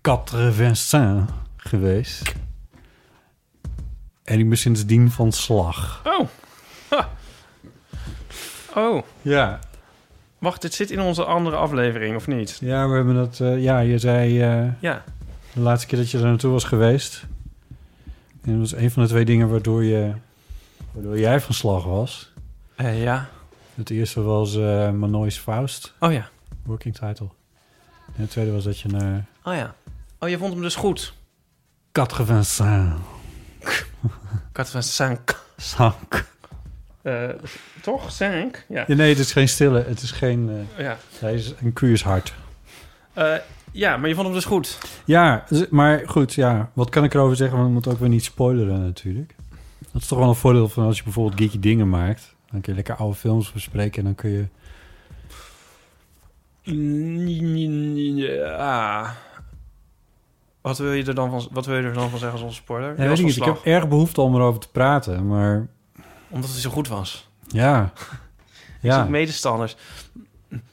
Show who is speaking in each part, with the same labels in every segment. Speaker 1: ET 85 geweest. En ik ben sindsdien van slag.
Speaker 2: Oh. Ha. Oh.
Speaker 1: Ja,
Speaker 2: Wacht, dit zit in onze andere aflevering, of niet?
Speaker 1: ja we hebben dat... eh, ja, je zei eh,
Speaker 2: Ja.
Speaker 1: de laatste keer dat je er naartoe was geweest. En dat was een van de twee dingen waardoor, je, waardoor jij van slag was.
Speaker 2: Eh, ja.
Speaker 1: Het eerste was eh Manois Faust,
Speaker 2: Oh ja.
Speaker 1: working title. En het tweede was dat je naar
Speaker 2: Oh ja. Oh, je vond hem dus goed.
Speaker 1: 85
Speaker 2: Ik had van Sank.
Speaker 1: zank.
Speaker 2: Eh, toch? Sank? Ja. Oh,
Speaker 1: Ja, nee, het is geen stille. Het is geen... eh,
Speaker 2: Ja.
Speaker 1: Hij is een curious hart.
Speaker 2: Eh, ja, maar je vond hem dus goed.
Speaker 1: Ja, z- maar goed, ja. Wat kan ik erover zeggen? Want ik moet ook weer niet spoileren natuurlijk. Dat is toch wel een voordeel van als je bijvoorbeeld geeky dingen maakt. Dan kun je lekker oude films bespreken en dan kun je...
Speaker 2: Ja. Ah. Wat wil je er dan van, wat wil je er dan van zeggen als onze spoiler?
Speaker 1: Ja, weet ik, niet, ik heb erg behoefte om erover te praten, maar
Speaker 2: Omdat hij zo goed was.
Speaker 1: ja.
Speaker 2: Ja.
Speaker 1: Ja,
Speaker 2: Medestanders.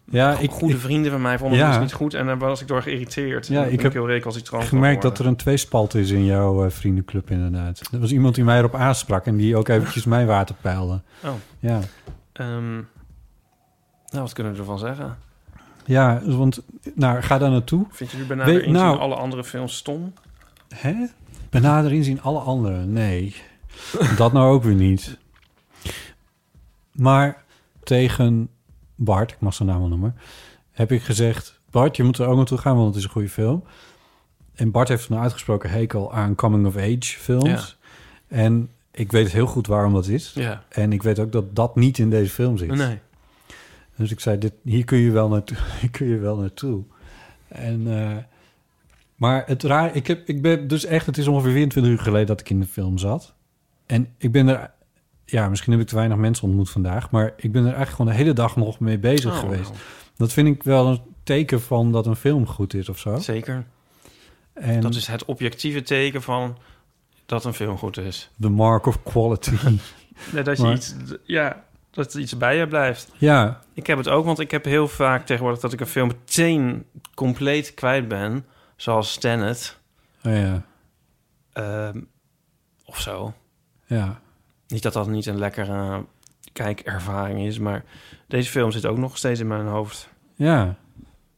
Speaker 1: ja ik,
Speaker 2: Goede
Speaker 1: ik
Speaker 2: vrienden van mij vonden
Speaker 1: Ja.
Speaker 2: het dus niet goed. En daar was ik door geïrriteerd.
Speaker 1: Ja,
Speaker 2: En
Speaker 1: ik
Speaker 2: ben
Speaker 1: heb
Speaker 2: heel recalcitrant
Speaker 1: heb
Speaker 2: van
Speaker 1: gemerkt dat er
Speaker 2: geworden.
Speaker 1: een tweespalt is in jouw eh, vriendenclub inderdaad. Er was iemand die mij erop aansprak en die ook eventjes mijn water peilde.
Speaker 2: Oh.
Speaker 1: Ja.
Speaker 2: Ehm, nou, wat kunnen we ervan zeggen?
Speaker 1: ja, dus want nou, ga daar naartoe.
Speaker 2: Vind je nu bijna
Speaker 1: Weet-
Speaker 2: weer inzien
Speaker 1: nou-
Speaker 2: alle andere films stom?
Speaker 1: Hè? Bij nader inzien alle anderen. Nee, dat nou ook weer niet. Maar tegen Bart, ik mag zijn naam wel noemen, heb ik gezegd... Bart, je moet er ook naartoe gaan, want het is een goede film. En Bart heeft een uitgesproken hekel aan coming-of-age films. En ik weet heel goed waarom dat is.
Speaker 2: Ja.
Speaker 1: En ik weet ook dat dat niet in deze film zit.
Speaker 2: Nee.
Speaker 1: Dus ik zei, dit, hier, kun je wel naartoe, hier kun je wel naartoe. En, eh, maar het raar, ik, heb, ik ben dus echt, het is ongeveer 24 uur geleden dat ik in de film zat. En ik ben er, ja, misschien heb ik te weinig mensen ontmoet vandaag, maar ik ben er eigenlijk gewoon de hele dag nog mee bezig
Speaker 2: Oh,
Speaker 1: geweest.
Speaker 2: nou,
Speaker 1: Dat vind ik wel een teken van dat een film goed is of zo.
Speaker 2: Zeker.
Speaker 1: En
Speaker 2: Dat is het objectieve teken van dat een film goed is.
Speaker 1: the mark of quality.
Speaker 2: Nee, dat je
Speaker 1: Maar-
Speaker 2: iets, ja, dat er iets bij je blijft.
Speaker 1: ja,
Speaker 2: Ik heb het ook, want ik heb heel vaak tegenwoordig dat ik een film meteen compleet kwijt ben. Zoals Tenet
Speaker 1: oh ja,
Speaker 2: ehm, of zo.
Speaker 1: ja.
Speaker 2: Niet dat dat niet een lekkere kijkervaring is, maar deze film zit ook nog steeds in mijn hoofd.
Speaker 1: Ja,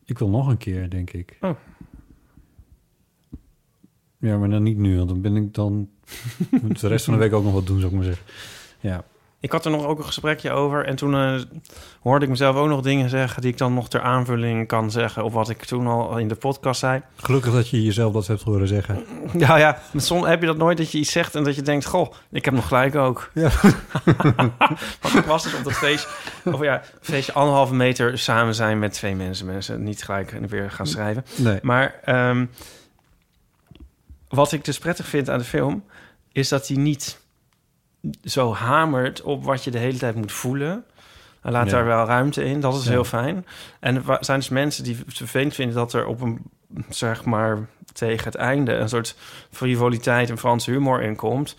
Speaker 1: ik wil nog een keer, denk ik.
Speaker 2: Oh.
Speaker 1: Ja, maar dan niet nu, want dan ben ik dan... moet de rest van de week ook nog wat doen, zou ik maar zeggen. Ja,
Speaker 2: Ik had er nog ook een gesprekje over en toen eh, hoorde ik mezelf ook nog dingen zeggen die ik dan nog ter aanvulling kan zeggen op wat ik toen al in de podcast zei.
Speaker 1: gelukkig dat je jezelf dat hebt horen zeggen.
Speaker 2: Ja, ja. Met soms heb je dat nooit dat je iets zegt en dat je denkt, goh, ik heb nog gelijk ook.
Speaker 1: Ja.
Speaker 2: Want ik was dus op dat feest, of ja, feestje anderhalve meter samen zijn met twee mensen. Mensen niet gelijk weer gaan schrijven.
Speaker 1: Nee.
Speaker 2: Maar ehm, wat ik dus prettig vind aan de film... is dat hij niet zo hamert op wat je de hele tijd moet voelen. Hij laat
Speaker 1: Ja.
Speaker 2: daar wel ruimte in. Dat is
Speaker 1: Ja.
Speaker 2: heel fijn. En er wa- zijn dus mensen die het vervelend vinden... dat er op een, zeg maar, tegen het einde... een soort frivoliteit en Franse humor in komt.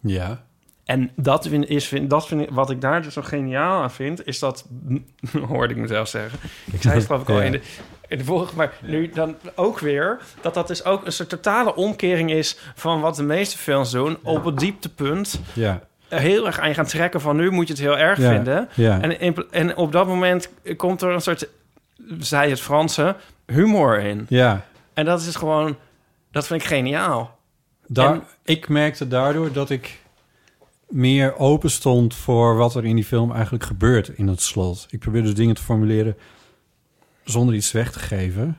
Speaker 1: Ja.
Speaker 2: En dat vind, is, vind, dat vind ik, wat ik daar dus zo geniaal aan vind, is dat... hoorde ik mezelf zeggen. Ik zei het geloof ik al
Speaker 1: Ja.
Speaker 2: in, de, in de vorige, maar nu dan ook weer... dat dat dus ook een soort totale omkering is... van wat de meeste films doen. Op het dieptepunt eh,
Speaker 1: Ja.
Speaker 2: heel erg aan je gaan trekken van... nu moet je het heel erg
Speaker 1: Ja.
Speaker 2: vinden.
Speaker 1: Ja.
Speaker 2: En, in- en op dat moment komt er een soort, zij het Franse, humor in.
Speaker 1: ja.
Speaker 2: En dat is gewoon Dat vind ik geniaal.
Speaker 1: Daar,
Speaker 2: En-
Speaker 1: Ik merkte daardoor dat ik meer open stond voor wat er in die film eigenlijk gebeurt in het slot. Ik probeerde dingen te formuleren zonder iets weg te geven.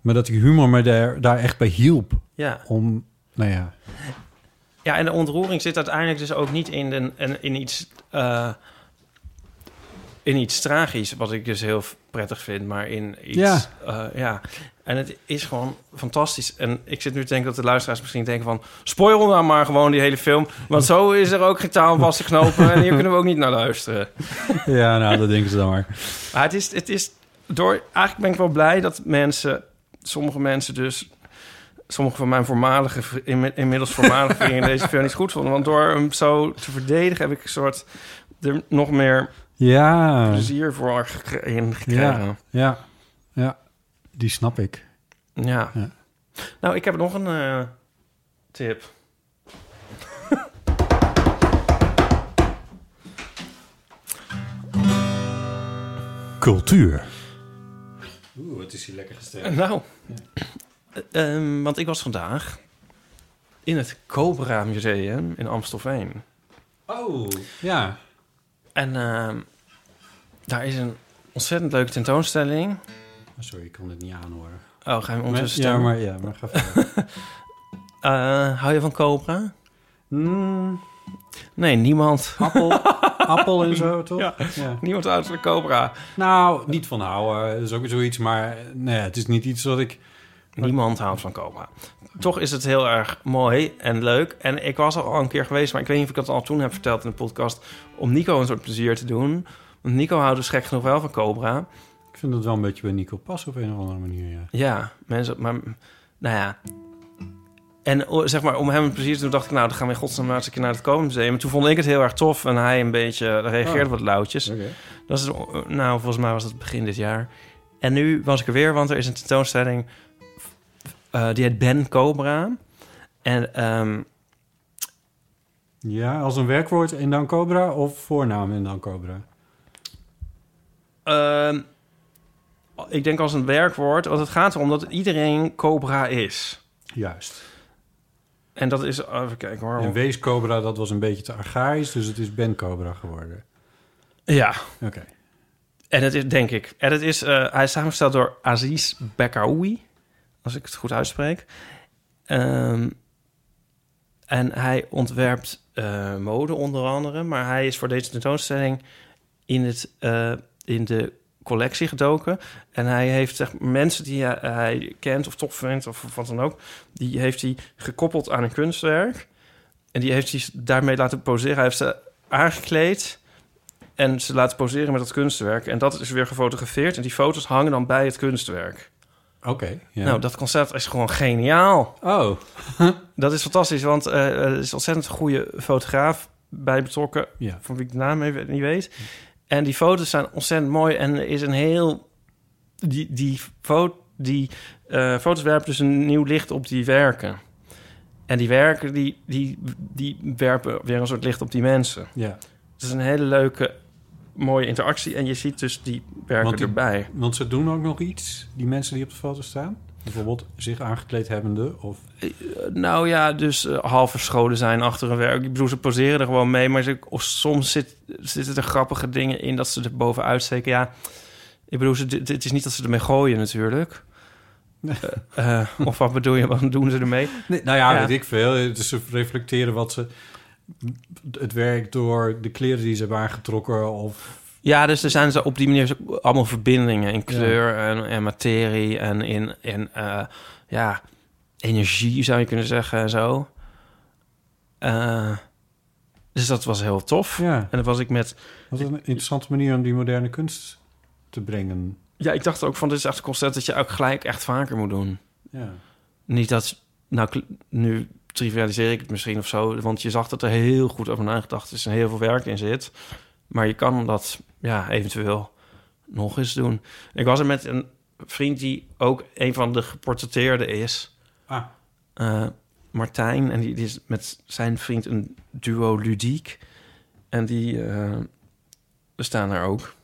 Speaker 1: Maar dat die humor me daar, daar echt bij hielp
Speaker 2: Ja.
Speaker 1: om, nou ja,
Speaker 2: ja, en de ontroering zit uiteindelijk dus ook niet in, een, een- in iets... eh, in iets tragisch, wat ik dus heel prettig vind, maar in iets...
Speaker 1: Ja.
Speaker 2: eh, ja. En het is gewoon fantastisch. En ik zit nu te denken dat de luisteraars misschien denken van... spoil nou maar gewoon die hele film... want zo is er ook geen taal aan vast te knopen... en hier kunnen we ook niet naar luisteren.
Speaker 1: ja nou, dat denken ze dan maar.
Speaker 2: Maar het is, het is door. Eigenlijk ben ik wel blij dat mensen, sommige mensen dus, sommige van mijn voormalige, vri- inmi- inmiddels voormalige vrienden deze film niet goed vonden. Want door hem zo te verdedigen heb ik een soort er nog meer
Speaker 1: Ja,
Speaker 2: plezier voor gekre- in gekregen.
Speaker 1: ja, ja, die snap ik.
Speaker 2: Ja.
Speaker 1: Ja.
Speaker 2: Nou, ik heb nog een eh, tip.
Speaker 1: Cultuur. Oeh, het is hier lekker gesteld.
Speaker 2: Nou, eh, ehm, want ik was vandaag in het Cobra Museum in Amstelveen.
Speaker 1: Oh, ja.
Speaker 2: En ehm, daar is een ontzettend leuke tentoonstelling.
Speaker 1: Oh, Sorry, ik kon dit niet aanhoren.
Speaker 2: Oh, ga je hem ondertussen
Speaker 1: ja,
Speaker 2: stemmen?
Speaker 1: maar, ja, maar ga verder.
Speaker 2: Eh, hou je van Cobra?
Speaker 1: Mm,
Speaker 2: Nee, niemand.
Speaker 1: appel, appel en zo, toch?
Speaker 2: Ja.
Speaker 1: Ja.
Speaker 2: Niemand houdt van Cobra.
Speaker 1: Nou, niet van houden, dat is ook weer zoiets. Maar eh, nee, het is niet iets wat ik...
Speaker 2: Niemand houdt van Cobra. Toch is het heel erg mooi en leuk. En ik was al een keer geweest, maar ik weet niet of ik dat al toen heb verteld in de podcast... om Nico een soort plezier te doen. Want Nico houdt dus gek genoeg wel van Cobra.
Speaker 1: Ik vind dat wel een beetje bij Nico pas op een of andere manier, ja.
Speaker 2: Ja, mensen, maar nou ja. En o- zeg maar, om hem een plezier te doen, dacht ik, nou, dan gaan we in godsnaam maar eens een keer naar het Koningsmuseum. En toen vond ik het heel erg tof en hij een beetje reageerde
Speaker 1: Oh.
Speaker 2: wat lauwtjes.
Speaker 1: Oké.
Speaker 2: Dat is, eh, nou, volgens mij was dat begin dit jaar. En nu was ik er weer, want er is een tentoonstelling eh, die heet Ben Cobra. En ehm,
Speaker 1: Ja, als een werkwoord en dan Cobra of voornaam en dan Cobra?
Speaker 2: ehm, ik denk als een werkwoord, want het gaat erom dat iedereen Cobra is.
Speaker 1: Juist.
Speaker 2: En dat is, even kijken hoor.
Speaker 1: En wees Cobra, dat was een beetje te archaïs, dus het is Ben Cobra geworden.
Speaker 2: ja,
Speaker 1: Oké.
Speaker 2: En het is, denk ik. En het is, eh, hij is samengesteld door Aziz Bekaoui, als ik het goed uitspreek. Ehm, en hij ontwerpt eh, mode onder andere, maar hij is voor deze tentoonstelling in, het, eh, in de collectie gedoken. En hij heeft zeg, maar, mensen die hij, hij kent of tof vindt of wat dan ook, die heeft hij gekoppeld aan een kunstwerk. En die heeft hij daarmee laten poseren. Hij heeft ze aangekleed. En ze laten poseren met dat kunstwerk. En dat is weer gefotografeerd. En die foto's hangen dan bij het kunstwerk.
Speaker 1: Oké, ja.
Speaker 2: Nou, dat concept is gewoon geniaal.
Speaker 1: Oh,
Speaker 2: Dat is fantastisch, want eh, er is ontzettend goede fotograaf bij betrokken.
Speaker 1: ja.
Speaker 2: Van wie ik de naam even niet weet. En die foto's zijn ontzettend mooi. En er is een heel... Die, die, fo- die eh, foto's werpen dus een nieuw licht op die werken. En die werken, die, die, die werpen weer een soort licht op die mensen.
Speaker 1: Ja,
Speaker 2: Het is een hele leuke, mooie interactie. En je ziet dus die werken
Speaker 1: Want die-
Speaker 2: erbij.
Speaker 1: want ze doen ook nog iets, die mensen die op de foto staan. Bijvoorbeeld zich aangekleed hebbende of...
Speaker 2: Eh, nou ja, dus eh, half verscholen zijn achter een werk. Ik bedoel, ze poseren er gewoon mee. Maar ze, of soms zit, zitten er grappige dingen in dat ze er bovenuit steken. Ja, ik bedoel, ze, dit- het is niet dat ze ermee gooien natuurlijk.
Speaker 1: Nee.
Speaker 2: Eh, eh, of wat bedoel je, wat doen ze ermee?
Speaker 1: nou ja,
Speaker 2: Ja.
Speaker 1: weet ik veel. Het is ze reflecteren wat ze... Het werk door de kleren die ze hebben aangetrokken of...
Speaker 2: Ja, dus er zijn ze op die manier zo- allemaal verbindingen in kleur en, en materie en in, in eh, ja, energie zou je kunnen zeggen en zo. Eh, dus dat was heel tof.
Speaker 1: Ja,
Speaker 2: En dat was ik met.
Speaker 1: wat een interessante manier om die moderne kunst te brengen.
Speaker 2: Ja, ik dacht ook van dit is echt een concept dat je ook gelijk echt vaker moet doen.
Speaker 1: Ja,
Speaker 2: Niet dat. Nou, kl- nu trivialiseer ik het misschien of zo. Want je zag dat er heel goed over nagedacht is en heel veel werk in zit. Maar je kan dat ja, eventueel nog eens doen. Ik was er met een vriend die ook een van de geportretteerden is.
Speaker 1: Ah.
Speaker 2: Eh, Martijn. En die, die is met zijn vriend een duo ludiek. En die eh, staan er ook.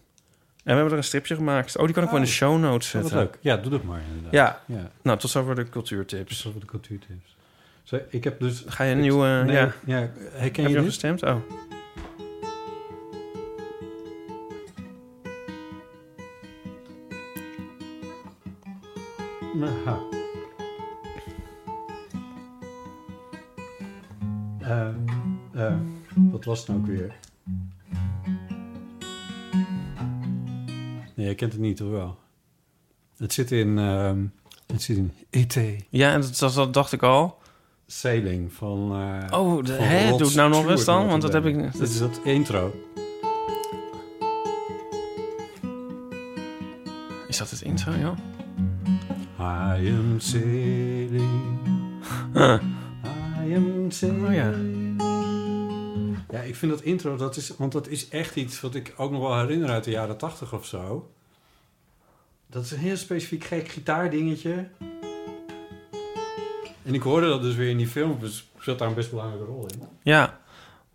Speaker 2: we hebben er een stripje gemaakt. Oh, die kan ik wel in de show notes
Speaker 1: Oh, Wat
Speaker 2: zetten.
Speaker 1: leuk. Ja, doe dat maar inderdaad.
Speaker 2: Ja.
Speaker 1: ja.
Speaker 2: Nou, tot zover de cultuurtips.
Speaker 1: Dat voor de cultuurtips. Zo, ik heb dus...
Speaker 2: Ga je een nieuwe... eh,
Speaker 1: Nee,
Speaker 2: ja.
Speaker 1: ja. herken
Speaker 2: Heb
Speaker 1: je
Speaker 2: je al
Speaker 1: dit?
Speaker 2: gestemd? Oh.
Speaker 1: Aha. Eh, eh, wat was het nou ook weer? Nee, jij kent het niet, hoor wel? Het zit in... ehm, het zit in E E.T.
Speaker 2: Ja, en dat, dat, dat dacht ik al.
Speaker 1: Sailing van... eh,
Speaker 2: Oh, de,
Speaker 1: van
Speaker 2: hè,
Speaker 1: Rod
Speaker 2: doe het nou nog
Speaker 1: Stewart,
Speaker 2: eens dan,
Speaker 1: om
Speaker 2: want
Speaker 1: te
Speaker 2: dat heb ik...
Speaker 1: denken.
Speaker 2: niet.
Speaker 1: Dit is dat intro.
Speaker 2: Is dat het intro, ja?
Speaker 1: I am sailing. I am sailing.
Speaker 2: Oh ja.
Speaker 1: Ja, ik vind dat intro, dat is, want dat is echt iets wat ik ook nog wel herinner uit de jaren tachtig of zo. Dat is een heel specifiek gek gitaardingetje. En ik hoorde dat dus weer in die film, dus zat daar een best belangrijke rol in.
Speaker 2: Ja.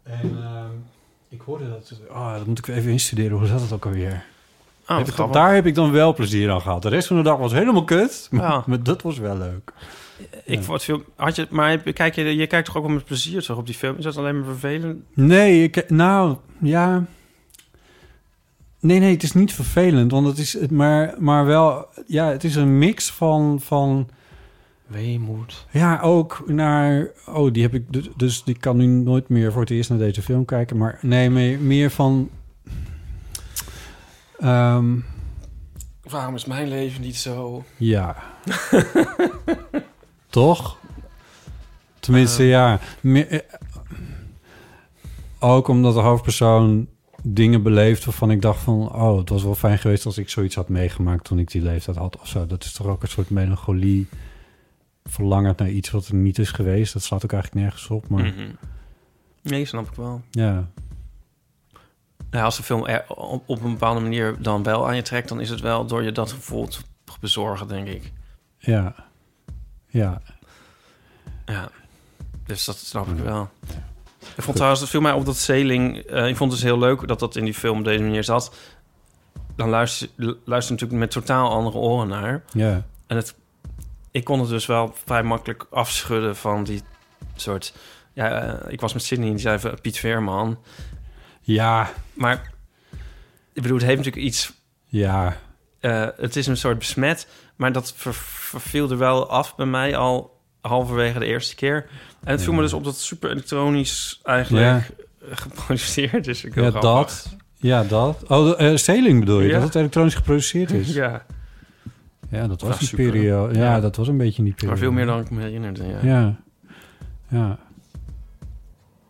Speaker 1: En ehm, ik hoorde dat, ah, dat moet ik weer even instuderen, hoe zat dat ook alweer?
Speaker 2: Oh,
Speaker 1: Heb ik dan-
Speaker 2: grappig.
Speaker 1: daar heb ik dan wel plezier aan gehad. De rest van de dag was helemaal kut, maar,
Speaker 2: Ja.
Speaker 1: maar dat was wel leuk.
Speaker 2: Ik vond het veel... Had je, maar heb- kijk je, je kijkt toch ook wel met plezier toch op die film? Is dat alleen maar vervelend?
Speaker 1: Nee, ik, nou, ja. Nee, nee, het is niet vervelend, want het is het, maar, maar wel, ja, het is een mix van, van,
Speaker 2: Weemoed.
Speaker 1: ja, ook naar, oh, die heb ik, dus- dus die kan nu nooit meer voor het eerst naar deze film kijken, maar nee, meer, meer van, ehm,
Speaker 2: Waarom is mijn leven niet zo...
Speaker 1: ja. Toch? Tenminste,
Speaker 2: Ehm.
Speaker 1: ja. Me- eh, ook omdat de hoofdpersoon dingen beleeft waarvan ik dacht van... oh, het was wel fijn geweest als ik zoiets had meegemaakt toen ik die leeftijd had of zo. Dat is toch ook een soort melancholie verlangend naar iets wat er niet is geweest. Dat slaat ook eigenlijk nergens op, maar
Speaker 2: Mhm. Nee, snap ik wel.
Speaker 1: ja.
Speaker 2: Nou, als de film er op, op een bepaalde manier dan wel aan je trekt... dan is het wel door je dat gevoel te bezorgen, denk ik.
Speaker 1: Ja. Ja.
Speaker 2: Ja, dus dat snap ik wel. Ik vond trouwens, het viel mij op dat Zeling... eh, ik vond het dus heel leuk dat dat in die film op deze manier zat. Dan luister je natuurlijk met totaal andere oren naar.
Speaker 1: Ja.
Speaker 2: En het, ik kon het dus wel vrij makkelijk afschudden van die soort... Ja, eh, ik was met Sydney en die zei van Piet Veerman.
Speaker 1: Ja.
Speaker 2: Maar ik bedoel, het heeft natuurlijk iets...
Speaker 1: Ja.
Speaker 2: eh, het is een soort besmet, maar dat ver- verviel er wel af bij mij al halverwege de eerste keer. En het viel me dus op dat het super elektronisch eigenlijk eh, geproduceerd is. Ik heel
Speaker 1: Ja,
Speaker 2: grappig.
Speaker 1: dat. Ja, dat. Oh, de, eh, Steling bedoel je?
Speaker 2: Ja.
Speaker 1: Dat het elektronisch geproduceerd is?
Speaker 2: Ja,
Speaker 1: Ja, dat was
Speaker 2: Ja,
Speaker 1: die
Speaker 2: super.
Speaker 1: periode. Ja,
Speaker 2: Ja.
Speaker 1: dat was een beetje in die periode.
Speaker 2: maar veel meer dan ik me herinnerde. Ja.
Speaker 1: Ja. Ja.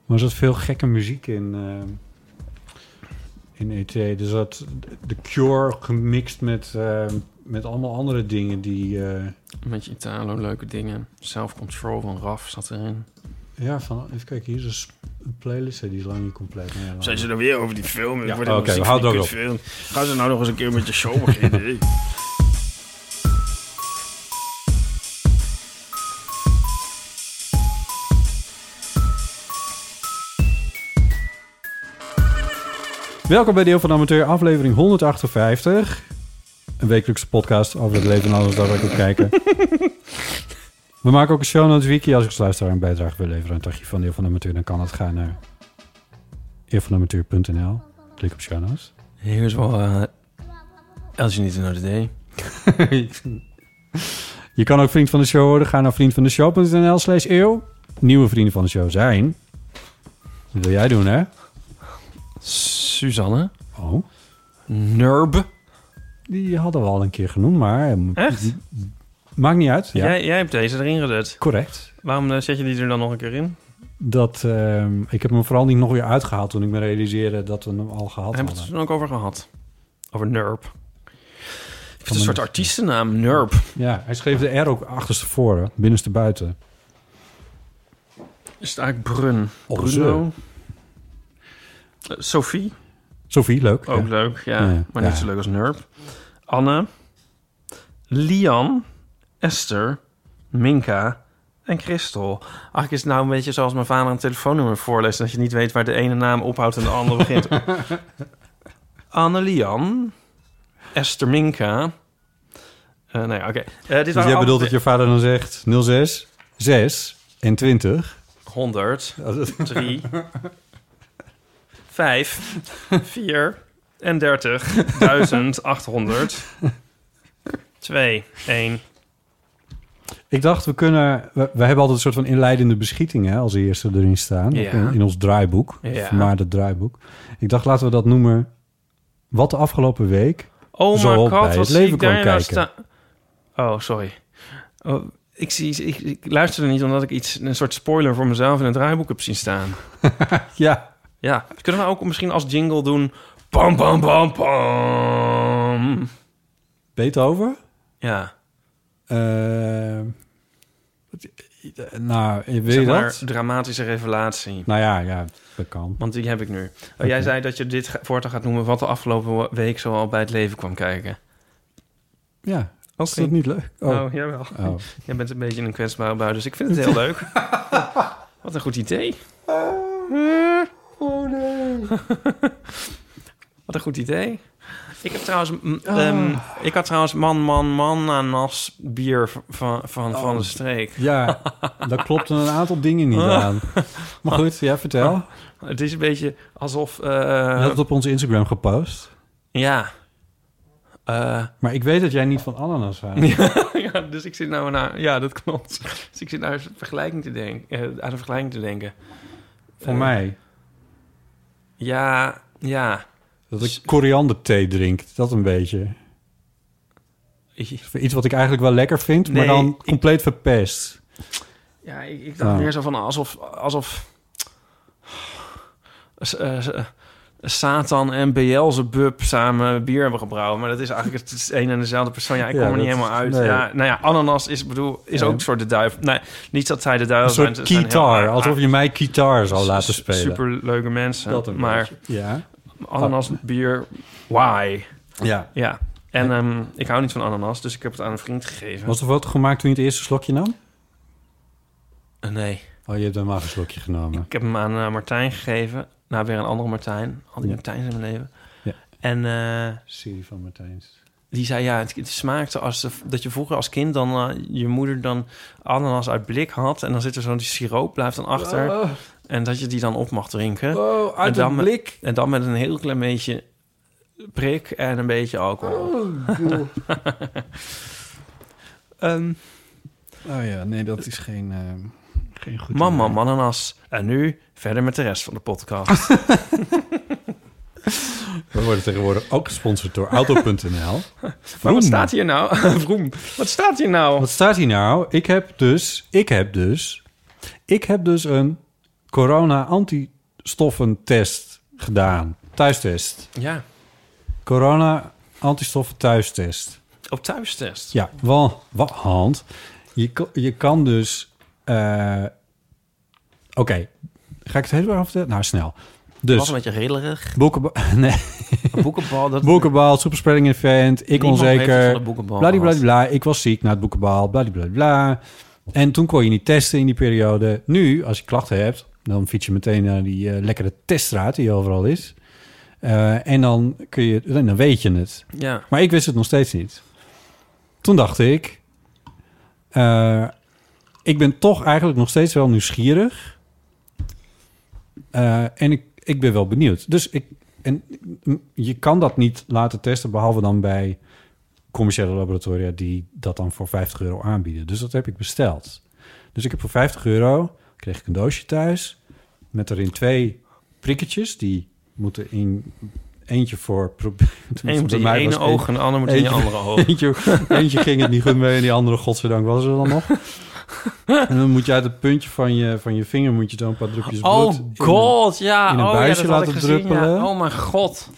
Speaker 1: Maar er zat veel gekke muziek in, ehm, in E.T. Dus dat The Cure gemixt met, ehm, met allemaal andere dingen die... eh,
Speaker 2: Met je Italo, leuke dingen. Self-control van Raf zat erin.
Speaker 1: ja, van, even kijken, hier is een s- een playlist. hè, Die is lang niet compleet. maar ja, lang.
Speaker 2: dan weer over die film?
Speaker 1: Ja, oké, we houden er ook op.
Speaker 2: Gaan ze nou nog eens een keer met je show beginnen?
Speaker 1: Welkom bij Deel van de Amateur, aflevering 158. Een wekelijkse podcast over het leven en alles daar waar ik op kijken. We maken ook een show notes wiki. Als ik als luisteraar een bijdrage wil leveren aan het archief van Deel van de Amateur... dan kan dat gaan naar eervanamateur.nl. Klik op show notes.
Speaker 2: Here's what uh, else you need to know today.
Speaker 1: Je kan ook vriend van de show worden. Ga naar vriendvandeshow.nl slash eeuw. Nieuwe vrienden van de show zijn... Dat wil jij doen, hè?
Speaker 2: Suzanne.
Speaker 1: Oh,
Speaker 2: Nurb.
Speaker 1: die hadden we al een keer genoemd, maar... eh,
Speaker 2: Echt?
Speaker 1: Maakt niet uit. Ja,
Speaker 2: Jij, jij hebt deze erin gedut.
Speaker 1: correct.
Speaker 2: Waarom eh, zet je die er dan nog een keer in?
Speaker 1: dat ehm, ik heb hem vooral niet nog weer uitgehaald toen ik me realiseerde dat we hem al gehad
Speaker 2: Daar hebben we het
Speaker 1: hadden.
Speaker 2: toen ook over gehad. Over Nurb. Ik vind het een
Speaker 1: me
Speaker 2: soort
Speaker 1: niet-
Speaker 2: artiestennaam, Nurb.
Speaker 1: Ja, hij schreef de R ook achterstevoren, binnenste buiten.
Speaker 2: Is het eigenlijk Brun?
Speaker 1: Oh,
Speaker 2: Bruno? Eh, Sophie?
Speaker 1: Sophie, leuk.
Speaker 2: Ook
Speaker 1: ja.
Speaker 2: leuk, ja.
Speaker 1: Ja, ja.
Speaker 2: Maar niet
Speaker 1: Ja.
Speaker 2: zo leuk als Nurb. Anne. Lian. Esther. Minka. En Christel. Eigenlijk is het nou een beetje zoals mijn vader een telefoonnummer voorleest... dat je niet weet waar de ene naam ophoudt en de andere begint. Anne Lian. Esther Minka. Eh, nou ja, oké. Eh, dit
Speaker 1: Dus
Speaker 2: waren
Speaker 1: jij
Speaker 2: alle
Speaker 1: bedoelt dat je vader dan zegt 06, 6 en 20.
Speaker 2: 100,
Speaker 1: Oh, dat-
Speaker 2: 3, 5, 4 en 30, 1800, 2, 1.
Speaker 1: Ik dacht, we kunnen... We, we hebben altijd een soort van inleidende beschieting hè, als eerste erin staan.
Speaker 2: Ja.
Speaker 1: In, in ons draaiboek.
Speaker 2: Ja.
Speaker 1: Maar dat draaiboek. Ik dacht, laten we dat noemen... Wat de afgelopen week...
Speaker 2: Oh
Speaker 1: Zo
Speaker 2: my
Speaker 1: op bij
Speaker 2: god,
Speaker 1: het
Speaker 2: wat zie
Speaker 1: leven
Speaker 2: ik
Speaker 1: kwam
Speaker 2: daar nou
Speaker 1: kijken.
Speaker 2: staan. Oh, sorry. Oh, ik, zie, ik, ik luisterde niet omdat ik iets, een soort spoiler voor mezelf in het draaiboek heb zien staan.
Speaker 1: Ja,
Speaker 2: Ja, kunnen we ook misschien als jingle doen... Pam, pam, pam, pam.
Speaker 1: Beethoven?
Speaker 2: Ja,
Speaker 1: Eh, wat- eh, nou, wil
Speaker 2: zeg
Speaker 1: je
Speaker 2: maar
Speaker 1: dat?
Speaker 2: dramatische revelatie.
Speaker 1: Nou ja, ja, dat kan.
Speaker 2: Want die heb ik nu. Oh,
Speaker 1: Oké.
Speaker 2: Jij zei dat je dit ga- voortaan gaat noemen... wat de afgelopen week zoal bij het leven kwam kijken.
Speaker 1: Ja, is dat niet leuk? Oh,
Speaker 2: Oh, jawel.
Speaker 1: oh.
Speaker 2: Jij bent een beetje een kwetsbare bui, dus ik vind het heel leuk. Wat een goed idee.
Speaker 3: Oh nee.
Speaker 2: Wat een goed idee. Ik heb trouwens... mm,
Speaker 1: Ah.
Speaker 2: ehm, ik had trouwens man, man, man aan nas bier v- van, van,
Speaker 1: Oh.
Speaker 2: van de streek.
Speaker 1: Ja, daar klopten een aantal dingen niet
Speaker 2: Oh.
Speaker 1: aan. Maar goed, ja, vertel.
Speaker 2: Het is een beetje alsof... eh,
Speaker 1: Je had het op onze Instagram gepost.
Speaker 2: ja. Eh,
Speaker 1: Maar ik weet dat jij niet van ananas houdt.
Speaker 2: ja, dus ik zit nou naar... Ja, dat klopt. Dus ik zit naar een vergelijking te denken, eh, aan een vergelijking te denken.
Speaker 1: Voor
Speaker 2: Eh,
Speaker 1: mij.
Speaker 2: Ja, ja.
Speaker 1: Dat ik korianderthee drink. Dat een beetje. Iets wat ik eigenlijk wel lekker vind, maar
Speaker 2: Nee,
Speaker 1: dan
Speaker 2: ik- Oh,
Speaker 1: compleet verpest.
Speaker 2: Ja, ik, ik dacht
Speaker 1: Oh.
Speaker 2: meer zo van alsof... alsof S- eh, s- eh, Satan en Beelzebub samen bier hebben gebrouwen. Maar dat is eigenlijk het is een en dezelfde persoon. Ja, ik
Speaker 1: Ja,
Speaker 2: kom er niet
Speaker 1: dat-
Speaker 2: helemaal uit.
Speaker 1: nee.
Speaker 2: Ja, nou ja, ananas is, bedoel, is
Speaker 1: Ja.
Speaker 2: ook een soort de duivel. Nee, niet dat zij de duivel
Speaker 1: Een
Speaker 2: zijn.
Speaker 1: soort gitaar. Alsof je mij gitaar zou laten spelen.
Speaker 2: Super leuke mensen.
Speaker 1: Dat een
Speaker 2: maar
Speaker 1: beetje. Ja.
Speaker 2: ananas, bier, why?
Speaker 1: ja.
Speaker 2: Ja. En ehm, ik hou niet van ananas, dus ik heb het aan een vriend gegeven.
Speaker 1: Was er foto gemaakt toen je het eerste slokje nam?
Speaker 2: Eh, Nee.
Speaker 1: Oh, je hebt dan maar een slokje genomen.
Speaker 2: Ik heb hem aan eh, Martijn gegeven. Nou, weer een andere Martijn. Al die
Speaker 1: Ja.
Speaker 2: Martijns in mijn leven.
Speaker 1: Ja.
Speaker 2: En eh,
Speaker 1: Siri van Martijns.
Speaker 2: die zei, ja, het, het smaakte als de- dat je vroeger als kind dan eh, je moeder dan ananas uit blik had. En dan zit er zo'n siroop, blijft dan achter. En dat je die dan op mag drinken.
Speaker 1: Oh,
Speaker 2: uit het met-
Speaker 1: blik.
Speaker 2: En dan met een heel klein beetje prik en een beetje alcohol. Oh, Ehm,
Speaker 1: Oh ja, nee, dat is geen, eh, geen goed
Speaker 2: man, man, ananas. En nu verder met de rest van de podcast.
Speaker 1: We worden tegenwoordig ook gesponsord door Auto.nl.
Speaker 2: maar wat staat hier nou? Vroem, wat staat hier nou?
Speaker 1: Wat staat hier nou? Ik heb dus, ik heb dus, ik heb dus een corona-antistoffentest gedaan. Thuistest.
Speaker 2: Ja,
Speaker 1: Corona-antistoffen thuistest.
Speaker 2: op thuistest.
Speaker 1: Ja, wel, wat hand. Je, kan- je kan dus. eh, Oké, ga ik het helemaal afvertellen? Nou, snel.
Speaker 2: was
Speaker 1: Dus
Speaker 2: een beetje rillerig.
Speaker 1: boekenbal, nee,
Speaker 2: Boekenbal, dat...
Speaker 1: boekenbal, superspreading event, ik
Speaker 2: Niemand weet wat van
Speaker 1: onzeker,
Speaker 2: de boekenbal was.
Speaker 1: bladibladibla, ik was ziek na het boekenbal, bladibladibla. En toen kon je niet testen in die periode. Nu, als je klachten hebt, dan fiets je meteen naar die eh, lekkere teststraat die overal is. Eh, en dan, kun je, dan weet je het.
Speaker 2: Ja.
Speaker 1: Maar ik wist het nog steeds niet. Toen dacht ik... eh, ik ben toch eigenlijk nog steeds wel nieuwsgierig. Eh, en ik, ik ben wel benieuwd. Dus ik... En m, je kan dat niet laten testen... behalve dan bij commerciële laboratoria... die dat dan voor 50 euro aanbieden. Dus dat heb ik besteld. Dus ik heb voor 50 euro... kreeg ik een doosje thuis... met erin twee prikketjes... die moeten in... eentje voor... pro-
Speaker 2: Eén moet
Speaker 1: bij
Speaker 2: in je
Speaker 1: mij was
Speaker 2: ene
Speaker 1: één-
Speaker 2: oog en de ander moet in je
Speaker 1: Eén-
Speaker 2: andere oog.
Speaker 1: Eentje, eentje ging het niet goed mee en die andere, godzijdank, was er dan nog. En dan moet je uit het puntje van je, van je vinger moet je dan een paar drupjes dus bloed
Speaker 2: Oh
Speaker 1: in een-
Speaker 2: god, ja.
Speaker 1: in een
Speaker 2: oh,
Speaker 1: buisje
Speaker 2: ja, dat had
Speaker 1: laten
Speaker 2: ik gezien, ja.
Speaker 1: druppelen.
Speaker 2: Oh mijn god.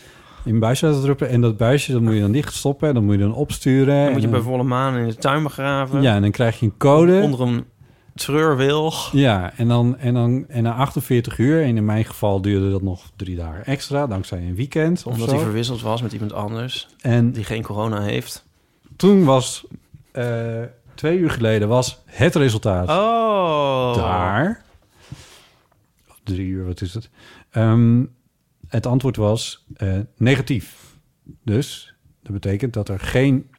Speaker 1: in een buisje laten druppen. En dat buisje, dat moet je dan dicht stoppen. En dan moet je dan opsturen.
Speaker 2: Dan moet je
Speaker 1: en
Speaker 2: bij volle maan in de tuin begraven.
Speaker 1: ja, en dan krijg je een code.
Speaker 2: Onder een treurwilg.
Speaker 1: Ja, en dan, en dan en na 48 uur. En in mijn geval duurde dat nog drie dagen extra, dankzij een weekend of
Speaker 2: Omdat
Speaker 1: zo.
Speaker 2: hij verwisseld was met iemand anders
Speaker 1: en
Speaker 2: die geen corona heeft.
Speaker 1: toen was, eh, twee uur geleden, was het resultaat.
Speaker 2: Oh.
Speaker 1: daar. Of drie uur, wat is het? Ehm, het antwoord was eh, negatief. Dus Dat betekent dat er geen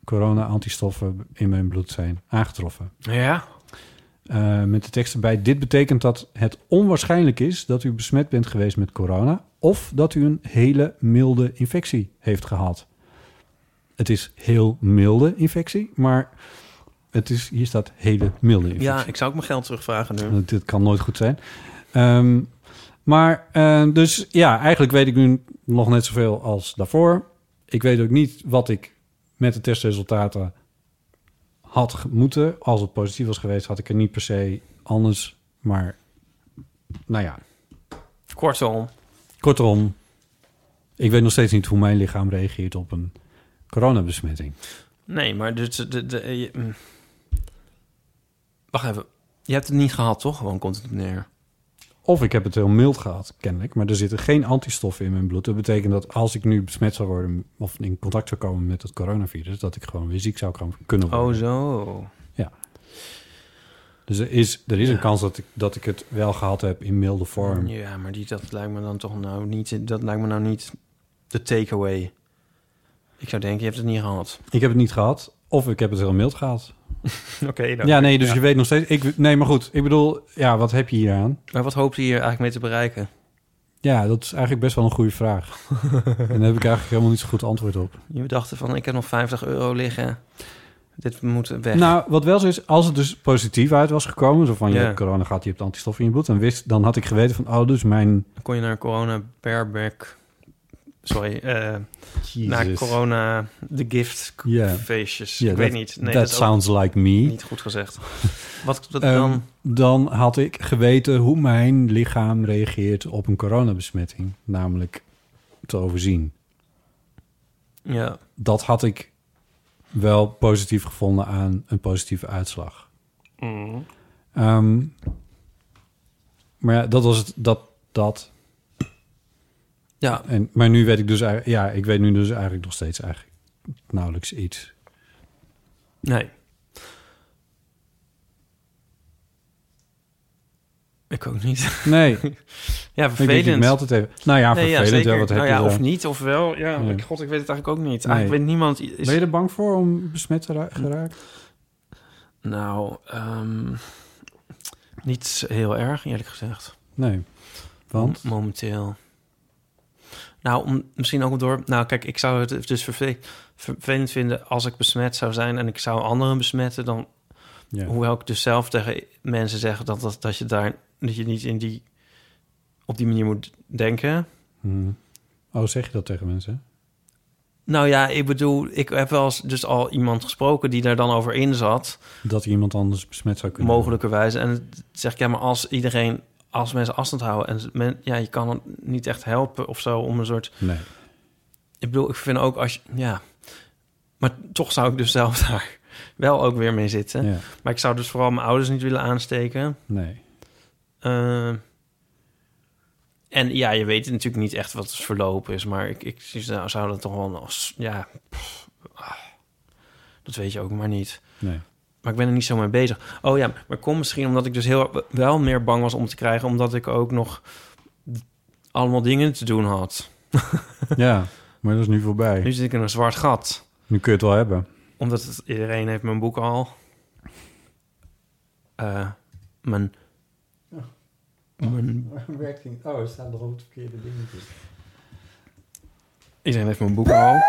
Speaker 1: corona-antistoffen in mijn bloed zijn aangetroffen.
Speaker 2: Ja.
Speaker 1: Eh, met de tekst erbij. Dit betekent dat het onwaarschijnlijk is dat u besmet bent geweest met corona. of dat u een hele milde infectie heeft gehad. Het is heel milde infectie, maar het is, hier staat hele milde infectie.
Speaker 2: ja, ik zou ook mijn geld terugvragen nu.
Speaker 1: Dat, dat kan nooit goed zijn. Ehm, maar eh, dus ja, eigenlijk weet ik nu nog net zoveel als daarvoor. Ik weet ook niet wat ik met de testresultaten had ge- moeten. Als het positief was geweest, had ik er niet per se anders. Maar nou ja,
Speaker 2: Kortom,
Speaker 1: kortom, ik weet nog steeds niet hoe mijn lichaam reageert op een coronabesmetting.
Speaker 2: nee, maar dus de, de, de- je- mm. Wacht even. Je hebt het niet gehad, toch? Gewoon komt het op neer.
Speaker 1: Of ik heb het heel mild gehad, kennelijk. Maar er zitten geen antistoffen in mijn bloed. Dat betekent dat als ik nu besmet zou worden... of in contact zou komen met het coronavirus... dat ik gewoon weer ziek zou kan- kunnen worden.
Speaker 2: Oh, zo.
Speaker 1: Dus er is, er is
Speaker 2: Ja.
Speaker 1: een kans dat ik, dat ik het wel gehad heb in milde vorm.
Speaker 2: Ja, maar die, dat lijkt me dan toch nou niet... Dat lijkt me nou niet de takeaway. Ik zou denken, je hebt het niet gehad.
Speaker 1: Ik heb het niet gehad. Of ik heb het heel mild gehad.
Speaker 2: Oké, dan.
Speaker 1: Ja, nee, dus je weet nog steeds... Ik, nee, maar goed. Ik bedoel, ja, wat heb je hier aan?
Speaker 2: Maar wat hoopte je hier eigenlijk mee te bereiken?
Speaker 1: Ja, dat is eigenlijk best wel een goede vraag. en daar heb ik eigenlijk helemaal niet zo goed antwoord op.
Speaker 2: Je dacht van, ik heb nog 50 euro liggen. Dit moet weg.
Speaker 1: Nou, wat wel zo is, als het dus positief uit was gekomen, zo van je
Speaker 2: Ja.
Speaker 1: hebt corona gehad, je hebt antistoffen in je bloed, dan, wist, dan had ik geweten van, oh, dus mijn.
Speaker 2: Dan kon je naar een corona bareback... Sorry, eh naar
Speaker 1: Jezus.
Speaker 2: corona the gift k-
Speaker 1: Ja.
Speaker 2: feestjes.
Speaker 1: Ja,
Speaker 2: ik
Speaker 1: dat-
Speaker 2: weet niet. Nee,
Speaker 1: that
Speaker 2: dat is ook
Speaker 1: sounds like me.
Speaker 2: niet goed gezegd. Wat dat
Speaker 1: Ehm,
Speaker 2: dan?
Speaker 1: Dan had ik geweten hoe mijn lichaam reageert op een coronabesmetting, namelijk te overzien.
Speaker 2: Ja,
Speaker 1: Dat had ik wel positief gevonden aan een positieve uitslag.
Speaker 2: Mm-hmm.
Speaker 1: Ehm, maar ja, dat was het. Dat, dat
Speaker 2: ja,
Speaker 1: En, maar nu weet ik dus eigenlijk, ja, ik weet nu dus eigenlijk nog steeds eigenlijk nauwelijks iets.
Speaker 2: nee. Ik ook niet.
Speaker 1: Nee,
Speaker 2: Ja,
Speaker 1: ik, denk, ik
Speaker 2: vervelend.
Speaker 1: meld het even. Nou ja,
Speaker 2: nee, ja,
Speaker 1: vervelend.
Speaker 2: zeker.
Speaker 1: ja, wat heb
Speaker 2: nou
Speaker 1: je
Speaker 2: ja,
Speaker 1: dan?
Speaker 2: of niet, of wel. Ja,
Speaker 1: Nee.
Speaker 2: ik, god, ik weet het eigenlijk ook niet.
Speaker 1: Nee.
Speaker 2: Eigenlijk weet niemand... i- Is,
Speaker 1: Ben je er bang voor om besmet te ra- geraakt?
Speaker 2: Nou, ehm, niet heel erg, eerlijk gezegd.
Speaker 1: Nee, want
Speaker 2: M- Momenteel. Nou, om, misschien ook door... Nou, kijk, ik zou het dus verve- vervelend vinden als ik besmet zou zijn... en ik zou anderen besmetten, dan
Speaker 1: ja.
Speaker 2: Hoewel ik dus zelf tegen mensen zeg dat, dat, dat je daar dat je niet in die, op die manier moet denken.
Speaker 1: Hm. Oh, zeg je dat tegen mensen?
Speaker 2: Nou ja, ik bedoel, ik heb wel eens dus al iemand gesproken die daar dan over in zat,
Speaker 1: Dat iemand anders besmet zou kunnen
Speaker 2: mogelijkerwijs. En dan zeg ik, ja, maar als iedereen, als mensen afstand houden en men, ja, je kan het niet echt helpen of zo om een soort.
Speaker 1: worden? Nee.
Speaker 2: Ik bedoel, ik vind ook als je, ja, maar toch zou ik dus zelf daar wel ook weer mee zitten.
Speaker 1: Ja.
Speaker 2: Maar ik zou dus vooral mijn ouders niet willen aansteken.
Speaker 1: nee.
Speaker 2: Eh, en ja, je weet natuurlijk niet echt wat het verloop is, maar ik, ik zou zou dat toch wel nog s- Ja, pff, ah, dat weet je ook maar niet.
Speaker 1: Nee.
Speaker 2: Maar ik ben er niet zo mee bezig. Oh ja, maar kom misschien omdat ik dus heel, wel meer bang was om te krijgen, omdat ik ook nog allemaal dingen te doen had.
Speaker 1: Ja, maar dat is nu voorbij.
Speaker 2: Nu zit ik in een zwart gat,
Speaker 1: Nu kun je het wel hebben.
Speaker 2: omdat het, iedereen heeft mijn boek al. Eh, mijn, mijn,
Speaker 1: Oh, er staan nog op verkeerde dingetjes.
Speaker 2: iedereen heeft mijn boek al.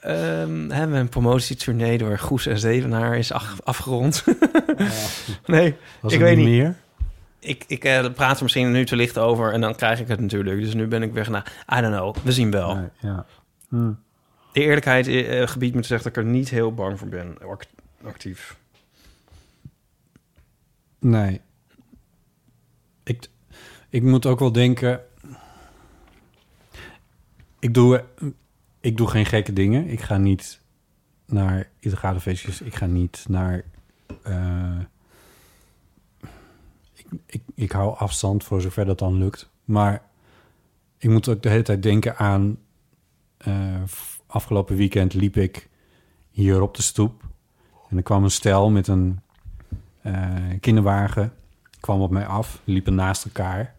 Speaker 2: Ehm, hè, mijn promotietournee door Goes en Zevenaar is af- afgerond. nee, Ik weet niet.
Speaker 1: meer.
Speaker 2: ik, ik eh, praat er misschien nu te licht over en dan krijg ik het natuurlijk. Dus nu ben ik weg naar, I don't know, we zien wel.
Speaker 1: Nee, ja. Hm.
Speaker 2: De eerlijkheid eh, gebiedt me te zeggen dat ik er niet heel bang voor ben, act- actief.
Speaker 1: Nee. Ik, ik moet ook wel denken. Ik doe, ik doe geen gekke dingen. Ik ga niet naar illegale feestjes. Ik ga niet naar. eh, ik, ik, ik hou afstand voor zover dat dan lukt. Maar ik moet ook de hele tijd denken aan. eh, f- afgelopen weekend liep ik hier op de stoep. En er kwam een stel met een eh, kinderwagen kwam op mij af, liepen naast elkaar.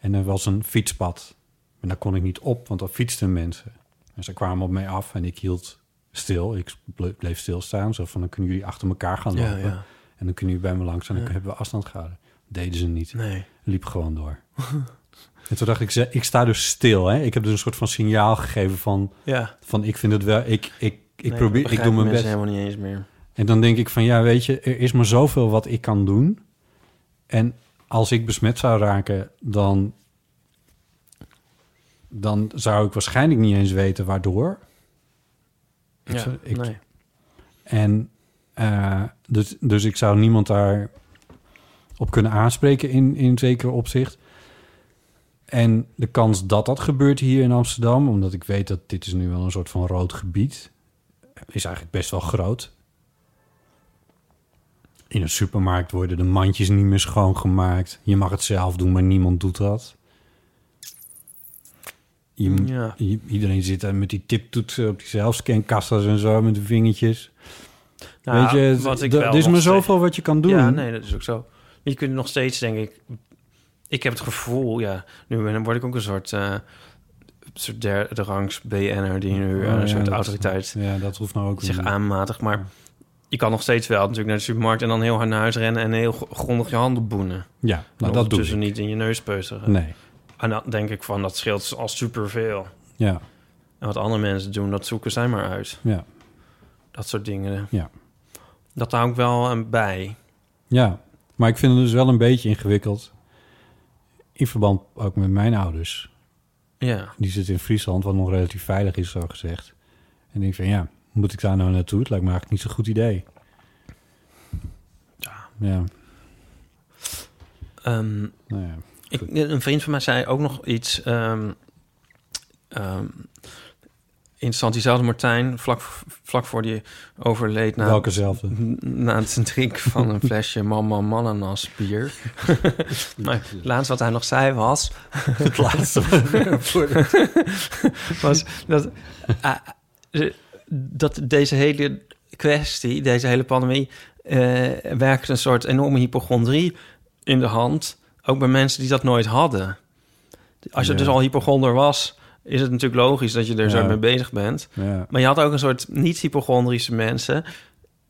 Speaker 1: En er was een fietspad En daar kon ik niet op, want dan fietsten mensen. En ze kwamen op mij af en ik hield stil. Ik ble- bleef stilstaan. Zo van, dan kunnen jullie achter elkaar gaan
Speaker 2: Ja,
Speaker 1: lopen.
Speaker 2: ja.
Speaker 1: En dan kunnen jullie bij me langs en dan hebben we afstand gehouden. Deden ze niet.
Speaker 2: Nee.
Speaker 1: Liep gewoon door. en toen dacht ik, ze- ik sta dus stil. Hè? Ik heb dus een soort van signaal gegeven van...
Speaker 2: Ja.
Speaker 1: van ik vind het wel... Ik, ik, ik,
Speaker 2: Nee, dat
Speaker 1: probeer, ik doe
Speaker 2: begrijpen
Speaker 1: mijn
Speaker 2: mensen
Speaker 1: best.
Speaker 2: helemaal niet eens meer.
Speaker 1: En dan denk ik van, ja, weet je, er is maar zoveel wat ik kan doen. En als ik besmet zou raken, dan, dan zou ik waarschijnlijk niet eens weten waardoor. Ik
Speaker 2: Ja,
Speaker 1: zou- ik-
Speaker 2: nee.
Speaker 1: En eh, dus, dus ik zou niemand daar op kunnen aanspreken in, in zekere opzicht. En de kans dat dat gebeurt hier in Amsterdam, omdat ik weet dat dit is nu wel een soort van rood gebied, is eigenlijk best wel groot. In een supermarkt worden de mandjes niet meer schoongemaakt. Je mag het zelf doen, maar niemand doet dat. Je,
Speaker 2: Ja.
Speaker 1: i- iedereen zit daar met die tiptoetsen op die zelfscankassas en zo met de vingertjes.
Speaker 2: Nou,
Speaker 1: Weet je, het-
Speaker 2: wat ik
Speaker 1: d-
Speaker 2: wel
Speaker 1: er is
Speaker 2: nog
Speaker 1: maar
Speaker 2: steeds-
Speaker 1: zoveel wat je kan doen.
Speaker 2: Ja, nee, dat is ook zo. Je kunt nog steeds, denk ik... Ik heb het gevoel, ja... Nu ben, word ik ook een soort... eh soort derde rangs BN'er... die nu
Speaker 1: Oh,
Speaker 2: eh, een
Speaker 1: ja,
Speaker 2: soort
Speaker 1: dat-
Speaker 2: autoriteit
Speaker 1: Ja, dat hoeft nou ook
Speaker 2: zich
Speaker 1: niet.
Speaker 2: aanmatigt. Maar je kan nog steeds wel natuurlijk naar de supermarkt... en dan heel hard naar huis rennen... en heel gr- grondig je handen boenen.
Speaker 1: Ja, nou,
Speaker 2: En
Speaker 1: dat doe ik.
Speaker 2: ondertussen niet in je neus peuteren.
Speaker 1: Nee,
Speaker 2: En dan denk ik van, dat scheelt al superveel.
Speaker 1: ja,
Speaker 2: En wat andere mensen doen, dat zoeken zij maar uit.
Speaker 1: ja,
Speaker 2: Dat soort dingen.
Speaker 1: Ja.
Speaker 2: Dat hou ik wel aan bij.
Speaker 1: ja. Maar ik vind het dus wel een beetje ingewikkeld. In verband ook met mijn ouders.
Speaker 2: Ja.
Speaker 1: Die zitten in Friesland, wat nog relatief veilig is, zo gezegd. En ik van, ja, moet ik daar nou naartoe? Het lijkt me eigenlijk niet zo'n goed idee. Ja. Ja,
Speaker 2: Ehm,
Speaker 1: nou ja.
Speaker 2: Ik, een vriend van mij zei ook nog iets ehm, ehm, interessant. Diezelfde Martijn, vlak, v- vlak voor die overleed... Na,
Speaker 1: Welke zelfde?
Speaker 2: Na het drinken van een flesje man, man, mananas bier. maar het laatste wat hij nog zei was... het laatste was dat, ah, eh, dat deze hele kwestie, deze hele pandemie... eh, werkt een soort enorme hypochondrie in de hand. Ook bij mensen die dat nooit hadden. Als je
Speaker 1: Ja.
Speaker 2: dus al hypochonder was... is het natuurlijk logisch dat je er zo
Speaker 1: Ja.
Speaker 2: mee bezig bent.
Speaker 1: Ja.
Speaker 2: Maar je had ook een soort niet-hypochondrische mensen.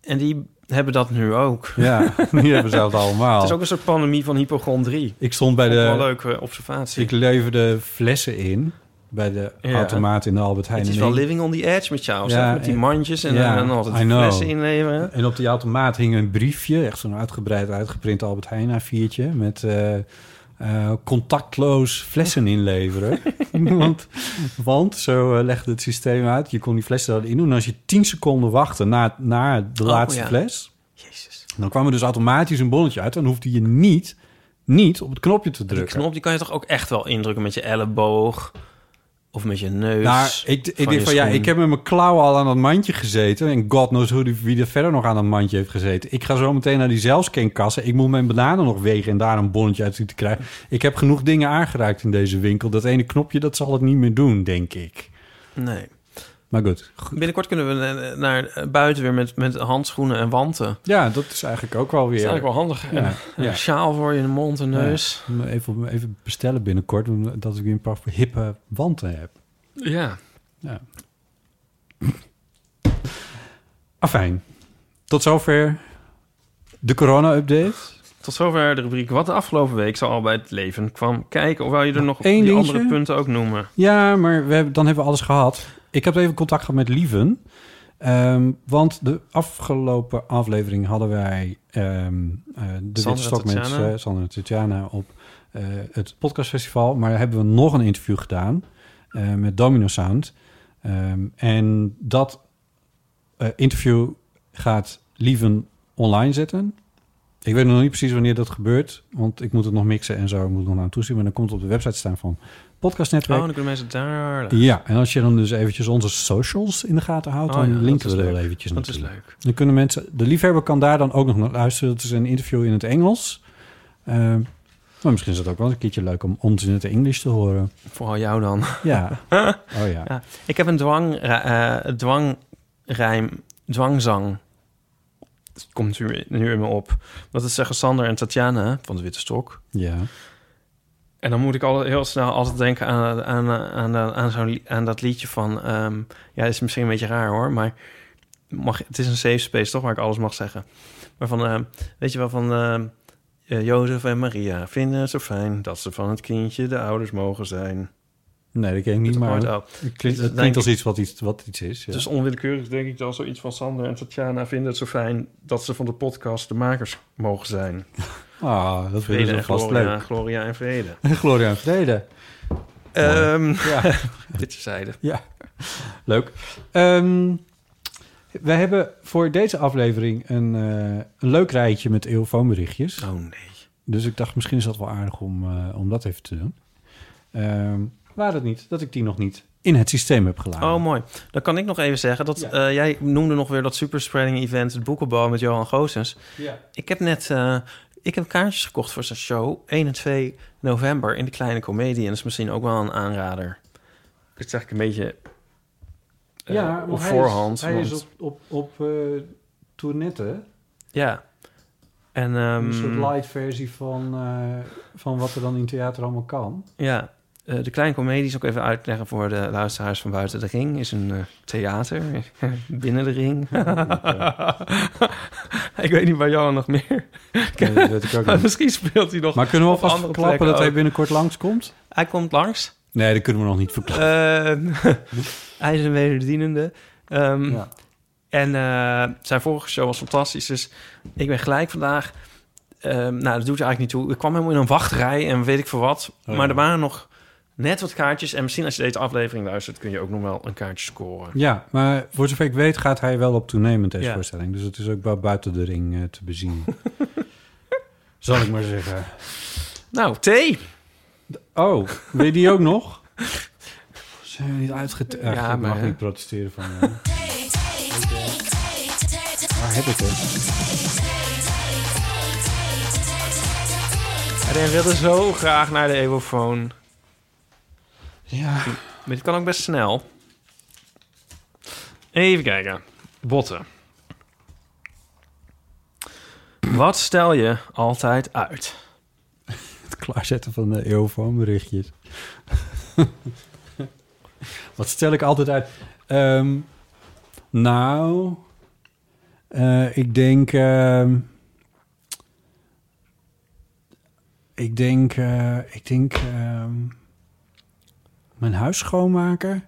Speaker 2: En die hebben dat nu ook.
Speaker 1: ja, die hebben ze het allemaal.
Speaker 2: Het is ook een soort pandemie van hypochondrie.
Speaker 1: Ik stond bij
Speaker 2: Ook wel een
Speaker 1: Oh. de...
Speaker 2: leuke observatie.
Speaker 1: Ik leverde flessen in bij de
Speaker 2: Ja.
Speaker 1: automaat in de Albert Heijn.
Speaker 2: het is
Speaker 1: En
Speaker 2: wel
Speaker 1: ik-
Speaker 2: living on the edge met jou.
Speaker 1: Ja,
Speaker 2: zeg, met die
Speaker 1: en-
Speaker 2: mandjes en,
Speaker 1: ja,
Speaker 2: en dan altijd
Speaker 1: I know.
Speaker 2: flessen inleveren.
Speaker 1: En op die automaat hing een briefje, echt zo'n uitgebreid uitgeprint Albert Heijn A4'tje... met eh, eh, contactloos flessen inleveren. want, want, zo eh, legde het systeem uit, je kon die flessen erin doen. En als je 10 seconden wachtte na, na de
Speaker 2: Oh,
Speaker 1: laatste
Speaker 2: ja.
Speaker 1: fles...
Speaker 2: Jezus.
Speaker 1: dan kwam er dus automatisch een bonnetje uit... en dan hoefde je niet, niet op het knopje te
Speaker 2: Die
Speaker 1: drukken.
Speaker 2: knop die kan je toch ook echt wel indrukken met je elleboog of met je neus.
Speaker 1: Nou, ik, ik
Speaker 2: Dus je
Speaker 1: denk van ja,
Speaker 2: schoen.
Speaker 1: ik heb met mijn klauwen al aan dat mandje gezeten. En god knows hoe die, wie er verder nog aan dat mandje heeft gezeten. Ik ga zo meteen naar die zelfscankassen. Ik moet mijn bananen nog wegen en daar een bonnetje uit zien te krijgen. Ik heb genoeg dingen aangeraakt in deze winkel. Dat ene knopje, dat zal het niet meer doen, denk ik.
Speaker 2: Nee.
Speaker 1: Maar goed. Go-
Speaker 2: Binnenkort kunnen we eh, naar buiten weer met, met handschoenen en wanten.
Speaker 1: Ja, dat is eigenlijk ook wel
Speaker 2: Dat is
Speaker 1: weer...
Speaker 2: eigenlijk wel handig.
Speaker 1: Ja,
Speaker 2: Een
Speaker 1: ja.
Speaker 2: sjaal voor je mond en neus.
Speaker 1: Even, even bestellen binnenkort, omdat ik weer een paar hippe wanten heb.
Speaker 2: ja.
Speaker 1: Ja. Afijn. Tot zover de corona-update.
Speaker 2: Tot zover de rubriek Wat de afgelopen week zo al bij het leven kwam kijken. Of wil je er nog
Speaker 1: één
Speaker 2: die
Speaker 1: dingetje?
Speaker 2: andere punten ook noemen?
Speaker 1: Ja, maar we hebben, dan hebben we alles gehad. Ik heb even contact gehad met Lieven. Ehm, want de afgelopen aflevering hadden wij ehm, eh, de
Speaker 2: Sandra
Speaker 1: Witte Stok met
Speaker 2: Tatjana.
Speaker 1: eh, Sandra Tatjana op eh, het podcastfestival. Maar hebben we nog een interview gedaan eh, met Domino Sound. Ehm, en dat eh, interview gaat Lieven online zetten. Ik weet nog niet precies wanneer dat gebeurt. Want ik moet het nog mixen en zo. Ik moet er nog aan toezien. Maar dan komt het op de website staan van Podcast
Speaker 2: Oh,
Speaker 1: Netwerk.
Speaker 2: dan kunnen mensen daar... eh,
Speaker 1: Ja, en als je dan dus eventjes onze socials in de gaten houdt,
Speaker 2: Oh
Speaker 1: dan
Speaker 2: ja,
Speaker 1: linken
Speaker 2: dat
Speaker 1: we
Speaker 2: is
Speaker 1: er wel
Speaker 2: leuk.
Speaker 1: eventjes
Speaker 2: Dat is
Speaker 1: naartoe.
Speaker 2: leuk.
Speaker 1: Dan kunnen mensen, de liefhebber kan daar dan ook nog naar luisteren. Dat is een interview in het Engels. Ehm, maar misschien is dat ook wel een keertje leuk om ons in het Engels te horen.
Speaker 2: Vooral jou dan.
Speaker 1: Ja. Oh ja.
Speaker 2: Ja. Ik heb een dwang, eh dwangrijm, dwangzang. Dat komt nu, nu in me op. Dat is zeggen Sander en Tatjana van de Witte Stok.
Speaker 1: Ja.
Speaker 2: En dan moet ik al heel snel altijd denken aan, aan, aan, aan, zo'n li- aan dat liedje van... ehm, ja, is misschien een beetje raar hoor, maar mag, het is een safe space toch waar ik alles mag zeggen. Maar van, ehm, weet je wel, van ehm, eh, Jozef en Maria vinden het zo fijn... dat ze van het kindje de ouders mogen zijn.
Speaker 1: Nee, dat ken ik niet,
Speaker 2: Het
Speaker 1: maar
Speaker 2: ooit
Speaker 1: het
Speaker 2: ook.
Speaker 1: klinkt, het
Speaker 2: Denk ik-
Speaker 1: klinkt als iets wat iets, wat iets is. Ja.
Speaker 2: Dus onwillekeurig denk ik dan zoiets van Sander en Tatjana vinden het zo fijn... dat ze van de podcast de makers mogen zijn.
Speaker 1: ah, dat vinden
Speaker 2: Vrede
Speaker 1: ze
Speaker 2: en
Speaker 1: vast
Speaker 2: Gloria,
Speaker 1: leuk.
Speaker 2: Gloria en Vrede.
Speaker 1: Gloria en vrede.
Speaker 2: Ehm
Speaker 1: Ja,
Speaker 2: dit zeiden.
Speaker 1: leuk. Ehm, we hebben voor deze aflevering een, eh, een leuk rijtje met eeuwfoonberichtjes.
Speaker 2: Oh nee.
Speaker 1: Dus ik dacht, misschien is dat wel aardig om, eh, om dat even te doen. Ehm waar het niet, dat ik die nog niet in het systeem heb geladen.
Speaker 2: Oh, mooi. Dan kan ik nog even zeggen dat
Speaker 1: Ja.
Speaker 2: eh, jij noemde nog weer dat superspreading event, het boekenbal met Johan Goossens.
Speaker 1: ja.
Speaker 2: Ik heb net eh, ik heb kaartjes gekocht voor zijn show 1 en 2 november in de kleine comedie. En dat is misschien ook wel een aanrader. Dat zeg ik een beetje eh,
Speaker 1: ja,
Speaker 2: op
Speaker 1: maar hij
Speaker 2: voorhand.
Speaker 1: Is, hij
Speaker 2: want-
Speaker 1: is op, op, op eh, tournette.
Speaker 2: Ja. En, ehm,
Speaker 1: een soort light versie van, eh, van wat er dan in theater allemaal kan.
Speaker 2: Ja, eh, de Kleine Comedie is ook even uitleggen voor de luisteraars van buiten de ring. Is een eh, theater binnen de ring. ik weet niet waar Johan nog meer.
Speaker 1: eh.
Speaker 2: Oh,
Speaker 1: Nee, dat weet ik ook niet.
Speaker 2: Misschien speelt hij nog.
Speaker 1: Maar kunnen we
Speaker 2: Op
Speaker 1: alvast
Speaker 2: andere
Speaker 1: verklappen
Speaker 2: plekken
Speaker 1: dat hij
Speaker 2: ook.
Speaker 1: binnenkort langskomt?
Speaker 2: Hij komt langs.
Speaker 1: Nee, dat kunnen we nog niet verklappen.
Speaker 2: Eh, hij is een wederdienende. Ehm,
Speaker 1: Ja.
Speaker 2: En eh, zijn vorige show was fantastisch. Dus ik ben gelijk vandaag. ehm, nou, dat doet er eigenlijk niet toe. Ik kwam helemaal in een wachtrij en weet ik voor wat.
Speaker 1: Oh.
Speaker 2: Maar er waren nog net wat kaartjes. En misschien als je deze aflevering luistert, kun je ook nog wel een kaartje scoren.
Speaker 1: ja, maar voor zover ik weet gaat hij wel op toenemen met deze
Speaker 2: Ja.
Speaker 1: voorstelling. Dus het is ook wel buiten de ring eh, te bezien. Zal ik maar zeggen.
Speaker 2: Nou, thee.
Speaker 1: Oh, wil je die ook nog? Zijn we niet uitgetekend?
Speaker 2: Ja,
Speaker 1: Ja, ik mag
Speaker 2: maar-
Speaker 1: niet protesteren van... eh. Waar heb ik het?
Speaker 2: Hij wilde zo graag naar de Evofoon.
Speaker 1: Ja.
Speaker 2: Maar dit kan ook best snel. Even kijken. Botten. Wat stel je altijd uit?
Speaker 1: Het klaarzetten van de eeuwfoonberichtjes. Wat stel ik altijd uit? Ehm, nou, eh, ik denk. ehm, ik denk. eh, ik denk. ehm, mijn huis schoonmaken.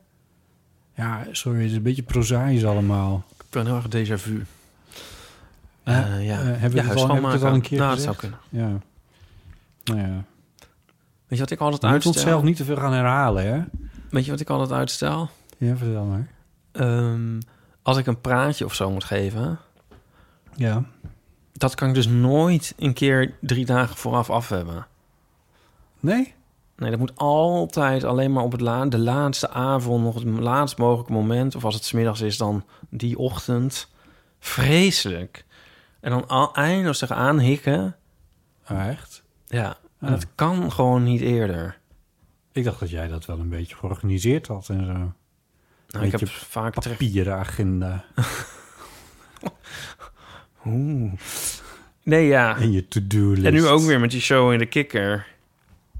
Speaker 1: Ja, sorry, het is een beetje prozaïs allemaal.
Speaker 2: Ik ben heel erg déjà vu.
Speaker 1: Eh,
Speaker 2: Eh,
Speaker 1: eh,
Speaker 2: ja,
Speaker 1: hebben we
Speaker 2: Ja,
Speaker 1: het al- hebben we het al een keer
Speaker 2: Nou, dat
Speaker 1: gezegd?
Speaker 2: zou kunnen.
Speaker 1: Ja. Nou ja.
Speaker 2: Weet je wat ik altijd
Speaker 1: We moeten
Speaker 2: uitstel?
Speaker 1: onszelf niet te veel gaan herhalen, hè?
Speaker 2: Weet je wat ik altijd uitstel?
Speaker 1: Ja, vertel maar.
Speaker 2: Ehm, als ik een praatje of zo moet geven,
Speaker 1: Ja.
Speaker 2: dat kan ik dus nooit een keer drie dagen vooraf af hebben.
Speaker 1: Nee?
Speaker 2: Nee, dat moet altijd alleen maar op het la- de laatste avond, nog het laatst mogelijke moment. Of als het 's middags is, dan die ochtend. Vreselijk. En dan al eindeloos tegenaan hikken.
Speaker 1: Ah, echt?
Speaker 2: Ja, en
Speaker 1: Ah.
Speaker 2: dat kan gewoon niet eerder.
Speaker 1: Ik dacht dat jij dat wel een beetje georganiseerd had en zo.
Speaker 2: Nou, ik
Speaker 1: Beetje
Speaker 2: heb vaak terecht...
Speaker 1: Papierenagenda
Speaker 2: Oeh. Nee, ja.
Speaker 1: en je to-do-list.
Speaker 2: En nu ook weer met die show in de kikker.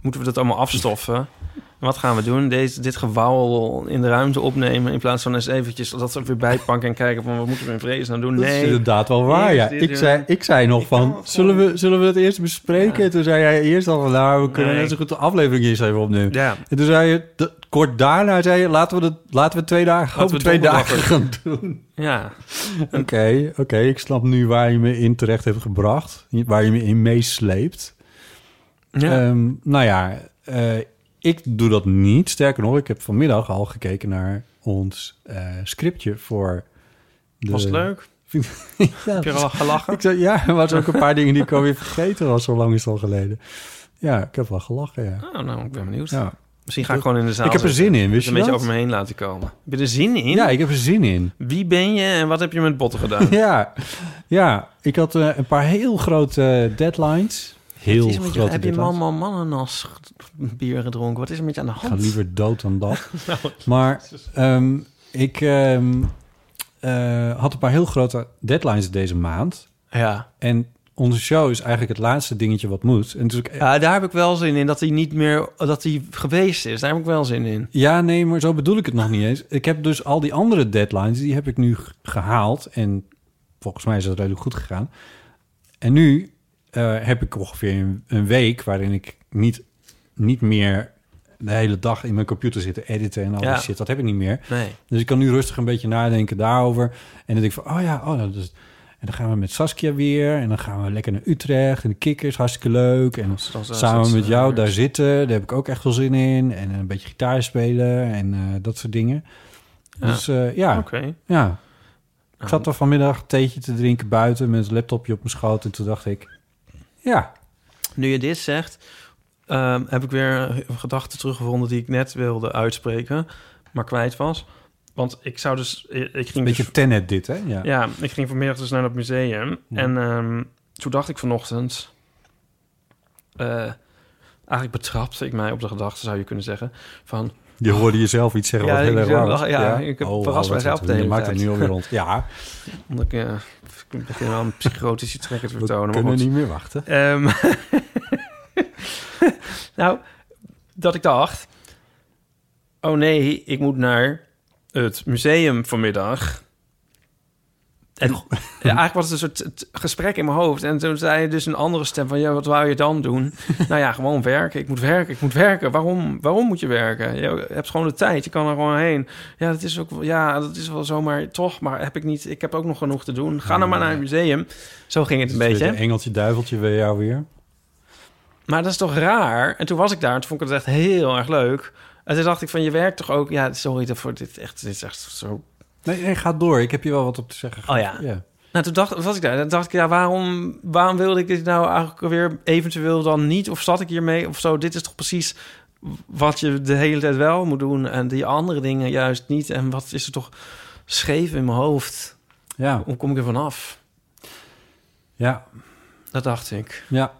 Speaker 2: Moeten we dat allemaal afstoffen? En wat gaan we doen? Deze, dit gewauwel in de ruimte opnemen... in plaats van eens eventjes dat we weer bijpakken... en kijken van wat moeten we in vrees nou doen?
Speaker 1: Dat is
Speaker 2: Nee,
Speaker 1: inderdaad wel waar,
Speaker 2: Eerst
Speaker 1: ja.
Speaker 2: dit
Speaker 1: Ik
Speaker 2: doen.
Speaker 1: zei, ik zei nog
Speaker 2: kan
Speaker 1: van,
Speaker 2: het
Speaker 1: zullen we, zullen we dat eerst bespreken?
Speaker 2: Ja.
Speaker 1: En Toen zei jij eerst al van, nou, we kunnen
Speaker 2: Nee.
Speaker 1: net zo goed de aflevering eerst even opnemen.
Speaker 2: ja.
Speaker 1: En toen zei je, d- kort daarna zei je, laten we, dat, laten we twee dagen
Speaker 2: Laten
Speaker 1: over
Speaker 2: we
Speaker 1: twee
Speaker 2: donderdag
Speaker 1: dagen gaan doen.
Speaker 2: Ja,
Speaker 1: Oké, oké, ik snap nu waar je me in terecht hebt gebracht. Waar je me in meesleept.
Speaker 2: ja. Eh,
Speaker 1: Ehm, nou ja, eh, ik doe dat niet. Sterker nog, ik heb vanmiddag al gekeken naar ons eh, scriptje voor... De...
Speaker 2: was het leuk?
Speaker 1: Ja,
Speaker 2: Heb je al gelachen?
Speaker 1: ik zei, ja, er waren ook een paar dingen die ik alweer vergeten was. Zo lang is het al geleden. Ja, ik heb wel gelachen, ja.
Speaker 2: Oh, nou, ik ben benieuwd.
Speaker 1: ja.
Speaker 2: Misschien ga ik gewoon in de zaal
Speaker 1: Ik heb er
Speaker 2: zitten.
Speaker 1: zin in,
Speaker 2: Dus
Speaker 1: wist
Speaker 2: een
Speaker 1: je
Speaker 2: beetje
Speaker 1: dat?
Speaker 2: over me heen laten komen. Heb je er zin in?
Speaker 1: Ja, ik heb er zin in.
Speaker 2: Wie ben je en wat heb je met botten gedaan?
Speaker 1: Ja, ja ik had eh, een paar heel grote deadlines. Heel
Speaker 2: Het is een beetje-
Speaker 1: grote
Speaker 2: heb je man,
Speaker 1: deadlines.
Speaker 2: man, mananas bier gedronken? Wat is er met je aan de
Speaker 1: Ik ga
Speaker 2: hand?
Speaker 1: liever dood dan dat. Maar ehm, ik ehm, eh, had een paar heel grote deadlines deze maand.
Speaker 2: Ja,
Speaker 1: En onze show is eigenlijk het laatste dingetje wat moet. En dus
Speaker 2: Ja, daar heb ik wel zin in. Dat hij niet meer... Dat hij geweest is. Daar heb ik wel zin in.
Speaker 1: Ja, nee, maar zo bedoel ik het nog niet eens. Ik heb dus al die andere deadlines, die heb ik nu g- gehaald. En volgens mij is dat redelijk goed gegaan. En nu eh, heb ik ongeveer een, een week waarin ik niet, niet meer de hele dag in mijn computer zit te editen en al
Speaker 2: Ja.
Speaker 1: die shit. Dat heb ik niet meer.
Speaker 2: Nee.
Speaker 1: Dus ik kan nu rustig een beetje nadenken daarover. En dan denk ik van, oh ja, oh, dat is... En dan gaan we met Saskia weer. En dan gaan we lekker naar Utrecht. En de kikkers, hartstikke leuk. En
Speaker 2: is eh, dan zo-
Speaker 1: samen
Speaker 2: zo-
Speaker 1: met jou
Speaker 2: zo-
Speaker 1: daar zitten. Daar heb ik ook echt veel zin in. En een beetje gitaar spelen en eh, dat soort dingen.
Speaker 2: Ja.
Speaker 1: Dus eh, ja,
Speaker 2: Oké.
Speaker 1: ja. Ik
Speaker 2: Nou.
Speaker 1: zat er vanmiddag een theetje te drinken buiten met een laptopje op mijn schoot. En toen dacht ik, ja,
Speaker 2: Nu je dit zegt, ehm, heb ik weer een gedachte teruggevonden die ik net wilde uitspreken, maar kwijt was. Want ik zou dus, ik ik
Speaker 1: een
Speaker 2: ging,
Speaker 1: beetje
Speaker 2: dus-
Speaker 1: tenet dit, hè? Ja.
Speaker 2: ja, ik ging vanmiddag dus naar dat museum
Speaker 1: Ja.
Speaker 2: en ehm, toen dacht ik vanochtend, eh, eigenlijk betrapte ik mij op de gedachte, zou je kunnen zeggen, van
Speaker 1: Je hoorde jezelf iets zeggen
Speaker 2: Ja,
Speaker 1: wat heel
Speaker 2: ik
Speaker 1: erg
Speaker 2: zou-
Speaker 1: raar was. Oh,
Speaker 2: ja, ik heb verrast
Speaker 1: wat-
Speaker 2: mijzelf
Speaker 1: wat-
Speaker 2: de hele
Speaker 1: Je maakt het
Speaker 2: tijd.
Speaker 1: nu alweer rond. Ja,
Speaker 2: omdat ik, eh, ik begin wel een psychotische trekker te
Speaker 1: we
Speaker 2: vertonen. maar
Speaker 1: kunnen
Speaker 2: goed.
Speaker 1: niet meer wachten.
Speaker 2: Ehm, nou, dat ik dacht... Oh nee, ik moet naar het museum vanmiddag. En ja, eigenlijk was het een soort t- t- gesprek in mijn hoofd. En toen zei dus een andere stem van... Ja, wat wou je dan doen? nou ja, gewoon werken. Ik moet werken, ik moet werken. Waarom, waarom moet je werken? Je hebt gewoon de tijd, je kan er gewoon heen. Ja, dat is, ook, wel- ja, dat is wel zomaar toch. Maar heb ik, niet, ik heb ook nog genoeg te doen. Ga nou maar naar het museum. Zo ging het een beetje.
Speaker 1: Een engeltje duiveltje bij jou weer.
Speaker 2: Maar dat is toch raar? En toen was ik daar en toen vond ik het echt heel erg leuk. En toen dacht ik van, je werkt toch ook... Ja, sorry daarvoor, dit, echt, dit is echt zo...
Speaker 1: Nee, nee, ga door. Ik heb hier wel wat op te zeggen.
Speaker 2: Oh ja.
Speaker 1: Ja.
Speaker 2: Nou, toen dacht, was ik daar. En toen dacht ik, ja, waarom, waarom wilde ik dit nou eigenlijk weer eventueel dan niet? Of zat ik hiermee of zo? Dit is toch precies wat je de hele tijd wel moet doen... en die andere dingen juist niet. En wat is er toch scheef in mijn hoofd?
Speaker 1: Ja,
Speaker 2: Hoe kom ik er vanaf?
Speaker 1: ja,
Speaker 2: Dat dacht ik.
Speaker 1: ja.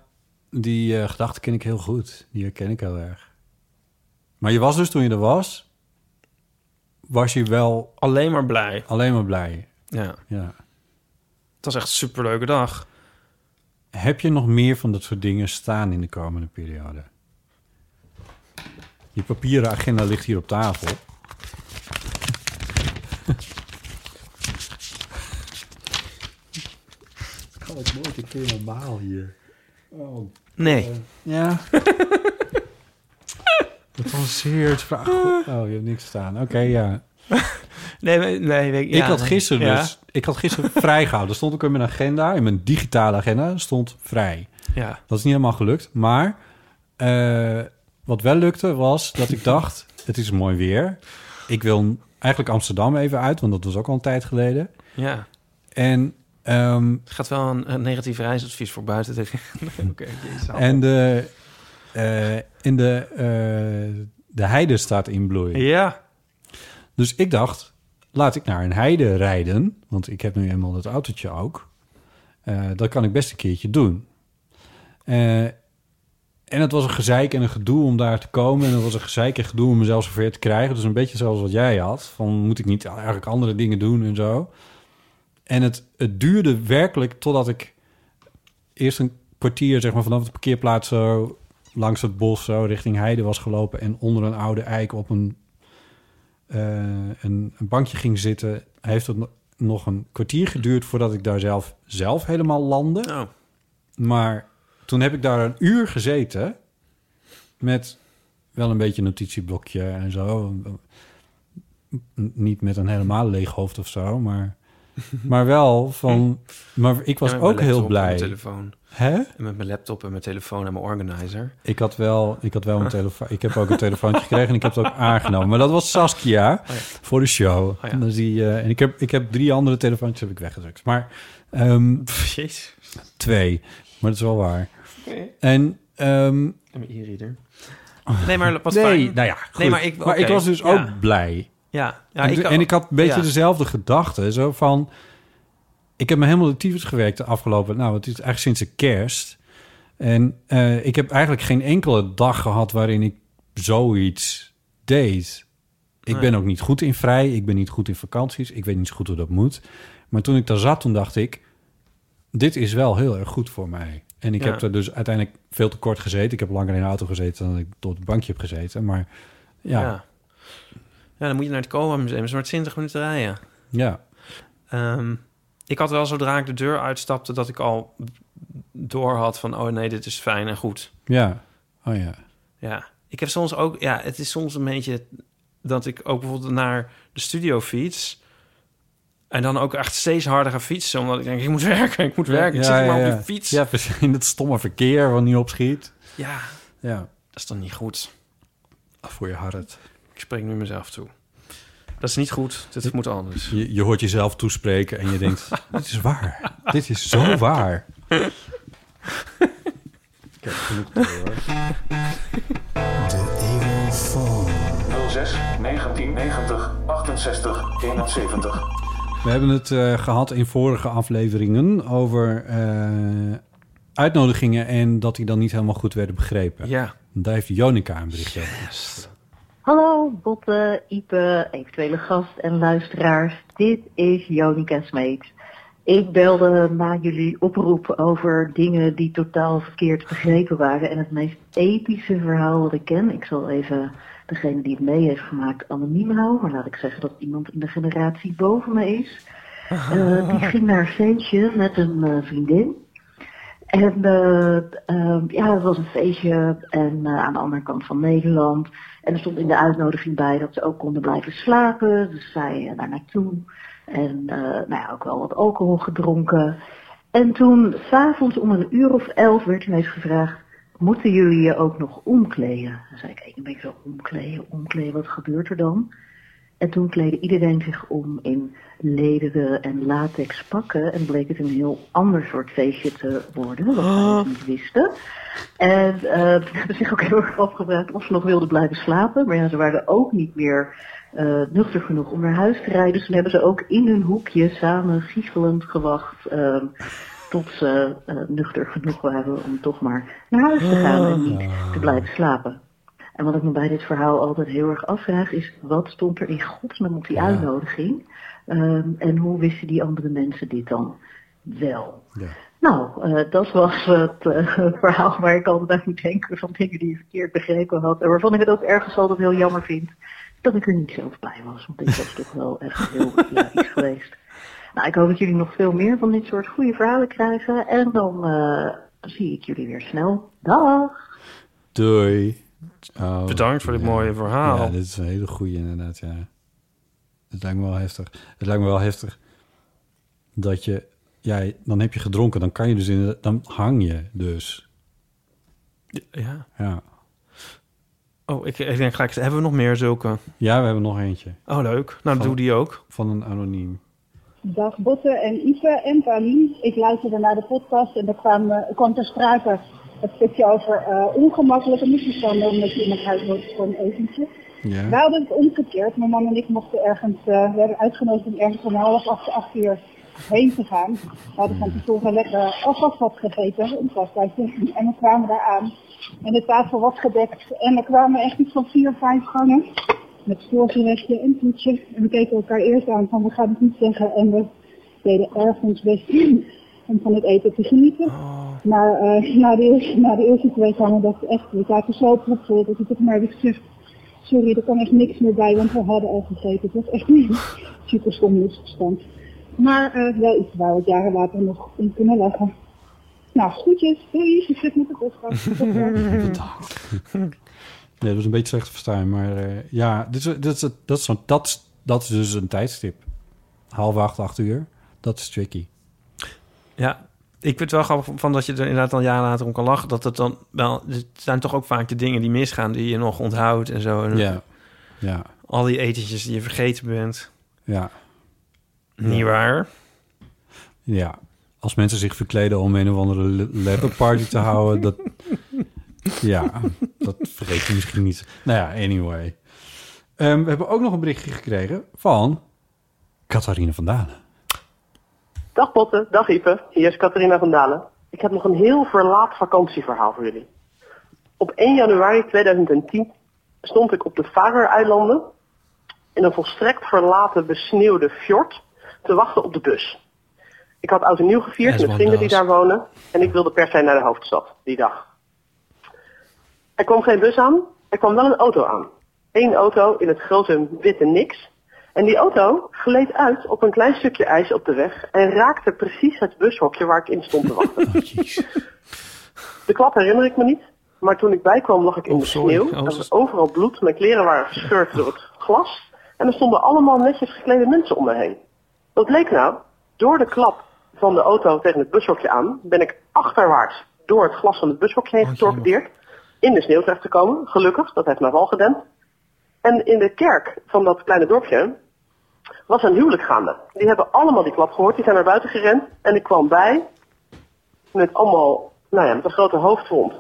Speaker 1: Die eh gedachte ken ik heel goed. Die herken ik heel erg. Maar je was dus toen je er was, was je wel
Speaker 2: Alleen maar blij.
Speaker 1: alleen maar blij.
Speaker 2: Ja,
Speaker 1: Ja.
Speaker 2: het was echt een superleuke dag.
Speaker 1: Heb je nog meer van dat soort dingen staan in de komende periode? Je papieren agenda ligt hier op tafel. Ik kan het nooit een keer normaal hier. Oh,
Speaker 2: Nee.
Speaker 1: ja. Wat een zeer vraag. Oh, je hebt niks staan. Oké, ja.
Speaker 2: Nee, nee, nee, weet-
Speaker 1: Ik
Speaker 2: ja,
Speaker 1: had
Speaker 2: nee.
Speaker 1: gisteren
Speaker 2: Ja.
Speaker 1: dus... Ik had gisteren vrijgehouden. Stond ook in mijn agenda, in mijn digitale agenda, stond vrij.
Speaker 2: Ja.
Speaker 1: Dat is niet helemaal gelukt. Maar eh, wat wel lukte was dat ik dacht... het is mooi weer. Ik wil eigenlijk Amsterdam even uit, want dat was ook al een tijd geleden.
Speaker 2: Ja,
Speaker 1: En, ehm,
Speaker 2: het gaat wel een, een negatief reisadvies voor buiten. Oké, jezus.
Speaker 1: en de, eh, in de, eh, de heide staat in bloei.
Speaker 2: Ja,
Speaker 1: Dus ik dacht, laat ik naar een heide rijden. Want ik heb nu eenmaal dat autootje ook. Eh, dat kan ik best een keertje doen. Eh, en het was een gezeik en een gedoe om daar te komen. En het was een gezeik en gedoe om mezelf zover te krijgen. Dus een beetje zoals wat jij had. Van moet ik niet eigenlijk andere dingen doen en zo. En het, het duurde werkelijk totdat ik eerst een kwartier zeg maar, vanaf de parkeerplaats zo langs het bos zo richting Heide was gelopen. En onder een oude eik op een eh, een, een bankje ging zitten, heeft het no- nog een kwartier geduurd voordat ik daar zelf, zelf helemaal landde.
Speaker 2: nou,
Speaker 1: Maar toen heb ik daar een uur gezeten met wel een beetje een notitieblokje en zo. N- Niet met een helemaal leeg hoofd of zo, maar, maar wel van... Maar ik was
Speaker 2: en met
Speaker 1: ook
Speaker 2: mijn
Speaker 1: heel
Speaker 2: laptop en Mijn
Speaker 1: blij.
Speaker 2: telefoon.
Speaker 1: Hè?
Speaker 2: En met mijn laptop en mijn telefoon en mijn organizer.
Speaker 1: Ik had wel, ik had wel een telefoon. Ik heb ook een telefoontje gekregen en ik heb het ook aangenomen. Maar dat was Saskia
Speaker 2: Oh ja. Oh
Speaker 1: voor de show.
Speaker 2: ja.
Speaker 1: En dan zie je- en ik heb, ik heb drie andere telefoontjes heb ik weggedrukt. Maar ehm,
Speaker 2: Pff, jezus.
Speaker 1: twee. Maar dat is wel waar. En ehm,
Speaker 2: En mijn e-reader. Nee, maar wat
Speaker 1: nee,
Speaker 2: fijn.
Speaker 1: nou ja, goed.
Speaker 2: Nee, maar ik-
Speaker 1: maar ik
Speaker 2: oké,
Speaker 1: was dus
Speaker 2: ja.
Speaker 1: ook blij.
Speaker 2: Ja, ja
Speaker 1: en,
Speaker 2: ik,
Speaker 1: ik, en ik had een beetje
Speaker 2: ja.
Speaker 1: dezelfde gedachte. Zo van, ik heb me helemaal de tyfus gewerkt de afgelopen... Nou, het is eigenlijk sinds de kerst. En eh, ik heb eigenlijk geen enkele dag gehad waarin ik zoiets deed. Ik
Speaker 2: Nee.
Speaker 1: ben ook niet goed in vrij. Ik ben niet goed in vakanties. Ik weet niet zo goed hoe dat moet. Maar toen ik daar zat, toen dacht ik... dit is wel heel erg goed voor mij. En ik
Speaker 2: Ja.
Speaker 1: heb er dus uiteindelijk veel te kort gezeten. Ik heb langer in de auto gezeten dan ik tot het bankje heb gezeten. Maar ja,
Speaker 2: Ja.
Speaker 1: ja.
Speaker 2: ja. dan moet je naar het Kowa Museum. Dat is maar 20 minuten rijden. Ehm, ik had wel zodra ik de deur uitstapte dat ik al door had van oh nee, dit is fijn en goed.
Speaker 1: Ja. Oh ja.
Speaker 2: Ja. Ik heb soms ook, ja, het is soms een beetje dat ik ook bijvoorbeeld naar de studio fiets. En dan ook echt steeds harder ga fietsen. Omdat ik denk, ik moet werken, ik moet werken. ik
Speaker 1: Ja,
Speaker 2: zit maar
Speaker 1: ja,
Speaker 2: op
Speaker 1: ja.
Speaker 2: die fiets.
Speaker 1: Ja, precies. In het stomme verkeer wat niet opschiet.
Speaker 2: ja,
Speaker 1: Ja.
Speaker 2: dat is dan niet goed.
Speaker 1: Voor je hart.
Speaker 2: Ik spreek nu mezelf toe. Dat is niet goed, dit moet anders.
Speaker 1: Je, je hoort jezelf toespreken en je denkt... dit is waar. Dit is zo waar. Kijk, genoeg te horen.
Speaker 4: 06 1990 68 71.
Speaker 1: We hebben het eh, gehad in vorige afleveringen over eh, uitnodigingen... en dat die dan niet helemaal goed werden begrepen.
Speaker 2: Ja.
Speaker 1: Daar heeft Jonica een bericht over.
Speaker 5: Hallo Botte, Ipe, eventuele gast en luisteraars. Dit is Jonica Smeet. Ik belde na jullie oproep over dingen die totaal verkeerd begrepen waren. En het meest epische verhaal dat ik ken, ik zal even degene die het mee heeft gemaakt anoniem houden. Maar laat ik zeggen dat iemand in de generatie boven me is. Eh, die ging naar een feestje met een eh, vriendin. En eh, ehm, ja, het was een feestje en eh, aan de andere kant van Nederland. En er stond in de uitnodiging bij dat ze ook konden blijven slapen. Dus zij eh, daar naartoe. En eh, nou ja, ook wel wat alcohol gedronken. En toen, s'avonds om een uur of elf, werd ineens gevraagd... moeten jullie je ook nog omkleden? Toen zei ik, ik een beetje zo omkleden, omkleden, wat gebeurt er dan? En toen kleedde iedereen zich om in lederen en latex pakken. En bleek het een heel ander soort feestje te worden, wat wij nog niet wisten. En eh, toen hebben ze zich ook heel erg afgevraagd of ze nog wilden blijven slapen. Maar ja, ze waren ook niet meer eh, nuchter genoeg om naar huis te rijden. Dus toen hebben ze ook in hun hoekje samen giechelend gewacht... ehm, tot ze eh, nuchter genoeg waren om toch maar naar huis te gaan en niet te blijven slapen. En wat ik me bij dit verhaal altijd heel erg afvraag is, wat stond er in godsnaam op die uitnodiging? Ehm, en hoe wisten die andere mensen dit dan wel? Nou, eh, dat was het eh, verhaal waar ik altijd aan moet denken van dingen die ik verkeerd begrepen had. En waarvan ik het ook ergens altijd heel jammer vind dat ik er niet zelf bij was. Want dit was toch wel echt heel ja, iets geweest. Nou, ik hoop dat jullie nog veel meer van dit soort goede verhalen krijgen. En dan eh, zie ik jullie weer snel. Dag!
Speaker 1: Doei. Oh,
Speaker 2: Bedankt voor dit
Speaker 1: ja.
Speaker 2: mooie verhaal.
Speaker 1: Ja, dit is een hele goeie inderdaad, ja. Het lijkt me wel heftig. Het lijkt me wel heftig dat je... Ja, dan heb je gedronken, dan kan je dus in... Dan hang je dus.
Speaker 2: ja.
Speaker 1: Ja,
Speaker 2: Oh, ik, ik denk gelijk, hebben we nog meer zulke?
Speaker 1: ja we hebben nog eentje.
Speaker 2: Oh, leuk. Nou, doe die ook.
Speaker 1: Van een anoniem.
Speaker 6: Dag Botte en Ipe en Pauline. Ik luisterde naar de podcast en er kwam, eh, kwam ter sprake het stukje over eh, ongemakkelijke misverstanden omdat je iemand huis moet voor een etentje. We
Speaker 1: Ja.
Speaker 6: hadden het omgekeerd. Mijn man en ik mochten ergens, eh, we werden uitgenodigd om ergens om half acht, acht uur heen te gaan. We hadden van tevoren lekker alvast wat gegeten, een glas bij zitten. En we kwamen daar aan en de tafel was gedekt. En er kwamen echt iets van vier, vijf gangen met voorgerechten en toetje. En we keken elkaar eerst aan van we gaan het niet zeggen en we deden erg ons best om van het eten te genieten. Maar eh, na, de eerste, na de eerste twee gangen dacht ik echt, we zaten zo proefvol dat ik het maar heb gezegd. Sorry, er kwam echt niks meer bij, want we hadden al gegeten. Het was echt niet super stom misverstand. Maar eh, wel iets waar we het jaren later nog om kunnen lachen. Nou, groetjes. Doei, succes met de podcast. Tot ziens.
Speaker 1: Nee, dat was een beetje slecht te verstaan. Maar eh, ja, dit is, dit is, dat, is zo'n- dat, is- dat is dus een tijdstip. Half acht, acht uur. Dat is tricky.
Speaker 2: Ja. Ik vind het wel grappig van dat je er inderdaad al jaren later om kan lachen. Dat het dan wel... Het zijn toch ook vaak de dingen die misgaan die je nog onthoudt en zo. En
Speaker 1: Ja. Ja.
Speaker 2: Al die etentjes die je vergeten bent.
Speaker 1: Ja.
Speaker 2: Niet waar?
Speaker 1: Ja, als mensen zich verkleden om een of andere le- leperparty te houden, dat... Ja, dat vergeet je misschien niet. Nou ja, anyway. Ehm, we hebben ook nog een berichtje gekregen van Catharina van Dalen.
Speaker 7: Dag Botte, dag Ipe. Hier is Catharina van Dalen. Ik heb nog een heel verlaat vakantieverhaal voor jullie. Op 1 januari 2010 stond ik op de Faroe-eilanden in een volstrekt verlaten besneeuwde fjord te wachten op de bus. Ik had oud en nieuw gevierd
Speaker 2: As
Speaker 7: met
Speaker 2: one
Speaker 7: vrienden die
Speaker 2: does.
Speaker 7: daar wonen. En ik wilde per se naar de hoofdstad die dag. Er kwam geen bus aan. Er kwam wel een auto aan. Eén auto in het grote witte niks. En die auto gleed uit op een klein stukje ijs op de weg. En raakte precies het bushokje waar ik in stond te wachten.
Speaker 2: Oh,
Speaker 7: De klap herinner ik me niet. Maar toen ik bijkwam lag ik in
Speaker 2: Oh,
Speaker 7: de
Speaker 2: sorry.
Speaker 7: sneeuw.
Speaker 2: Oh,
Speaker 7: Er was
Speaker 2: zus-
Speaker 7: overal bloed. Mijn kleren waren gescheurd door het glas. En er stonden allemaal netjes geklede mensen om me heen. Wat bleek nou? Door de klap van de auto tegen het bushokje aan... ben ik achterwaarts door het glas van het bushokje
Speaker 2: Oh,
Speaker 7: heen getorpedeerd. In de sneeuw terecht te komen. Gelukkig, dat heeft mij wel gedempt. En in de kerk van dat kleine dorpje was een huwelijk gaande. Die hebben allemaal die klap gehoord. Die zijn naar buiten gerend. En ik kwam bij met allemaal, nou ja, met een grote hoofdwond.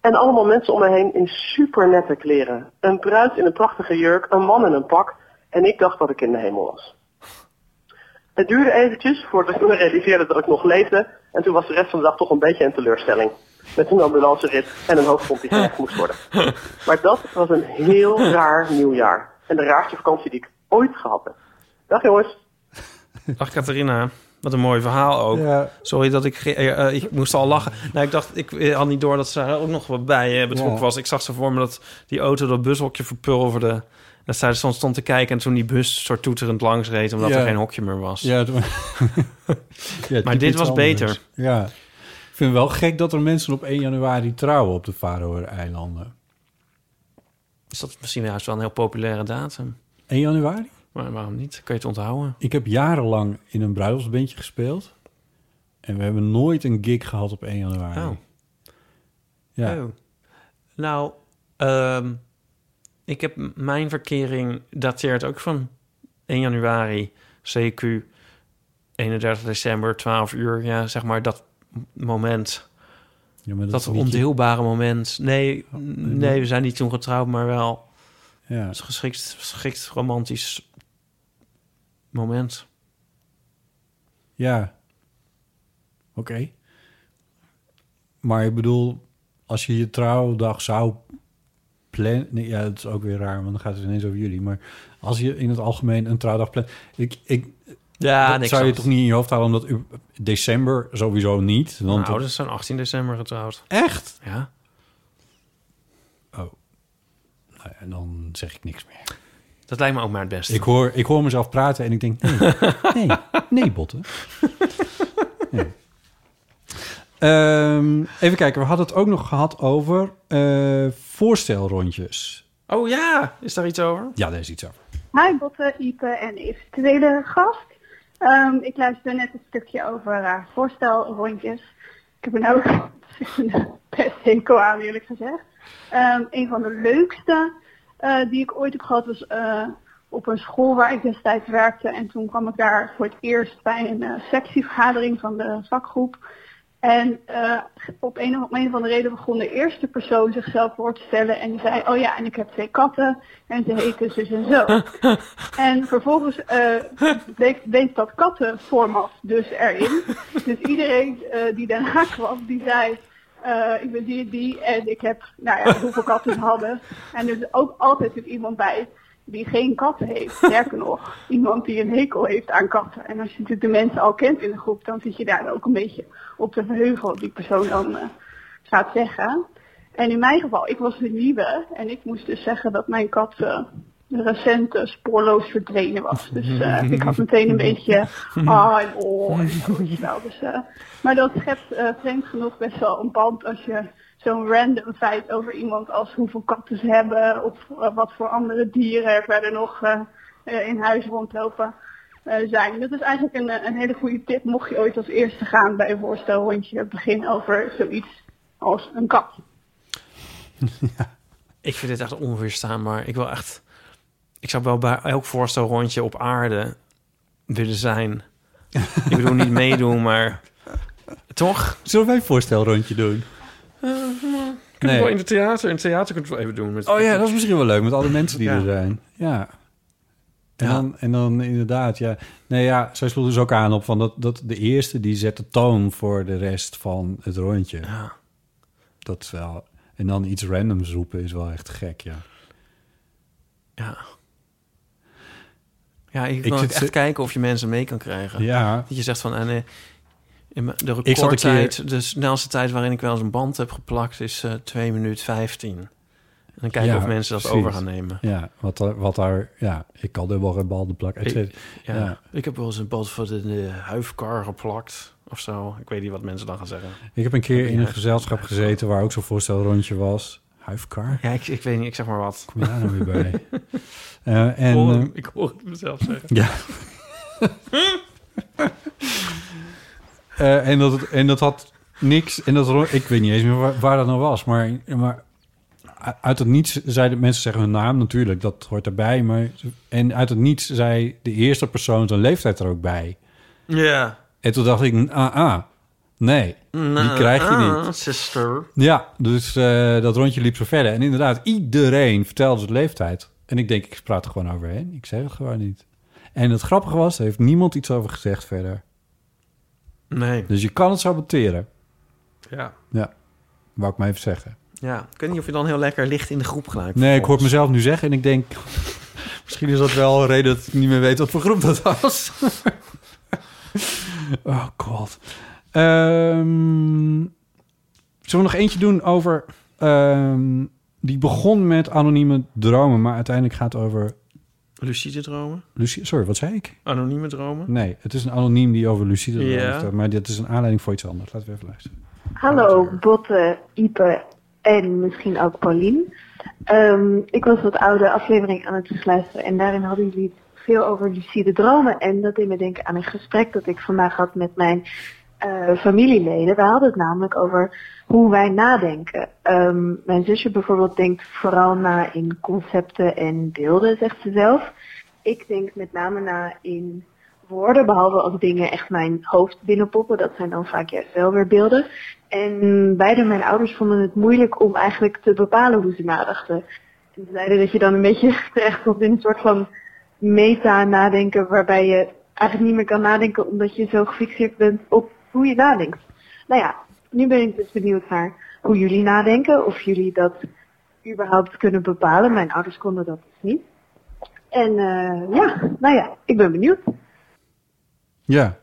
Speaker 7: En allemaal mensen om me heen in super nette kleren. Een bruid in een prachtige jurk, een man in een pak. En ik dacht dat ik in de hemel was. Het duurde eventjes voordat ik me realiseerde dat ik nog leefde. En toen was de rest van de dag toch een beetje een teleurstelling. Met een ambulancerit en een hoofdwond die gerecht moest worden. Maar dat was een heel raar nieuwjaar. En de raarste vakantie die ik ooit gehad heb. Dag jongens.
Speaker 2: Dag Catharina. Wat een mooi verhaal ook.
Speaker 1: Ja.
Speaker 2: Sorry dat ik... ge- eh, eh, ik moest al lachen. Nou, ik dacht, ik eh, had niet door dat ze daar ook nog wat bij eh, betrokken
Speaker 1: Ja.
Speaker 2: was. Ik zag ze voor me dat die auto dat bushokje verpulverde. En dat zij er soms stond te kijken en toen die bus soort toeterend langs reed... omdat
Speaker 1: Ja.
Speaker 2: er geen hokje meer was.
Speaker 1: Ja, toen- Ja,
Speaker 2: Maar dit
Speaker 1: typisch
Speaker 2: was
Speaker 1: anders.
Speaker 2: beter.
Speaker 1: Ja. Ik vind het wel gek dat er mensen op 1 januari trouwen op de Faroe-eilanden.
Speaker 2: Dus dat is misschien juist wel een heel populaire datum.
Speaker 1: 1 januari?
Speaker 2: Maar waarom niet? Kun je het onthouden?
Speaker 1: Ik heb jarenlang in een bruiloftsbandje gespeeld. En we hebben nooit een gig gehad op 1 januari.
Speaker 2: Oh.
Speaker 1: Ja.
Speaker 2: Oh. Nou, ehm, ik heb m- mijn verkering dateert ook van 1 januari, CQ, 31 december, 12 uur. Ja, zeg maar dat m- moment,
Speaker 1: Ja, maar
Speaker 2: dat,
Speaker 1: is niet- Oh,
Speaker 2: ondeelbare moment. Nee, n- nee, we zijn niet toen getrouwd, maar wel
Speaker 1: Ja.
Speaker 2: het geschikt, geschikt romantisch moment.
Speaker 1: Ja. Oké. Maar ik bedoel, als je je trouwdag zou plannen... Nee, ja, dat is ook weer raar, want dan gaat het ineens over jullie. Maar als je in het algemeen een trouwdag plant... Ik, ik,
Speaker 2: Ja,
Speaker 1: dat zou je toch niet in je hoofd halen, omdat u- december sowieso niet.
Speaker 2: Mijn
Speaker 1: Want
Speaker 2: ouders zijn 18 december getrouwd.
Speaker 1: Echt?
Speaker 2: Ja.
Speaker 1: Oh. Nou ja, dan zeg ik niks meer.
Speaker 2: Dat lijkt me ook maar het beste.
Speaker 1: Ik hoor, ik hoor mezelf praten en ik denk, nee, nee, nee, botten. Nee. Ehm, even kijken, we hadden het ook nog gehad over eh, voorstelrondjes.
Speaker 2: Oh ja, is daar iets over?
Speaker 1: Ja, daar is iets over.
Speaker 6: Hi Botte, Ipe en eventuele gast. Ehm, ik luisterde net een stukje over eh, voorstelrondjes. Ik heb er nou best hekel aan eerlijk gezegd. Ehm, een van de leukste eh, die ik ooit heb gehad was eh, op een school waar ik destijds werkte. En toen kwam ik daar voor het eerst bij een eh, sectievergadering van de vakgroep. En eh, op, een, om een of andere reden begon de eerste persoon zichzelf voor te stellen. En die zei, oh ja, en ik heb twee katten. En ze heten zus en zo. en vervolgens eh bleek, bleek dat kattenformat dus erin. Dus iedereen eh, die daarna kwam, die zei... eh, ik ben die en die en ik heb, nou ja, hoeveel katten ze hadden. En er is ook altijd weer iemand bij die geen katten heeft. Sterker nog, iemand die een hekel heeft aan katten. En als je natuurlijk de mensen al kent in de groep, dan zit je daar ook een beetje op te verheugen wat die persoon dan eh, gaat zeggen. En in mijn geval, ik was de nieuwe en ik moest dus zeggen dat mijn kat eh, recent eh, spoorloos verdwenen was. Dus eh, ik had meteen een beetje ah en oh en zo, weet je wel. Dus, eh, maar dat schept eh, vreemd genoeg best wel een band als je zo'n random feit over iemand als hoeveel katten ze hebben of eh, wat voor andere dieren er verder nog eh, eh, in huis rondlopen eh, zijn. Dat is eigenlijk een, eh, een hele goede tip mocht je ooit als eerste gaan bij een voorstelrondje beginnen over zoiets als een kat.
Speaker 2: Ik vind dit echt onweerstaanbaar. Ik wil echt... Ik zou wel bij elk voorstelrondje op aarde willen zijn. Ik bedoel, niet meedoen, maar... Toch?
Speaker 1: Zullen wij een voorstelrondje doen?
Speaker 2: Kunnen we
Speaker 1: Nee.
Speaker 2: in het theater. In het theater kunnen we het wel even doen. Met...
Speaker 1: Oh ja, dat is misschien wel leuk met alle mensen die
Speaker 2: Ja.
Speaker 1: er zijn. Ja. En,
Speaker 2: Ja.
Speaker 1: Dan, en dan inderdaad, ja. Nee, ja, zij sloeg dus ook aan op van dat, dat de eerste die zet de toon voor de rest van het rondje.
Speaker 2: Ja.
Speaker 1: Dat is wel. En dan iets randoms roepen is wel echt gek, ja.
Speaker 2: Ja. Ja, ik
Speaker 1: Ik
Speaker 2: wil ook
Speaker 1: zit
Speaker 2: echt
Speaker 1: ze-
Speaker 2: kijken of je mensen mee kan krijgen.
Speaker 1: Ja.
Speaker 2: Dat je zegt van... ah, nee, in mijn- de
Speaker 1: Ik zat een keer-
Speaker 2: recordtijd, de snelste tijd waarin ik wel eens een band heb geplakt... is eh 2 minuut 15. En dan kijken
Speaker 1: Ja,
Speaker 2: of mensen dat
Speaker 1: precies.
Speaker 2: over gaan nemen.
Speaker 1: Ja, wat, er- wat daar... Ja, ik kan er wel een bal de plak.
Speaker 2: Ik, ja,
Speaker 1: ja. Ja.
Speaker 2: ik heb wel eens een band voor de, de huifkar geplakt of zo. Ik weet niet wat mensen dan gaan zeggen.
Speaker 1: Ik heb een keer in een
Speaker 2: Ja.
Speaker 1: gezelschap gezeten waar ook zo'n voorstelrondje was. Huifkar?
Speaker 2: Ja, ik, ik weet niet, ik zeg maar wat. Mm.
Speaker 1: Kom je daar nou weer bij? Eh, en,
Speaker 2: ik, hoor,
Speaker 1: eh,
Speaker 2: hem- ik hoor het mezelf zeggen.
Speaker 1: Ja. Eh, en, dat, het- en dat had niks. En dat, ro- ik weet niet eens meer waar, waar dat nou was. Maar, maar uit het niets zeiden mensen zeggen hun naam natuurlijk. Dat hoort erbij. Maar, en uit het niets zei de eerste persoon zijn leeftijd er ook bij.
Speaker 2: Ja.
Speaker 1: En toen dacht ik, ah, ah nee, die
Speaker 2: Nou,
Speaker 1: krijg
Speaker 2: ah.
Speaker 1: je niet.
Speaker 2: Sister.
Speaker 1: Ja, dus eh, dat rondje liep zo verder. En inderdaad, iedereen vertelde zijn leeftijd. En ik denk, ik praat er gewoon overheen. Ik zeg het gewoon niet. En het grappige was, er heeft niemand iets over gezegd verder.
Speaker 2: Nee.
Speaker 1: Dus je kan het saboteren.
Speaker 2: Ja.
Speaker 1: Ja, wou ik maar even zeggen.
Speaker 2: ja. Ik weet niet of je dan heel lekker licht in de groep gelijk.
Speaker 1: Nee, ik hoor het mezelf nu zeggen en ik denk... misschien is dat wel een reden dat ik niet meer weet wat voor groep dat was. oh god. Ehm, zullen we nog eentje doen over... ehm, die begon met anonieme dromen, maar uiteindelijk gaat het over...
Speaker 2: Lucide dromen.
Speaker 1: Lucie, sorry, wat zei ik?
Speaker 2: Anonieme dromen.
Speaker 1: Nee, het is een anoniem die over lucide dromen
Speaker 2: Ja.
Speaker 1: heeft, Maar dit is een aanleiding voor iets anders. Laten we even luisteren.
Speaker 5: Hallo Botte, Ipe en misschien ook Paulien. Ehm, ik was wat oude aflevering aan het luisteren en daarin hadden jullie het veel over lucide dromen. En dat deed me denken aan een gesprek dat ik vandaag had met mijn eh, familieleden. We hadden het namelijk over hoe wij nadenken. Ehm, mijn zusje bijvoorbeeld denkt vooral na in concepten en beelden, zegt ze zelf. Ik denk met name na in woorden, behalve als dingen echt mijn hoofd binnenpoppen. Dat zijn dan vaak juist wel weer beelden. En beide mijn ouders vonden het moeilijk om eigenlijk te bepalen hoe ze nadachten. En ze zeiden dat je dan een beetje terecht komt in een soort van meta-nadenken waarbij je eigenlijk niet meer kan nadenken omdat je zo gefixeerd bent op hoe je nadenkt. Nou ja, nu ben ik dus benieuwd naar hoe jullie nadenken, of jullie dat überhaupt kunnen bepalen. Mijn ouders konden dat dus niet. En eh, ja, nou ja, ik ben benieuwd.
Speaker 1: Ja.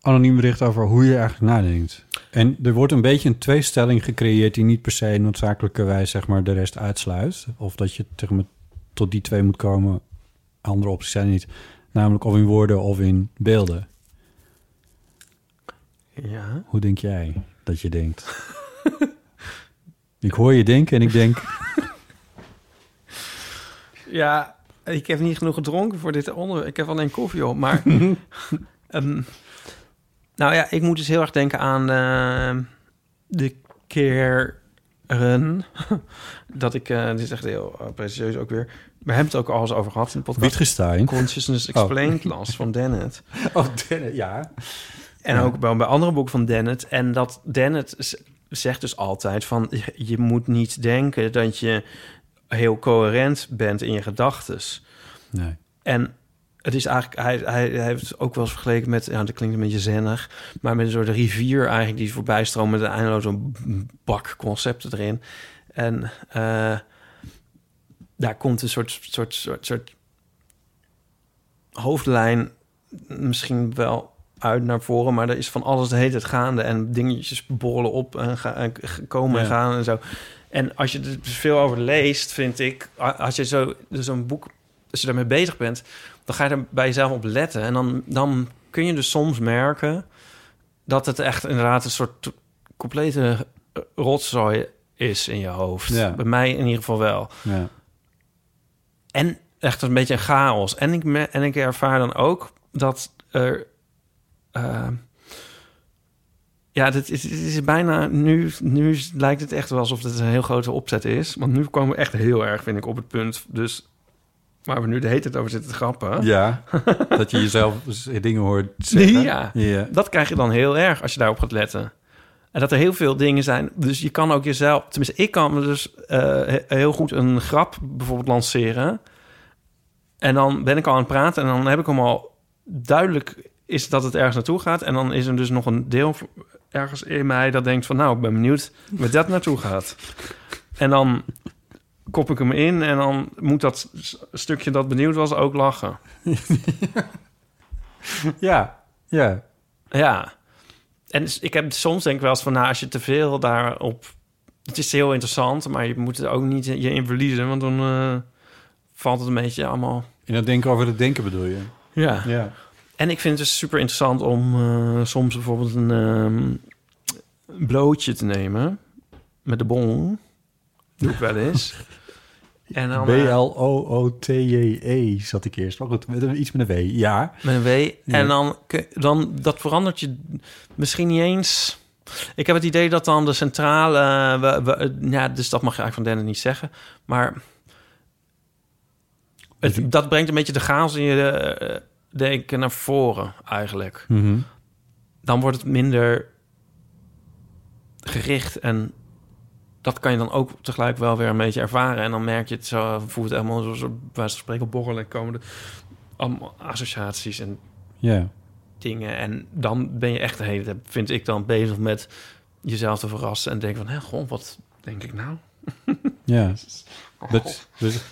Speaker 1: Anoniem bericht over hoe je eigenlijk nadenkt. En er wordt een beetje een tweestelling gecreëerd die niet per se noodzakelijkerwijs zeg maar, de rest uitsluit. Of dat je zeg maar, tot die twee moet komen. Andere opties zijn er niet. Namelijk of in woorden of in beelden.
Speaker 2: Ja.
Speaker 1: Hoe denk jij dat je denkt? ik hoor je denken en ik denk,
Speaker 2: Ja, ik heb niet genoeg gedronken voor dit onderwerp. Ik heb alleen koffie op, maar... ehm, nou ja, ik moet dus heel erg denken aan ehm, de keren dat ik... eh, dit is echt heel eh, precieus ook weer. We hebben het ook al eens over gehad in de podcast.
Speaker 1: Wittgenstein.
Speaker 2: Consciousness Explained las van Dennett.
Speaker 1: Oh, ja.
Speaker 2: En ook bij, bij andere boeken van Dennett. En dat Dennett z- zegt dus altijd van... je- je moet niet denken dat je heel coherent bent in je gedachtes.
Speaker 1: Nee.
Speaker 2: En het is eigenlijk, hij, hij, hij heeft het ook wel eens vergeleken met, ja, dat klinkt een beetje zennig, maar met een soort rivier eigenlijk die voorbij stroomt met een eindeloze bak concepten erin. En eh, daar komt een soort, soort, soort, soort hoofdlijn misschien wel uit naar voren, maar er is van alles de hele tijd gaande en dingetjes borrelen op en, ga, en g- komen en
Speaker 1: Ja.
Speaker 2: gaan en zo. En als je er dus veel over leest, vind ik, a- als je zo dus een boek, als je daarmee bezig bent, dan ga je er bij jezelf op letten en dan, dan kun je dus soms merken dat het echt inderdaad een soort complete eh, rotzooi is in je hoofd.
Speaker 1: Ja.
Speaker 2: Bij mij in ieder geval wel.
Speaker 1: Ja.
Speaker 2: En echt een beetje een chaos. En ik, me- en ik ervaar dan ook dat er. eh, ja, dit is, dit is bijna. Nu, nu lijkt het echt wel alsof dit een heel grote opzet is. Want nu komen we echt heel erg, vind ik, op het punt. Dus waar we nu de hele tijd over zitten te grappen.
Speaker 1: ja. dat je jezelf dingen hoort zeggen.
Speaker 2: Ja.
Speaker 1: ja.
Speaker 2: eh, Dat krijg je dan heel erg als je daarop gaat letten. En dat er heel veel dingen zijn. Dus je kan ook jezelf. Tenminste, ik kan me dus eh, he- heel goed een grap bijvoorbeeld lanceren. En dan ben ik al aan het praten en dan heb ik hem al duidelijk is dat het ergens naartoe gaat. En dan is er dus nog een deel v- ergens in mij dat denkt van nou, ik ben benieuwd waar dat naartoe gaat. En dan kop ik hem in en dan moet dat s- stukje dat benieuwd was ook lachen.
Speaker 1: Ja, ja.
Speaker 2: Ja. En s- ik heb soms denk ik wel eens van, nou, als je te veel daarop... Het is heel interessant, maar je moet er ook niet je in verliezen, want dan eh, valt het een beetje allemaal...
Speaker 1: In dat denken over het denken bedoel je?
Speaker 2: Ja.
Speaker 1: Ja.
Speaker 2: En ik vind het dus super interessant om eh, soms bijvoorbeeld een ehm, blootje te nemen met de bong. Doe ik wel eens. en dan, eh,
Speaker 1: B-L-O-O-T-J-E E zat ik eerst. Maar goed, met een- iets met een W. Ja.
Speaker 2: Met een W.
Speaker 1: Ja.
Speaker 2: En dan, kun- dan dat verandert je misschien niet eens. Ik heb het idee dat dan de centrale. eh, we- we- eh, ja, dus dat mag je eigenlijk van Dennen niet zeggen. Maar. Het, dat brengt een beetje de chaos in je eh, denken naar voren, eigenlijk.
Speaker 1: Mhm.
Speaker 2: Dan wordt het minder gericht en. Dat kan je dan ook tegelijk wel weer een beetje ervaren. En dan merk je het zo, voelt het helemaal zoals bij wijze van spreken borrelen komen er allemaal associaties en
Speaker 1: Ja.
Speaker 2: dingen. En dan ben je echt de hele tijd, vind ik dan, bezig met jezelf te verrassen. En denken van, hé, goh, wat denk ik nou?
Speaker 1: Ja. Dat, dus,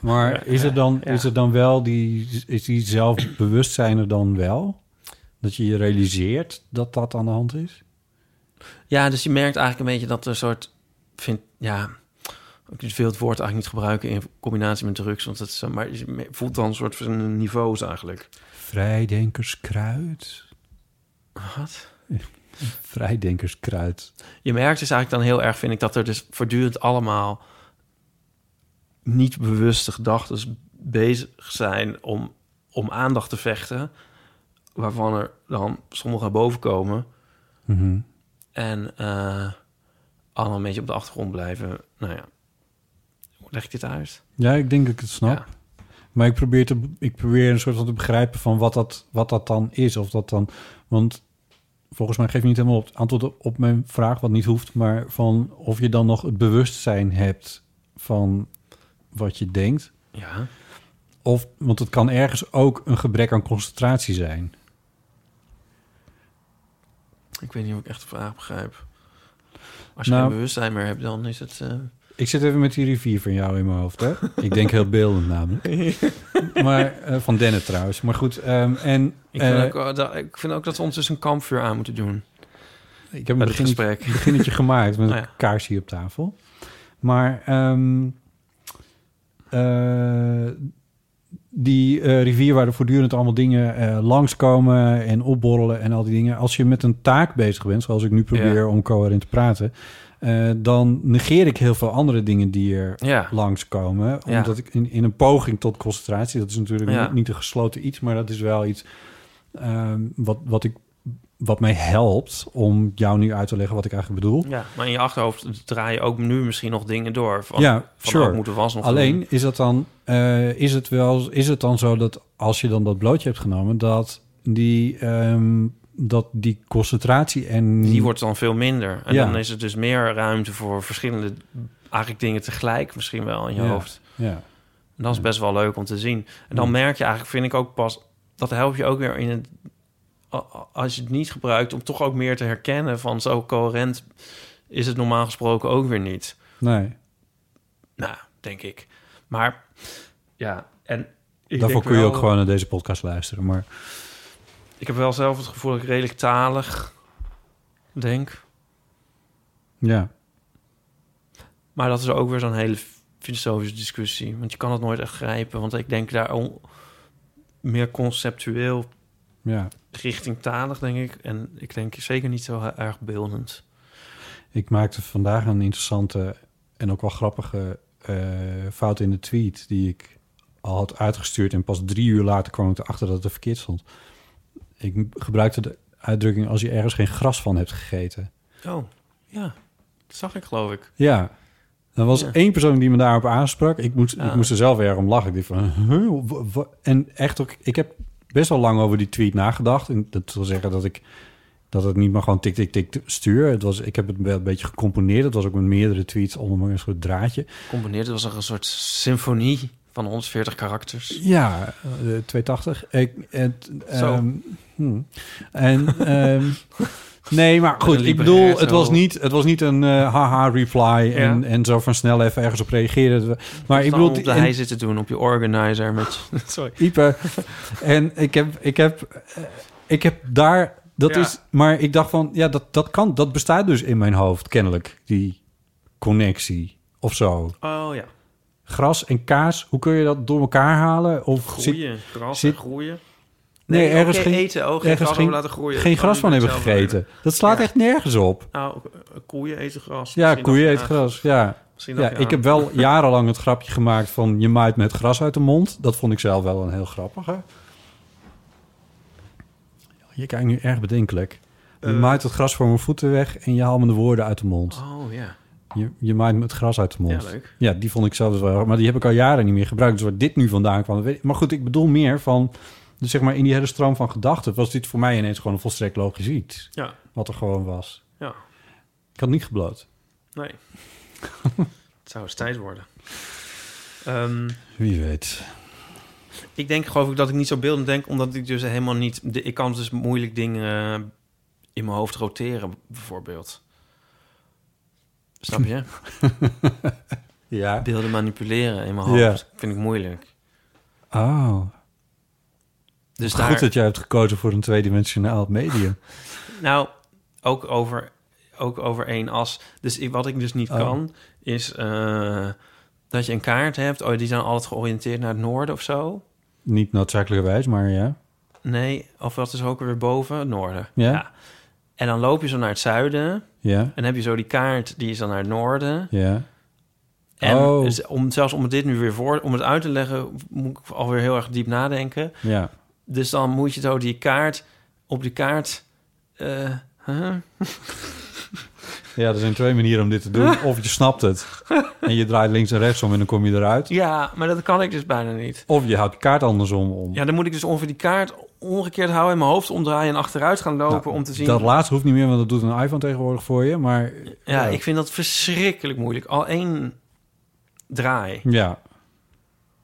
Speaker 1: maar is er, dan, is er dan wel die, is die zelfbewustzijn er dan wel? Dat je je realiseert dat dat aan de hand is?
Speaker 2: Ja, dus je merkt eigenlijk een beetje dat er een soort... Vind, ja, ik wil het woord eigenlijk niet gebruiken in combinatie met drugs. Want het is, eh, maar je me- voelt dan een soort van niveaus eigenlijk.
Speaker 1: Vrijdenkerskruid.
Speaker 2: Wat?
Speaker 1: Vrijdenkerskruid.
Speaker 2: Je merkt dus eigenlijk dan heel erg, vind ik, dat er dus voortdurend allemaal niet bewuste gedachten bezig zijn om, om aandacht te vechten. Waarvan er dan sommige naar boven komen.
Speaker 1: Mhm.
Speaker 2: En eh allemaal een beetje op de achtergrond blijven. Nou ja, hoe leg ik dit uit?
Speaker 1: Ja, ik denk dat ik het snap. Maar ik probeer, te, ik probeer een soort van te begrijpen van wat dat, wat dat dan is. Of dat dan. Want volgens mij geef je niet helemaal op, antwoord op, op mijn vraag, wat niet hoeft. Maar van of je dan nog het bewustzijn hebt van wat je denkt.
Speaker 2: Ja.
Speaker 1: Of, want het kan ergens ook een gebrek aan concentratie zijn.
Speaker 2: Ik weet niet of ik echt de vraag begrijp. Als je
Speaker 1: Nou.
Speaker 2: geen bewustzijn meer hebt, dan is het... eh,
Speaker 1: Ik zit even met die rivier van jou in mijn hoofd, hè? Ik denk heel beeldend namelijk. Maar, eh, van Denne trouwens. Maar goed, ehm, en...
Speaker 2: ik,
Speaker 1: eh,
Speaker 2: vind ook, eh, dat, ik vind ook dat we ons dus een kampvuur aan moeten doen.
Speaker 1: Ik heb een
Speaker 2: Bij dit
Speaker 1: beginnetje,
Speaker 2: gesprek.
Speaker 1: beginnetje gemaakt met een
Speaker 2: Oh ja.
Speaker 1: kaars hier op tafel. Maar ehm, eh, die eh, rivier waar er voortdurend allemaal dingen eh, langskomen en opborrelen en al die dingen. Als je met een taak bezig bent, zoals ik nu probeer
Speaker 2: Ja.
Speaker 1: om coherent te praten, eh, dan negeer ik heel veel andere dingen die er
Speaker 2: Ja.
Speaker 1: langskomen.
Speaker 2: Ja.
Speaker 1: Omdat ik in, in een poging tot concentratie, dat is natuurlijk
Speaker 2: Ja.
Speaker 1: niet, niet een gesloten iets, maar dat is wel iets ehm, wat, wat, ik, wat mij helpt om jou nu uit te leggen wat ik eigenlijk bedoel.
Speaker 2: Ja. Maar in je achterhoofd draai je ook nu misschien nog dingen door. Van,
Speaker 1: Ja,
Speaker 2: van
Speaker 1: sure.
Speaker 2: oh, ik moet de was nog doen.
Speaker 1: Alleen is, dat dan, eh, is, het wel, is het dan zo dat als je dan dat blootje hebt genomen, dat die, ehm, dat die concentratie en.
Speaker 2: Die wordt dan veel minder. En
Speaker 1: Ja.
Speaker 2: dan is er dus meer ruimte voor verschillende... Eigenlijk dingen tegelijk misschien wel in je
Speaker 1: Ja.
Speaker 2: hoofd.
Speaker 1: Ja,
Speaker 2: En dat is best wel leuk om te zien. En dan merk je eigenlijk, vind ik ook pas... dat helpt je ook weer in het... a- a- als je het niet gebruikt... om toch ook meer te herkennen van... zo coherent is het normaal gesproken ook weer niet.
Speaker 1: nee.
Speaker 2: Nou, denk ik. Maar ja, en... ik
Speaker 1: Daarvoor
Speaker 2: denk
Speaker 1: kun je
Speaker 2: wel-
Speaker 1: ook gewoon naar deze podcast luisteren. Maar
Speaker 2: Ik heb wel zelf het gevoel dat ik redelijk talig denk.
Speaker 1: ja,
Speaker 2: Maar dat is ook weer zo'n hele filosofische discussie. Want je kan het nooit echt grijpen. Want ik denk daar al meer conceptueel
Speaker 1: ja.
Speaker 2: richting talig, denk ik. En ik denk zeker niet zo he- erg beeldend.
Speaker 1: Ik maakte vandaag een interessante en ook wel grappige eh, fout in de tweet die ik al had uitgestuurd en pas drie uur later kwam ik erachter dat het er verkeerd stond. Ik m- gebruikte de uitdrukking als je ergens geen gras van hebt gegeten.
Speaker 2: Oh, ja. Dat zag ik, geloof ik.
Speaker 1: Ja. Er was
Speaker 2: Ja.
Speaker 1: één persoon die me daarop aansprak. Ik moest, ik
Speaker 2: Ja.
Speaker 1: moest er zelf erg om lachen. Ik dacht van, huh, wa- wa- En echt ook, ik heb best wel lang over die tweet nagedacht. En dat wil zeggen dat ik dat het niet maar gewoon tik, tik, tik stuur. Het was, ik heb het wel een beetje gecomponeerd. Het was ook met meerdere tweets onder een soort draadje.
Speaker 2: Combineerd was er een soort symfonie van 140 karakters.
Speaker 1: Ja, eh, 280. Ik, het,
Speaker 2: Zo.
Speaker 1: ehm, hmm. En ehm, Nee, maar goed, ik
Speaker 2: liever
Speaker 1: bedoel,
Speaker 2: hersen.
Speaker 1: het was niet, het was niet een eh, haha reply en, en zo van snel even ergens op reageren. Maar ik
Speaker 2: Ik
Speaker 1: bedoel,
Speaker 2: op de
Speaker 1: en-
Speaker 2: hei zitten doen, op je organizer. Met, sorry.
Speaker 1: Ipe. En ik heb, ik heb, eh, ik heb daar. Dat
Speaker 2: Ja.
Speaker 1: is, maar ik dacht van, ja, dat, dat kan, dat bestaat dus in mijn hoofd kennelijk, die connectie of zo.
Speaker 2: Oh ja.
Speaker 1: Gras en kaas, hoe kun je dat door elkaar halen? Of
Speaker 2: Groeien,
Speaker 1: zit-
Speaker 2: gras
Speaker 1: zit-
Speaker 2: groeien.
Speaker 1: Nee,
Speaker 2: Nee,
Speaker 1: ergens
Speaker 2: oké,
Speaker 1: geen
Speaker 2: eten ook, geen
Speaker 1: ergens
Speaker 2: gras over laten groeien.
Speaker 1: Geen
Speaker 2: Dat kan
Speaker 1: gras van
Speaker 2: niet
Speaker 1: hebben
Speaker 2: hetzelfde
Speaker 1: gegeten. Dat slaat echt nergens op.
Speaker 2: Nou, koeien eten gras.
Speaker 1: Ja,
Speaker 2: Misschien
Speaker 1: koeien
Speaker 2: dat-
Speaker 1: eten
Speaker 2: ah,
Speaker 1: gras. Ja.
Speaker 2: Misschien dat-
Speaker 1: ja, ik heb wel jarenlang het grapje gemaakt van je maait met gras uit de mond. Dat vond ik zelf wel een heel grappige. Je kijkt nu erg bedenkelijk. Je
Speaker 2: Eh.
Speaker 1: maait het gras voor mijn voeten weg en je haalt me de woorden uit de mond.
Speaker 2: Oh ja.
Speaker 1: Je, je maait me het gras uit de mond.
Speaker 2: Ja, leuk.
Speaker 1: Ja, die vond ik zelf wel. Maar die heb ik al jaren niet meer gebruikt. Dus waar dit nu vandaan kwam. dat weet ik. Maar goed, ik bedoel meer van. Dus zeg maar in die hele stroom van gedachten was dit voor mij ineens gewoon een volstrekt logisch iets.
Speaker 2: Ja.
Speaker 1: Wat er gewoon was.
Speaker 2: Ja.
Speaker 1: Ik had niet gebloot.
Speaker 2: Nee. het zou eens tijd worden. Ehm,
Speaker 1: Wie weet.
Speaker 2: ik denk geloof ik dat ik niet zo beeldend denk, omdat ik dus helemaal niet... De, ik kan dus moeilijk dingen in mijn hoofd roteren, bijvoorbeeld. Snap je?
Speaker 1: Ja.
Speaker 2: Beelden manipuleren in mijn hoofd
Speaker 1: Ja.
Speaker 2: vind ik moeilijk.
Speaker 1: Oh.
Speaker 2: Dus
Speaker 1: Goed
Speaker 2: daar-
Speaker 1: dat jij hebt gekozen voor een tweedimensionaal medium.
Speaker 2: Nou, ook over, ook over één as. Dus ik- wat ik dus niet
Speaker 1: Oh.
Speaker 2: kan, is eh, dat je een kaart hebt. Oh, die zijn altijd georiënteerd naar het noorden of zo.
Speaker 1: niet noodzakelijkerwijs, maar ja.
Speaker 2: Nee, of wat is ook weer boven? Het noorden.
Speaker 1: Ja.
Speaker 2: En dan loop je zo naar het zuiden.
Speaker 1: Ja.
Speaker 2: En dan heb je zo die kaart, die is dan naar het noorden.
Speaker 1: Ja.
Speaker 2: En
Speaker 1: Oh.
Speaker 2: z- om, zelfs om dit nu weer voor, om het uit te leggen, moet ik alweer heel erg diep nadenken.
Speaker 1: Ja.
Speaker 2: Dus dan moet je zo die kaart, op die kaart... eh, huh?
Speaker 1: Ja, er zijn twee manieren om dit te doen. Of je snapt het en je draait links en rechts om en dan kom je eruit.
Speaker 2: Ja, maar dat kan ik dus bijna niet.
Speaker 1: Of je houdt de kaart andersom om.
Speaker 2: Ja, dan moet ik dus ongeveer die kaart omgekeerd houden... en mijn hoofd omdraaien en achteruit gaan lopen om te zien...
Speaker 1: Nou, Dat laatste hoeft niet meer, want dat doet een iPhone tegenwoordig voor je. Maar
Speaker 2: ja, ik vind dat verschrikkelijk moeilijk. Al één draai.
Speaker 1: Ja.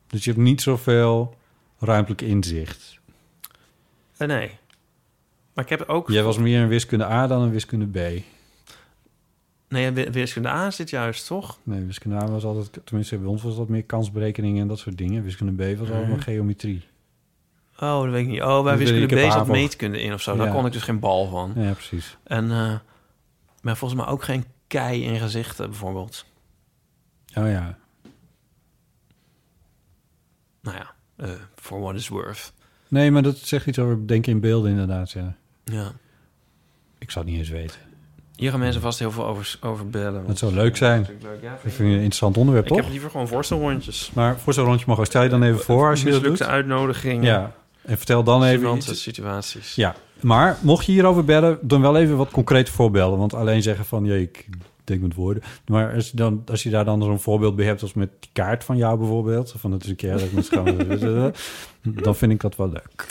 Speaker 1: Dus je hebt niet zoveel ruimtelijk inzicht.
Speaker 2: Eh, nee. Maar ik heb ook...
Speaker 1: Jij was meer een wiskunde A dan een wiskunde B.
Speaker 2: Nee, wi- wiskunde A zit juist, toch?
Speaker 1: Nee, wiskunde A was altijd, tenminste bij ons was dat meer kansberekeningen en dat soort dingen. Wiskunde B was
Speaker 2: Nee.
Speaker 1: allemaal geometrie.
Speaker 2: Oh, dat weet ik niet. Oh, bij
Speaker 1: Ik
Speaker 2: wiskunde
Speaker 1: heb
Speaker 2: B zat
Speaker 1: HAVO.
Speaker 2: meetkunde in of zo. Daar
Speaker 1: Ja.
Speaker 2: kon ik dus geen bal van.
Speaker 1: Ja, precies.
Speaker 2: En eh, maar volgens mij ook geen kei in gezichten, bijvoorbeeld.
Speaker 1: Oh ja.
Speaker 2: Nou ja, eh, for what it's worth.
Speaker 1: Nee, maar dat zegt iets over denken in beelden inderdaad, ja.
Speaker 2: Ja.
Speaker 1: Ik zou het niet eens weten.
Speaker 2: Hier gaan mensen vast heel veel over, over bellen. want-
Speaker 1: Dat zou leuk zijn.
Speaker 2: Dat is natuurlijk leuk, ja,
Speaker 1: ik vind het een interessant onderwerp,
Speaker 2: Ik
Speaker 1: toch?
Speaker 2: heb liever gewoon voorstelrondjes.
Speaker 1: Maar voor zo'n rondje mag ook. Stel je dan even voor als je dat doet.
Speaker 2: Mislukte uitnodigingen.
Speaker 1: Ja. En vertel dan even
Speaker 2: Gênante
Speaker 1: iets.
Speaker 2: situaties.
Speaker 1: Ja. Maar mocht je hierover bellen, dan wel even wat concreet voorbellen. Want alleen zeggen van, jee, ik denk met woorden. Maar als, je dan, als je daar dan zo'n voorbeeld bij hebt, als met die kaart van jou bijvoorbeeld. Van het is een keer dat ik met schaam... dan vind ik dat wel leuk.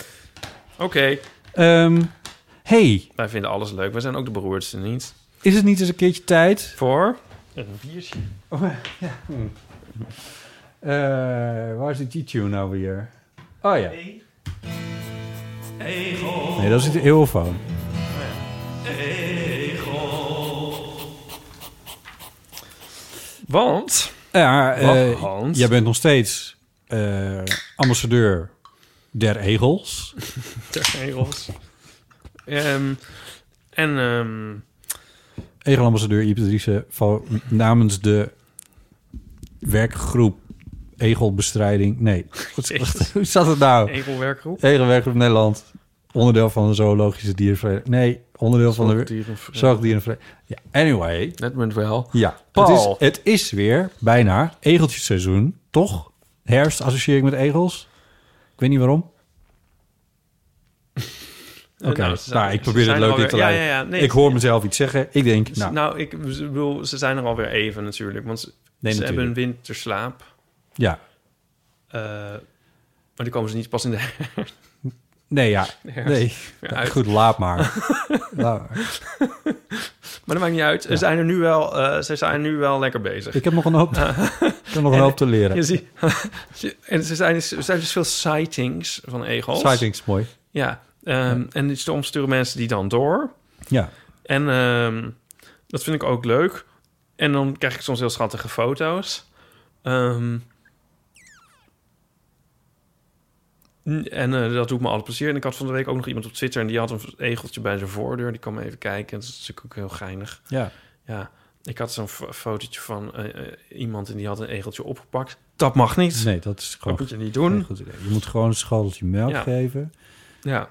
Speaker 2: Oké,
Speaker 1: Ehm, hey,
Speaker 2: wij vinden alles leuk. Wij zijn ook de beroerdste niet.
Speaker 1: is het niet eens een keertje tijd
Speaker 2: Voor? Een biertje.
Speaker 1: Eh, waar is die G-tune nou weer? Oh ja. Nee, dat is de eeuwfoon.
Speaker 2: Want...
Speaker 1: Ja, eh,
Speaker 2: Hans.
Speaker 1: jij bent nog steeds eh, ambassadeur der egels.
Speaker 2: Ter regels. Ehm, en ehm,
Speaker 1: Egelambassadeur Iep Driessen van namens de werkgroep Egelbestrijding. Nee, Wat-
Speaker 2: Jezus.
Speaker 1: hoe zat het nou?
Speaker 2: Egelwerkgroep.
Speaker 1: Egelwerkgroep Nederland. Onderdeel van de zoologische diervereniging. Nee, onderdeel van de
Speaker 2: Zoogdierenvereniging.
Speaker 1: zoogdierenvereniging. Ja, anyway.
Speaker 2: Net met wel.
Speaker 1: Ja,
Speaker 2: Paul.
Speaker 1: Het, is, het is weer bijna egeltjesseizoen, toch? Herfst associeer ik met egels. Ik weet niet waarom. Oké,
Speaker 2: nou,
Speaker 1: nou,
Speaker 2: ze zijn-
Speaker 1: ik
Speaker 2: ze
Speaker 1: probeer het
Speaker 2: zijn
Speaker 1: leuk
Speaker 2: alweer-
Speaker 1: in te
Speaker 2: ja,
Speaker 1: leiden.
Speaker 2: ja, ja, nee,
Speaker 1: ik
Speaker 2: ze-
Speaker 1: hoor mezelf iets zeggen. Ik denk,
Speaker 2: Nou,
Speaker 1: nou,
Speaker 2: ik bedoel, ze zijn er alweer even natuurlijk. Want ze,
Speaker 1: Nee,
Speaker 2: ze
Speaker 1: natuurlijk.
Speaker 2: hebben een winterslaap.
Speaker 1: ja.
Speaker 2: eh, maar die komen ze niet pas in de
Speaker 1: Nee, ja.
Speaker 2: Herfst.
Speaker 1: Nee.
Speaker 2: Ja,
Speaker 1: Nou,
Speaker 2: uit.
Speaker 1: goed, laat maar. Laat maar.
Speaker 2: Maar dat maakt niet uit. Ze, zijn er nu wel, eh, ze zijn nu wel lekker bezig.
Speaker 1: Ik heb nog een hoop, ik heb nog een hoop te
Speaker 2: Nou. Je
Speaker 1: leren.
Speaker 2: ziet, en ze zijn, er zijn dus veel sightings van egels.
Speaker 1: Sightings, mooi.
Speaker 2: Ja. ehm, En die- soms sturen mensen die dan door.
Speaker 1: Ja.
Speaker 2: En ehm, dat vind ik ook leuk. En dan krijg ik soms heel schattige foto's. Ehm, n- en eh, dat doet me alle plezier. En ik had van de week ook nog iemand op Twitter... en die had een egeltje bij zijn voordeur. Die kwam even kijken. Dat is natuurlijk ook heel geinig.
Speaker 1: Ja.
Speaker 2: Ja. Ik had zo'n fo- fotootje van eh, eh, iemand... en die had een egeltje opgepakt. Dat mag niet.
Speaker 1: Nee, dat is gewoon...
Speaker 2: moet je niet doen.
Speaker 1: geen goed idee. Je moet gewoon een schoteltje melk
Speaker 2: Ja.
Speaker 1: geven.
Speaker 2: Ja.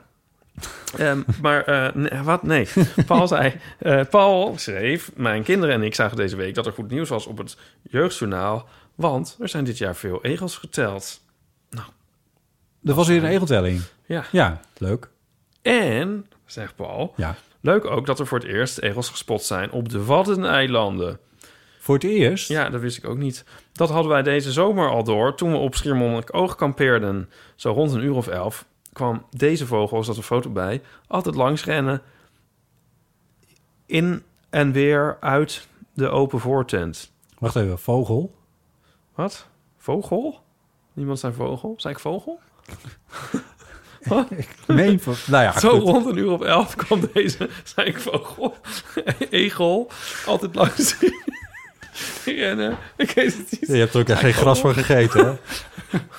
Speaker 2: Ehm, maar eh, nee, wat? Nee. Paul zei... eh, Paul schreef... Mijn kinderen en ik zagen deze week dat er goed nieuws was op het jeugdjournaal. Want er zijn dit jaar veel egels geteld.
Speaker 1: Er was weer een egeltelling.
Speaker 2: Ja.
Speaker 1: Ja, leuk.
Speaker 2: En, zegt Paul...
Speaker 1: Ja.
Speaker 2: Leuk ook dat er voor het eerst egels gespot zijn op de Waddeneilanden.
Speaker 1: Voor het eerst?
Speaker 2: Ja, dat wist ik ook niet. Dat hadden wij deze zomer al door toen we op Schiermonnikoog kampeerden. Zo rond een uur of elf kwam deze vogel, er zat een foto bij, altijd langs rennen. In en weer uit de open voortent.
Speaker 1: Wacht even, vogel?
Speaker 2: Wat? Vogel? Niemand zei vogel? Zei ik vogel?
Speaker 1: Nee, vo- nou ja,
Speaker 2: Zo
Speaker 1: goed.
Speaker 2: rond een uur of elf kwam deze, zei ik vogel, egel, altijd langs rennen. Ik weet het niet.
Speaker 1: Je hebt er ook echt geen gras voor gegeten, hè?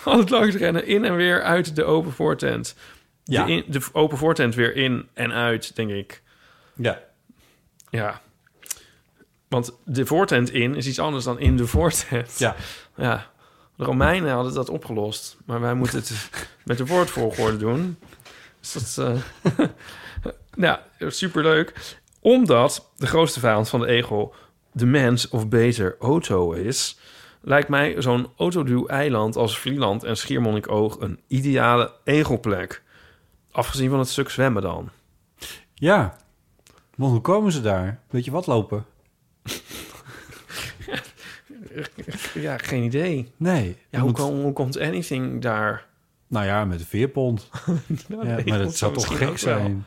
Speaker 2: Altijd langs rennen, in en weer uit de open voortent.
Speaker 1: Ja.
Speaker 2: De, in- de open voortent weer in en uit, denk ik.
Speaker 1: Ja.
Speaker 2: Ja. Want de voortent in is iets anders dan in de voortent.
Speaker 1: Ja.
Speaker 2: ja. De Romeinen hadden dat opgelost. Maar wij moeten het met de woordvolgorde doen. Dus dat... eh ja, superleuk. Omdat de grootste vijand van de egel... de mens, of beter, auto is... lijkt mij zo'n autoduw-eiland als Vlieland en Schiermonnikoog... een ideale egelplek. Afgezien van het stuk zwemmen dan.
Speaker 1: Ja. Want hoe komen ze daar? Weet je wat lopen?
Speaker 2: Ja, geen idee.
Speaker 1: Nee.
Speaker 2: Ja, hoe,
Speaker 1: Want-
Speaker 2: kom- hoe komt anything daar?
Speaker 1: Nou ja, met een veerpont.
Speaker 2: Nou,
Speaker 1: ja,
Speaker 2: weet
Speaker 1: maar
Speaker 2: ik
Speaker 1: dat zou
Speaker 2: misschien
Speaker 1: toch gek
Speaker 2: ook wel.
Speaker 1: zijn?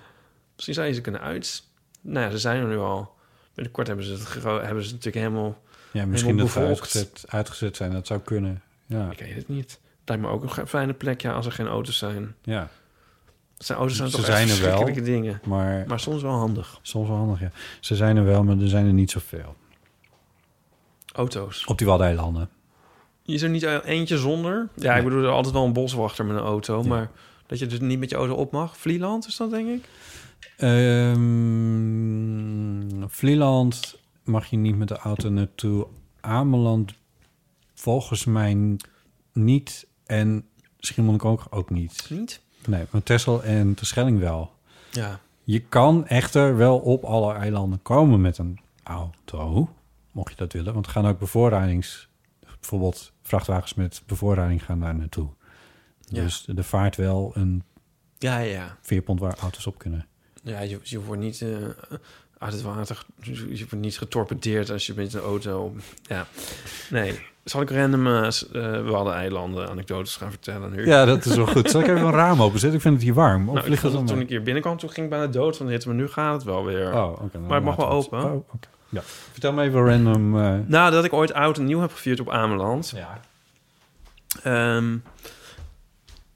Speaker 2: Misschien zouden ze kunnen uit. Nou ja, ze zijn er nu al. Binnenkort hebben ze het, gero- hebben ze het natuurlijk helemaal...
Speaker 1: Ja, misschien dat ze
Speaker 2: bevolkt.
Speaker 1: uitgezet, uitgezet zijn. Dat zou kunnen. Ja.
Speaker 2: Ik weet het niet. Het lijkt me ook een ge- fijne plek, ja, als er geen auto's zijn.
Speaker 1: ja.
Speaker 2: zijn auto's zijn
Speaker 1: Ze
Speaker 2: toch
Speaker 1: zijn
Speaker 2: echt
Speaker 1: er wel.
Speaker 2: verschrikkelijke dingen.
Speaker 1: Maar
Speaker 2: Maar soms wel handig.
Speaker 1: soms wel handig, ja. Ze zijn er wel, maar er zijn er niet zoveel.
Speaker 2: Auto's.
Speaker 1: Op die Waddeneilanden.
Speaker 2: Is er niet e- eentje zonder? Ja, ik bedoel, er is altijd wel een boswachter met een auto. Maar dat je dus niet met je auto op mag. Vlieland is dat, denk ik?
Speaker 1: Ehm Vlieland mag je niet met de auto naartoe. Ameland volgens mij niet. En Schiermonnikoog ook niet.
Speaker 2: Niet?
Speaker 1: Nee, maar Texel en Terschelling wel.
Speaker 2: Ja.
Speaker 1: Je kan echter wel op alle eilanden komen met een auto, mocht je dat willen. Want er gaan ook bevoorradings... Bijvoorbeeld vrachtwagens met bevoorrading gaan daar naartoe.
Speaker 2: Ja.
Speaker 1: Dus er vaart wel een
Speaker 2: Ja, ja.
Speaker 1: veerpont waar auto's op kunnen.
Speaker 2: Ja, je, je wordt niet eh, uit het water, ge- je wordt niet getorpedeerd als je met een auto. Ja, nee. Zal ik random eh s- eh, Waddeneilanden anekdotes gaan vertellen nu?
Speaker 1: Ja, dat is wel goed. Zal ik even een raam openzetten? Ik vind het hier warm. Of
Speaker 2: Nou, ik
Speaker 1: ligt het
Speaker 2: vond het
Speaker 1: dan
Speaker 2: toen ik hier binnenkwam, toen ging ik bijna dood van de hitte, maar nu gaat het wel weer.
Speaker 1: Oh, oké. nou,
Speaker 2: Maar het mag wel
Speaker 1: laten we
Speaker 2: open.
Speaker 1: Oh, oké. ja. Vertel me even random... eh,
Speaker 2: Nou, dat ik ooit oud en nieuw heb gevierd op Ameland.
Speaker 1: ja.
Speaker 2: Ehm,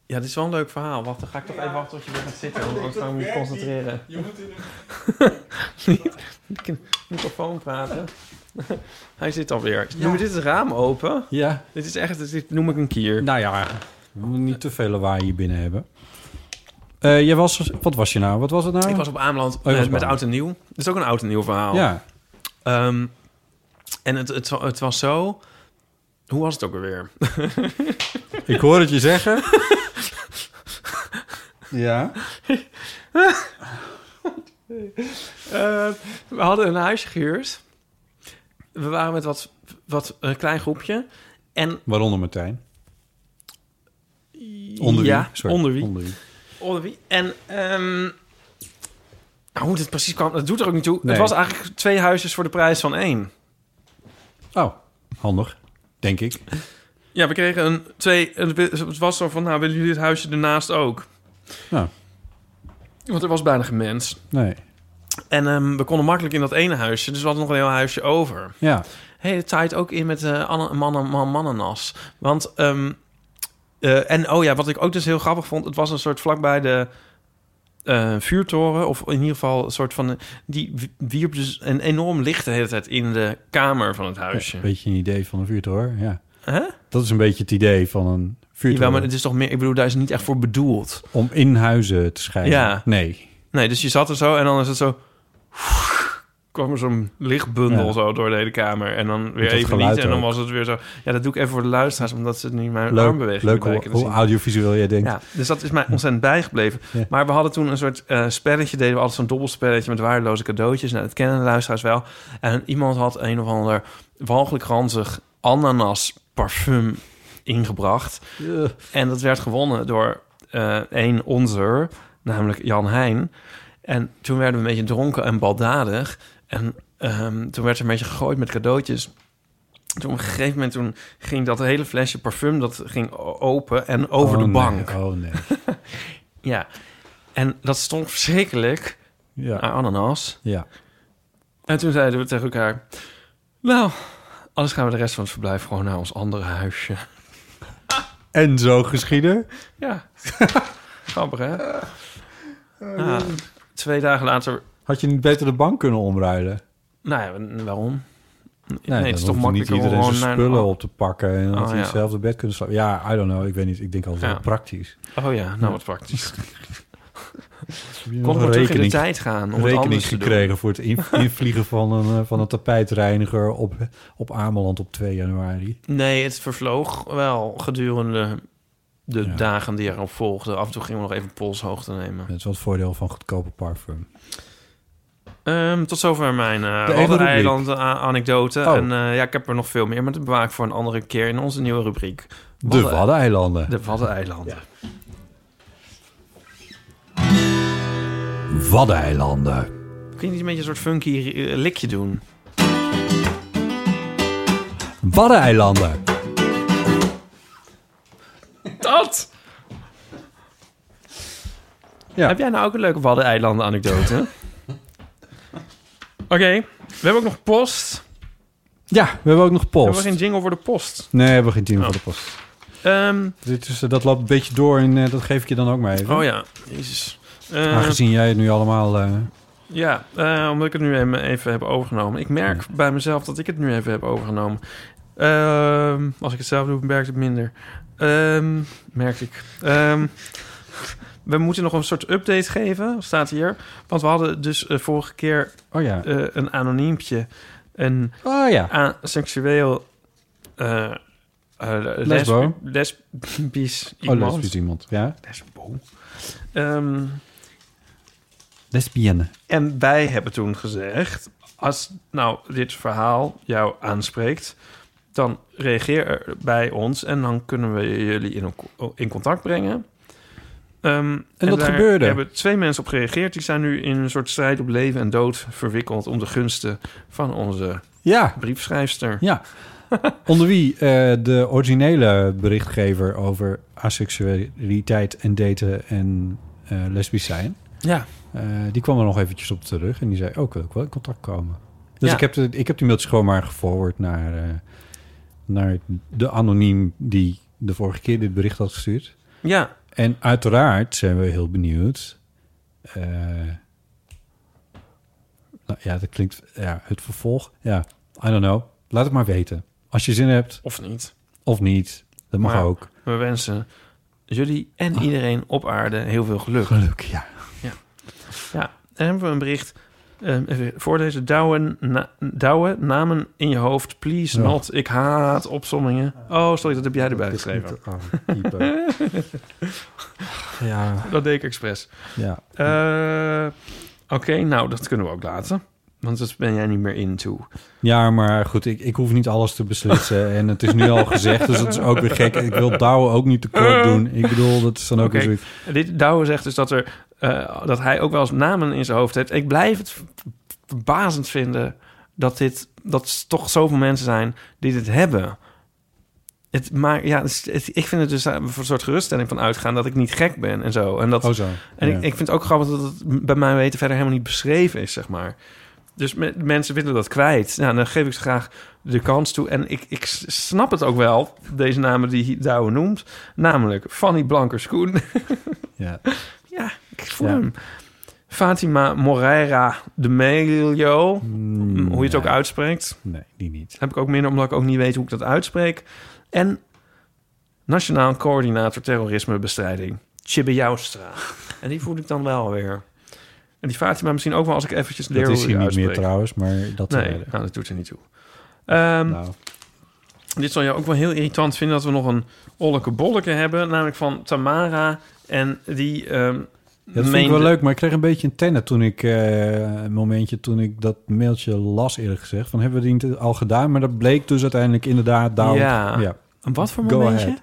Speaker 2: ja, dit is wel een leuk verhaal. Wacht, dan ga ik toch even wachten tot je weer gaat zitten. Want anders dan moet ik concentreren. Je moet in de microfoon praten. Hij zit alweer. Noem je dit het raam open?
Speaker 1: ja.
Speaker 2: Dit is echt, dit noem ik een kier.
Speaker 1: Nou ja, we moeten niet te veel lawaai hier binnen hebben. Eh, jij was... Wat was je nou? Wat was het nou?
Speaker 2: Ik was op Ameland
Speaker 1: je was
Speaker 2: eh,
Speaker 1: op
Speaker 2: met
Speaker 1: Ameland.
Speaker 2: oud en nieuw. Dit is ook een oud en nieuw verhaal.
Speaker 1: Ja.
Speaker 2: Ehm, en het, het, het was zo. Hoe was het ook alweer?
Speaker 1: Ik hoor het je zeggen. ja.
Speaker 2: Eh, we hadden een huisje gehuurd. We waren met wat, wat een klein groepje. En
Speaker 1: Waaronder Martijn. Onder
Speaker 2: ja,
Speaker 1: wie? Sorry.
Speaker 2: onder wie?
Speaker 1: Onder wie.
Speaker 2: Onder wie? En ehm, nou, hoe dit precies kwam, dat doet er ook niet toe.
Speaker 1: Nee.
Speaker 2: Het was eigenlijk twee huisjes voor de prijs van één.
Speaker 1: Oh, handig. Denk ik.
Speaker 2: Ja, we kregen een twee. en Het was zo van, nou, willen jullie het huisje ernaast ook?
Speaker 1: Nou,
Speaker 2: Want er was bijna geen mens.
Speaker 1: nee.
Speaker 2: En ehm, we konden makkelijk in dat ene huisje, dus we hadden nog een heel huisje over.
Speaker 1: Ja.
Speaker 2: Hele tijd ook in met eh anna- mannen, man, mannenas. Want, ehm, eh, en oh ja, wat ik ook dus heel grappig vond, het was een soort vlakbij de eh, vuurtoren, of in ieder geval een soort van... Die wierp dus een enorm licht de hele tijd in de kamer van het huisje.
Speaker 1: Een beetje een idee van een vuurtoren, ja.
Speaker 2: Hè?
Speaker 1: Dat is een beetje het idee van een
Speaker 2: Jawel,
Speaker 1: vuurtoren.
Speaker 2: maar het is toch meer... Ik bedoel, daar is het niet echt voor bedoeld.
Speaker 1: Om in huizen te schijnen.
Speaker 2: Ja.
Speaker 1: Nee.
Speaker 2: Nee, dus je zat er zo en dan is het zo... kwam er zo'n lichtbundel
Speaker 1: Ja.
Speaker 2: zo door de hele kamer. En dan weer
Speaker 1: dat
Speaker 2: even
Speaker 1: geluid
Speaker 2: niet. En dan
Speaker 1: ook.
Speaker 2: was het weer zo... Ja, dat doe ik even voor de luisteraars... omdat ze nu mijn
Speaker 1: Leuk,
Speaker 2: armbeweging
Speaker 1: leuk
Speaker 2: bij
Speaker 1: hoe,
Speaker 2: kunnen
Speaker 1: hoe
Speaker 2: zien.
Speaker 1: audiovisueel jij denkt.
Speaker 2: Ja, dus dat is mij ontzettend bijgebleven.
Speaker 1: Ja.
Speaker 2: Maar we hadden toen een soort eh, spelletje, deden we altijd zo'n dobbelspelletje met waardeloze cadeautjes. Nou, dat kennen de luisteraars wel. En iemand had een of ander walgelijk ranzig ananas parfum ingebracht.
Speaker 1: Ja.
Speaker 2: En dat werd gewonnen door eh één onzer, namelijk Jan Heijn. En toen werden we een beetje dronken en baldadig. En ehm, toen werd er een beetje gegooid met cadeautjes. Toen op een gegeven moment toen ging dat hele flesje parfum dat ging o- open en over
Speaker 1: Oh,
Speaker 2: de
Speaker 1: nee.
Speaker 2: bank.
Speaker 1: Oh nee.
Speaker 2: Ja. En dat stond verschrikkelijk aan
Speaker 1: Ja.
Speaker 2: ananas.
Speaker 1: ja.
Speaker 2: En toen zeiden we tegen elkaar... Nou, anders gaan we de rest van het verblijf gewoon naar ons andere huisje.
Speaker 1: En zo geschieden.
Speaker 2: Ja. Grappig, hè? Ah, twee dagen later...
Speaker 1: Had je niet beter de bank kunnen omruilen?
Speaker 2: Nou ja, waarom? Nee,
Speaker 1: dan
Speaker 2: het is toch
Speaker 1: hoefde niet
Speaker 2: makkelijker om
Speaker 1: iedereen zijn
Speaker 2: gewoon naar...
Speaker 1: spullen op te pakken en dan
Speaker 2: Oh,
Speaker 1: had hij
Speaker 2: ja.
Speaker 1: hetzelfde bed kunnen slapen. Ja, I don't know. Ik weet niet. Ik denk altijd
Speaker 2: Ja.
Speaker 1: wel praktisch.
Speaker 2: Oh ja, nou wat praktisch. Kon
Speaker 1: Nog
Speaker 2: ik
Speaker 1: een
Speaker 2: maar terug in de
Speaker 1: rekening-
Speaker 2: tijd gaan om het
Speaker 1: rekening
Speaker 2: anders te
Speaker 1: gekregen
Speaker 2: doen.
Speaker 1: voor het in- invliegen van een, eh, van een tapijtreiniger op, op Ameland op 2 januari.
Speaker 2: Nee, het vervloog wel gedurende de
Speaker 1: Ja.
Speaker 2: dagen die erop volgden. Af en toe gingen we nog even polshoogte nemen.
Speaker 1: Dat is wel het voordeel van goedkope parfum.
Speaker 2: Ehm, tot zover mijn
Speaker 1: De
Speaker 2: eh
Speaker 1: eigen rubriek.
Speaker 2: Waddeneiland-anekdote.
Speaker 1: Oh.
Speaker 2: En eh, ja, ik heb er nog veel meer, maar dat bewaak ik voor een andere keer in onze nieuwe rubriek.
Speaker 1: De Waddeneilanden.
Speaker 2: De Waddeneilanden.
Speaker 1: Waddeneilanden.
Speaker 2: Kun je niet een beetje een soort funky eh, likje doen?
Speaker 1: Waddeneilanden.
Speaker 2: Dat!
Speaker 1: Ja.
Speaker 2: Heb jij nou ook een leuke Waddeneilanden-anekdote? Oké, we hebben ook nog post.
Speaker 1: Ja, we hebben ook nog
Speaker 2: Hebben we
Speaker 1: post.
Speaker 2: geen jingle voor de post?
Speaker 1: Nee, we hebben geen team
Speaker 2: Oh.
Speaker 1: voor de post.
Speaker 2: Ehm,
Speaker 1: Dit is, eh, dat loopt een beetje door en eh, dat geef ik je dan ook mee.
Speaker 2: oh ja, jezus. Eh,
Speaker 1: Aangezien jij het nu allemaal... eh,
Speaker 2: Ja, eh, omdat ik het nu even, even heb overgenomen. Ik merk bij mezelf dat ik het nu even heb overgenomen. Ehm, als ik het zelf doe, merkt het minder. Ehm merkte ik. Ehm, we moeten nog een soort update geven, staat hier. Want we hadden dus eh, vorige keer
Speaker 1: oh ja.
Speaker 2: eh, een anoniempje. Een
Speaker 1: oh ja.
Speaker 2: a- seksueel... eh eh, lesb-
Speaker 1: Lesbo.
Speaker 2: Lesbisch
Speaker 1: Oh,
Speaker 2: iemand.
Speaker 1: lesbisch iemand. Ja.
Speaker 2: Lesbo. Ehm,
Speaker 1: Lesbienne.
Speaker 2: En wij hebben toen gezegd: als nou dit verhaal jou aanspreekt, dan reageer er bij ons en dan kunnen we jullie in, in contact brengen. Ehm, en,
Speaker 1: dat
Speaker 2: daar
Speaker 1: gebeurde.
Speaker 2: hebben twee mensen op gereageerd. Die zijn nu in een soort strijd op leven en dood verwikkeld om de gunsten van onze
Speaker 1: Ja.
Speaker 2: briefschrijfster.
Speaker 1: Ja. Onder wie eh, de originele berichtgever over asexualiteit en daten en eh, lesbisch zijn.
Speaker 2: Ja.
Speaker 1: eh, die kwam er nog eventjes op terug en die zei, ook wil ik wel in contact komen. Dus
Speaker 2: Ja.
Speaker 1: ik, heb de, ik heb die mailtjes gewoon maar geforward naar, eh, naar de anoniem die de vorige keer dit bericht had gestuurd.
Speaker 2: Ja.
Speaker 1: En uiteraard zijn we heel benieuwd. eh, nou ja, dat klinkt... Ja, het vervolg. Ja, I don't know. Laat het maar weten. Als je zin hebt
Speaker 2: Of niet.
Speaker 1: of niet, dat mag
Speaker 2: Maar-
Speaker 1: ook.
Speaker 2: We wensen jullie en iedereen op aarde heel veel Ah. geluk.
Speaker 1: Geluk, ja.
Speaker 2: Ja, dan hebben we een bericht. Ehm, even voor deze douwen, na- douwen, namen in je hoofd, please
Speaker 1: Ja.
Speaker 2: not. Ik haat opsommingen. Oh, sorry, dat heb jij erbij geschreven.
Speaker 1: ja,
Speaker 2: Dat deed ik expres.
Speaker 1: ja.
Speaker 2: Eh, Oké, nou, dat kunnen we ook laten. Want dat ben jij niet meer into.
Speaker 1: Ja, maar goed, ik, ik hoef niet alles te beslissen. En het is nu al gezegd, dus dat is ook weer gek. Ik wil Douwe ook niet tekort doen. Ik bedoel, dat is dan ook
Speaker 2: Oké.
Speaker 1: weer zoiets.
Speaker 2: En Dit Douwe zegt dus dat, er, eh, dat hij ook wel eens namen in zijn hoofd heeft. Ik blijf het v- verbazend vinden dat dit dat s- toch zoveel mensen zijn die dit hebben. Het, maar ja, het is- het- ik vind het dus daar een soort geruststelling van uitgaan dat ik niet gek ben en zo. En, dat,
Speaker 1: Oh zo.
Speaker 2: en
Speaker 1: ja.
Speaker 2: ik, ik vind het ook grappig dat het bij mijn weten verder helemaal niet beschreven is, zeg maar. Dus me- mensen willen dat kwijt. Nou, dan geef ik ze graag de kans toe. En ik, ik s- snap het ook wel, deze namen die Douwe noemt. Namelijk Fanny Blankerskoen.
Speaker 1: ja.
Speaker 2: Ja, Ik voel hem. Fatima Moreira de Melio.
Speaker 1: Mm,
Speaker 2: hoe je het ook uitspreekt.
Speaker 1: Nee, die niet.
Speaker 2: Heb ik ook minder, omdat ik ook niet weet hoe ik dat uitspreek. En Nationaal Coördinator Terrorismebestrijding. Chibbe Joustra. En die voel ik dan wel weer. En die Fatima misschien ook wel als ik eventjes leer
Speaker 1: Dat
Speaker 2: hoe
Speaker 1: is
Speaker 2: je
Speaker 1: hij niet
Speaker 2: uitspreekt.
Speaker 1: meer trouwens, maar dat...
Speaker 2: Nee,
Speaker 1: eh,
Speaker 2: nou, dat doet er niet toe. Ehm,
Speaker 1: nou,
Speaker 2: Dit zal je ook wel heel irritant vinden dat we nog een olleke bolleke hebben. Namelijk van Tamara. En die... ehm
Speaker 1: Ja, dat vind ik
Speaker 2: meende-
Speaker 1: wel leuk, maar ik kreeg een beetje een tennen toen ik eh, een momentje toen ik dat mailtje las eerlijk gezegd. Van hebben we die niet al gedaan? Maar dat bleek dus uiteindelijk inderdaad daarom.
Speaker 2: Ja. Een wat voor
Speaker 1: Go
Speaker 2: momentje?
Speaker 1: ahead.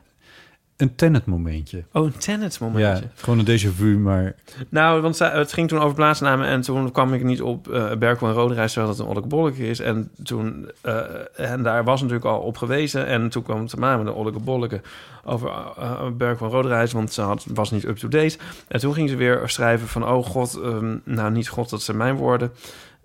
Speaker 1: Een tenet momentje.
Speaker 2: Oh, een Tenet momentje.
Speaker 1: Ja, gewoon een déjà vu, maar
Speaker 2: Nou, want zij- het ging toen over plaatsnamen en toen kwam ik niet op eh Berkel en Roderijs, terwijl dat een ollekebolleke is. En, toen, eh, en daar was natuurlijk al op gewezen en toen kwam Tamara met een ollekebolleke over eh Berkel en Roderijs, want ze had, was niet up-to-date. En toen ging ze weer schrijven van, oh god, ehm, nou niet god, dat zijn mijn woorden.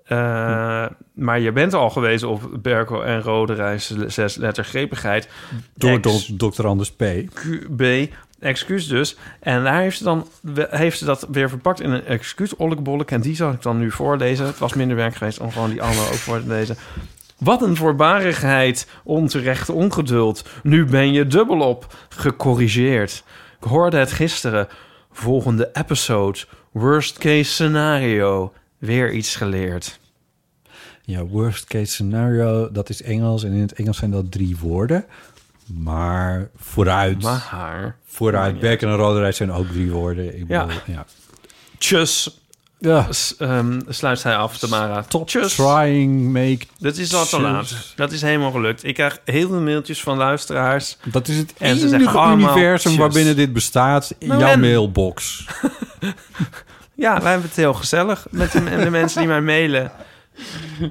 Speaker 2: Eh, Maar je bent al gewezen op Berkel en Roderijs, zes lettergrepigheid.
Speaker 1: door
Speaker 2: Ex-
Speaker 1: do- dokter Anders P.
Speaker 2: QB. Excuus dus. En daar heeft ze, dan, we- heeft ze dat weer verpakt in een excuus ollekbollek. En die zal ik dan nu voorlezen. Het was minder werk geweest om gewoon die andere ook voor te lezen. Wat een voorbarigheid, onterecht ongeduld. Nu ben je dubbelop gecorrigeerd. Ik hoorde het gisteren. Volgende episode. Worst case scenario. Weer iets geleerd.
Speaker 1: Ja, worst case scenario, dat is Engels en in het Engels zijn dat drie woorden. Maar vooruit,
Speaker 2: Maar haar.
Speaker 1: vooruit, Berken en Roderijs zijn ook drie woorden. Ik
Speaker 2: Ja.
Speaker 1: bedoel, ja.
Speaker 2: Tjus,
Speaker 1: ja.
Speaker 2: s- ehm, sluit hij af, Tamara. Tot tjus.
Speaker 1: Trying, make...
Speaker 2: Dat is al te laat. Dat is helemaal gelukt. Ik krijg heel veel mailtjes van luisteraars.
Speaker 1: Dat is het
Speaker 2: En ze
Speaker 1: enige
Speaker 2: zeggen allemaal
Speaker 1: universum
Speaker 2: tjus.
Speaker 1: waarbinnen dit bestaat. In
Speaker 2: Nou,
Speaker 1: jouw
Speaker 2: en-
Speaker 1: mailbox.
Speaker 2: Ja, wij hebben het heel gezellig met de, en de mensen die mij mailen.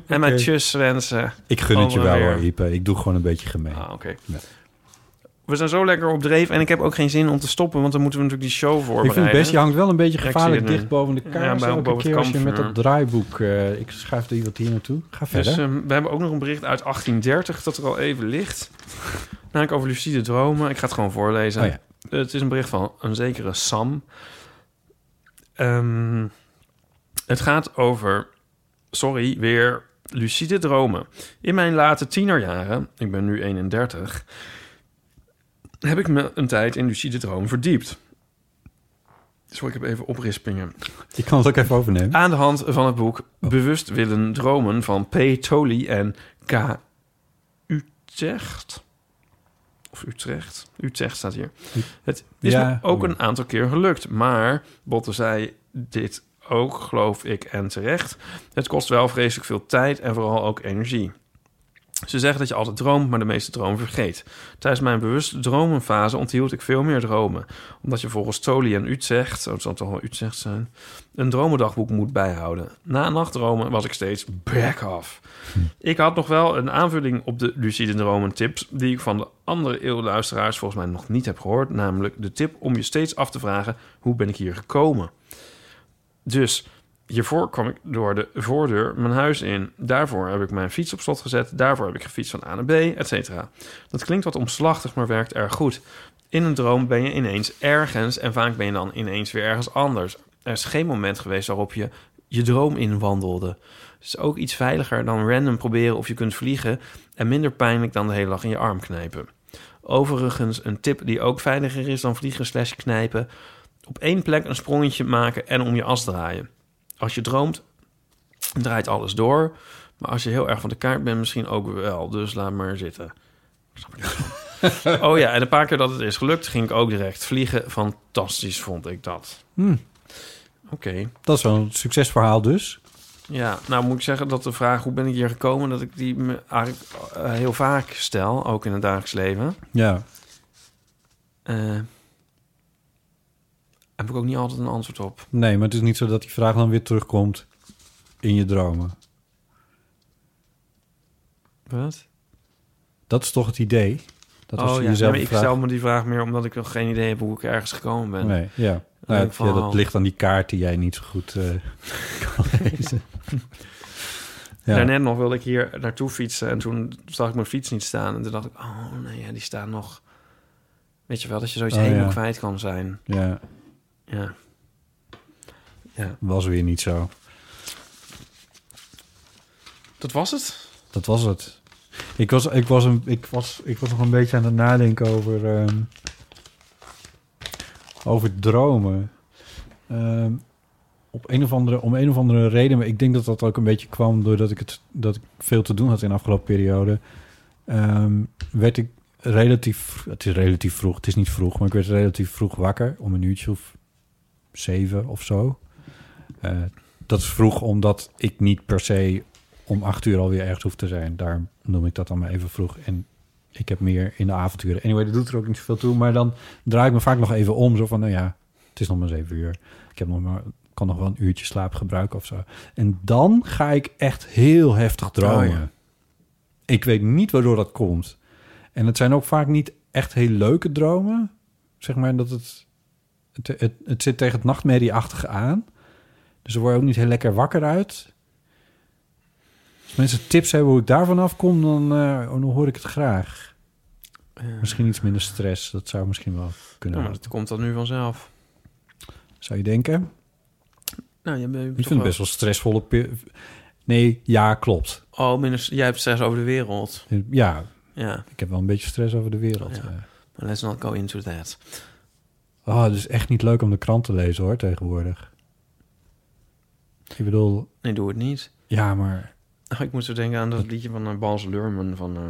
Speaker 2: En mijn
Speaker 1: Oké.
Speaker 2: tjus wensen.
Speaker 1: Ik gun het je
Speaker 2: Allemaal
Speaker 1: wel
Speaker 2: weer.
Speaker 1: hoor, Ipe. Ik doe gewoon een beetje gemeen.
Speaker 2: Ah, oké.
Speaker 1: Ja.
Speaker 2: We zijn zo lekker op dreef en ik heb ook geen zin om te stoppen, want dan moeten we natuurlijk die show voorbereiden.
Speaker 1: ik vind het best, je hangt wel een beetje
Speaker 2: Ja, ik
Speaker 1: gevaarlijk
Speaker 2: zie het
Speaker 1: dicht
Speaker 2: nu.
Speaker 1: boven de
Speaker 2: Ja,
Speaker 1: kaars.
Speaker 2: bij-
Speaker 1: elke
Speaker 2: boven het
Speaker 1: keer als je met
Speaker 2: kampvuur.
Speaker 1: dat draaiboek... eh, ik schrijf er iemand hier naartoe. Ga verder.
Speaker 2: Dus ehm, we hebben ook nog een bericht uit 1830 dat er al even ligt. Namelijk over lucide dromen. Ik ga het gewoon voorlezen.
Speaker 1: Oh ja.
Speaker 2: Het is een bericht van een zekere Sam. Ehm, het gaat over, sorry, weer lucide dromen. In mijn late tienerjaren, ik ben nu 31, heb ik me een tijd in lucide dromen verdiept. Sorry, ik heb even oprispingen.
Speaker 1: Ik kan het ook even overnemen.
Speaker 2: Aan de hand van het boek Bewust willen dromen van P. Tolly en K. Utrecht. Of Utrecht? Utrecht staat hier. Het is
Speaker 1: Ja,
Speaker 2: me ook
Speaker 1: oh.
Speaker 2: een aantal keer gelukt, maar Botte zei dit ook, geloof ik, en terecht. Het kost wel vreselijk veel tijd en vooral ook energie. Ze zeggen dat je altijd droomt, maar de meeste dromen vergeet. Tijdens mijn bewuste dromenfase onthield ik veel meer dromen. Omdat je volgens Toli en Utrecht, zo het zal toch wel Utrecht zijn, een dromendagboek moet bijhouden. Na nachtdromen was ik steeds back off. Ik had nog wel een aanvulling op de lucide dromen tips... die ik van de andere eeuwluisteraars volgens mij nog niet heb gehoord. Namelijk de tip om je steeds af te vragen... hoe ben ik hier gekomen? Dus hiervoor kwam ik door de voordeur mijn huis in. Daarvoor heb ik mijn fiets op slot gezet. Daarvoor heb ik gefietst van A naar B, et cetera. Dat klinkt wat omslachtig, maar werkt erg goed. In een droom ben je ineens ergens en vaak ben je dan ineens weer ergens anders. Er is geen moment geweest waarop je je droom inwandelde. Het is ook iets veiliger dan random proberen of je kunt vliegen en minder pijnlijk dan de hele dag in je arm knijpen. Overigens een tip die ook veiliger is dan vliegen slash knijpen. Op één plek een sprongetje maken en om je as draaien. Als je droomt, draait alles door. Maar als je heel erg van de kaart bent, misschien ook wel. Dus laat maar zitten. Oh ja, en een paar keer dat het is gelukt, ging ik ook direct vliegen. Fantastisch vond ik dat.
Speaker 1: Hmm.
Speaker 2: Oké.
Speaker 1: Dat is wel een succesverhaal dus.
Speaker 2: Ja, nou moet ik zeggen dat de vraag hoe ben ik hier gekomen, dat ik die me eigenlijk eh, heel vaak stel, ook in het dagelijks leven.
Speaker 1: Ja.
Speaker 2: Eh heb ik ook niet altijd een antwoord op.
Speaker 1: Nee, maar het is niet zo dat die vraag dan weer terugkomt in je dromen.
Speaker 2: Wat?
Speaker 1: Dat is toch het idee? Dat als
Speaker 2: oh,
Speaker 1: je
Speaker 2: ja.
Speaker 1: jezelf
Speaker 2: Nee, maar ik
Speaker 1: vraagt-
Speaker 2: stel me die vraag meer omdat ik nog geen idee heb hoe ik ergens gekomen ben.
Speaker 1: Nee, ja. Nou,
Speaker 2: Leuk
Speaker 1: het- ja,
Speaker 2: verhaal.
Speaker 1: dat ligt aan die kaart die jij niet zo goed eh, kan lezen. ja.
Speaker 2: Daarnet nog wilde ik hier naartoe fietsen en toen zag ik mijn fiets niet staan. En toen dacht ik, oh nee, ja, die staan nog. Weet je wel, dat je zoiets
Speaker 1: Oh,
Speaker 2: helemaal
Speaker 1: ja.
Speaker 2: kwijt kan zijn.
Speaker 1: ja.
Speaker 2: Ja. Ja.
Speaker 1: Was weer niet zo.
Speaker 2: Dat was het.
Speaker 1: Dat was het. Ik was, ik was, een, ik was, ik was nog een beetje aan het nadenken over, ehm, over dromen. Ehm, op een of andere, om een of andere reden, maar ik denk dat dat ook een beetje kwam doordat ik, het, dat ik veel te doen had in de afgelopen periode. ehm, werd ik relatief, het is relatief vroeg, het is niet vroeg, maar ik werd relatief vroeg wakker om een uurtje of zeven of zo. Eh, dat is vroeg omdat ik niet per se om acht uur alweer ergens hoef te zijn. Daar noem ik dat dan maar even vroeg. En ik heb meer in de avonturen. Anyway, dat doet er ook niet zoveel toe. Maar dan draai ik me vaak nog even om. Zo van, nou ja, het is nog maar zeven uur. Ik heb nog maar, kan nog wel een uurtje slaap gebruiken of zo. En dan ga ik echt heel heftig dromen.
Speaker 2: Oh ja.
Speaker 1: Ik weet niet waardoor dat komt. En het zijn ook vaak niet echt heel leuke dromen. Zeg maar dat het... Het, het, het zit tegen het nachtmerrieachtige aan. Dus er word je ook niet heel lekker wakker uit. Als mensen tips hebben hoe ik daarvan afkom, dan, eh, dan hoor ik het graag. Misschien iets minder stress. Dat zou misschien wel kunnen.
Speaker 2: Nou, dat komt dan nu vanzelf.
Speaker 1: Zou je denken?
Speaker 2: Nou, je bent
Speaker 1: Ik vind het best wel stressvolle... pe- Nee, ja, klopt.
Speaker 2: Oh, minder, jij hebt stress over de wereld.
Speaker 1: Ja,
Speaker 2: Ja.
Speaker 1: ik heb wel een beetje stress over de wereld.
Speaker 2: Ja.
Speaker 1: eh.
Speaker 2: Maar Let's not go into that.
Speaker 1: Oh, het is echt niet leuk om de krant te lezen, hoor, tegenwoordig. Ik bedoel,
Speaker 2: Nee, doe het niet.
Speaker 1: ja, maar...
Speaker 2: Oh, ik moest er denken aan dat liedje van eh, Bas Luhrmann van... eh,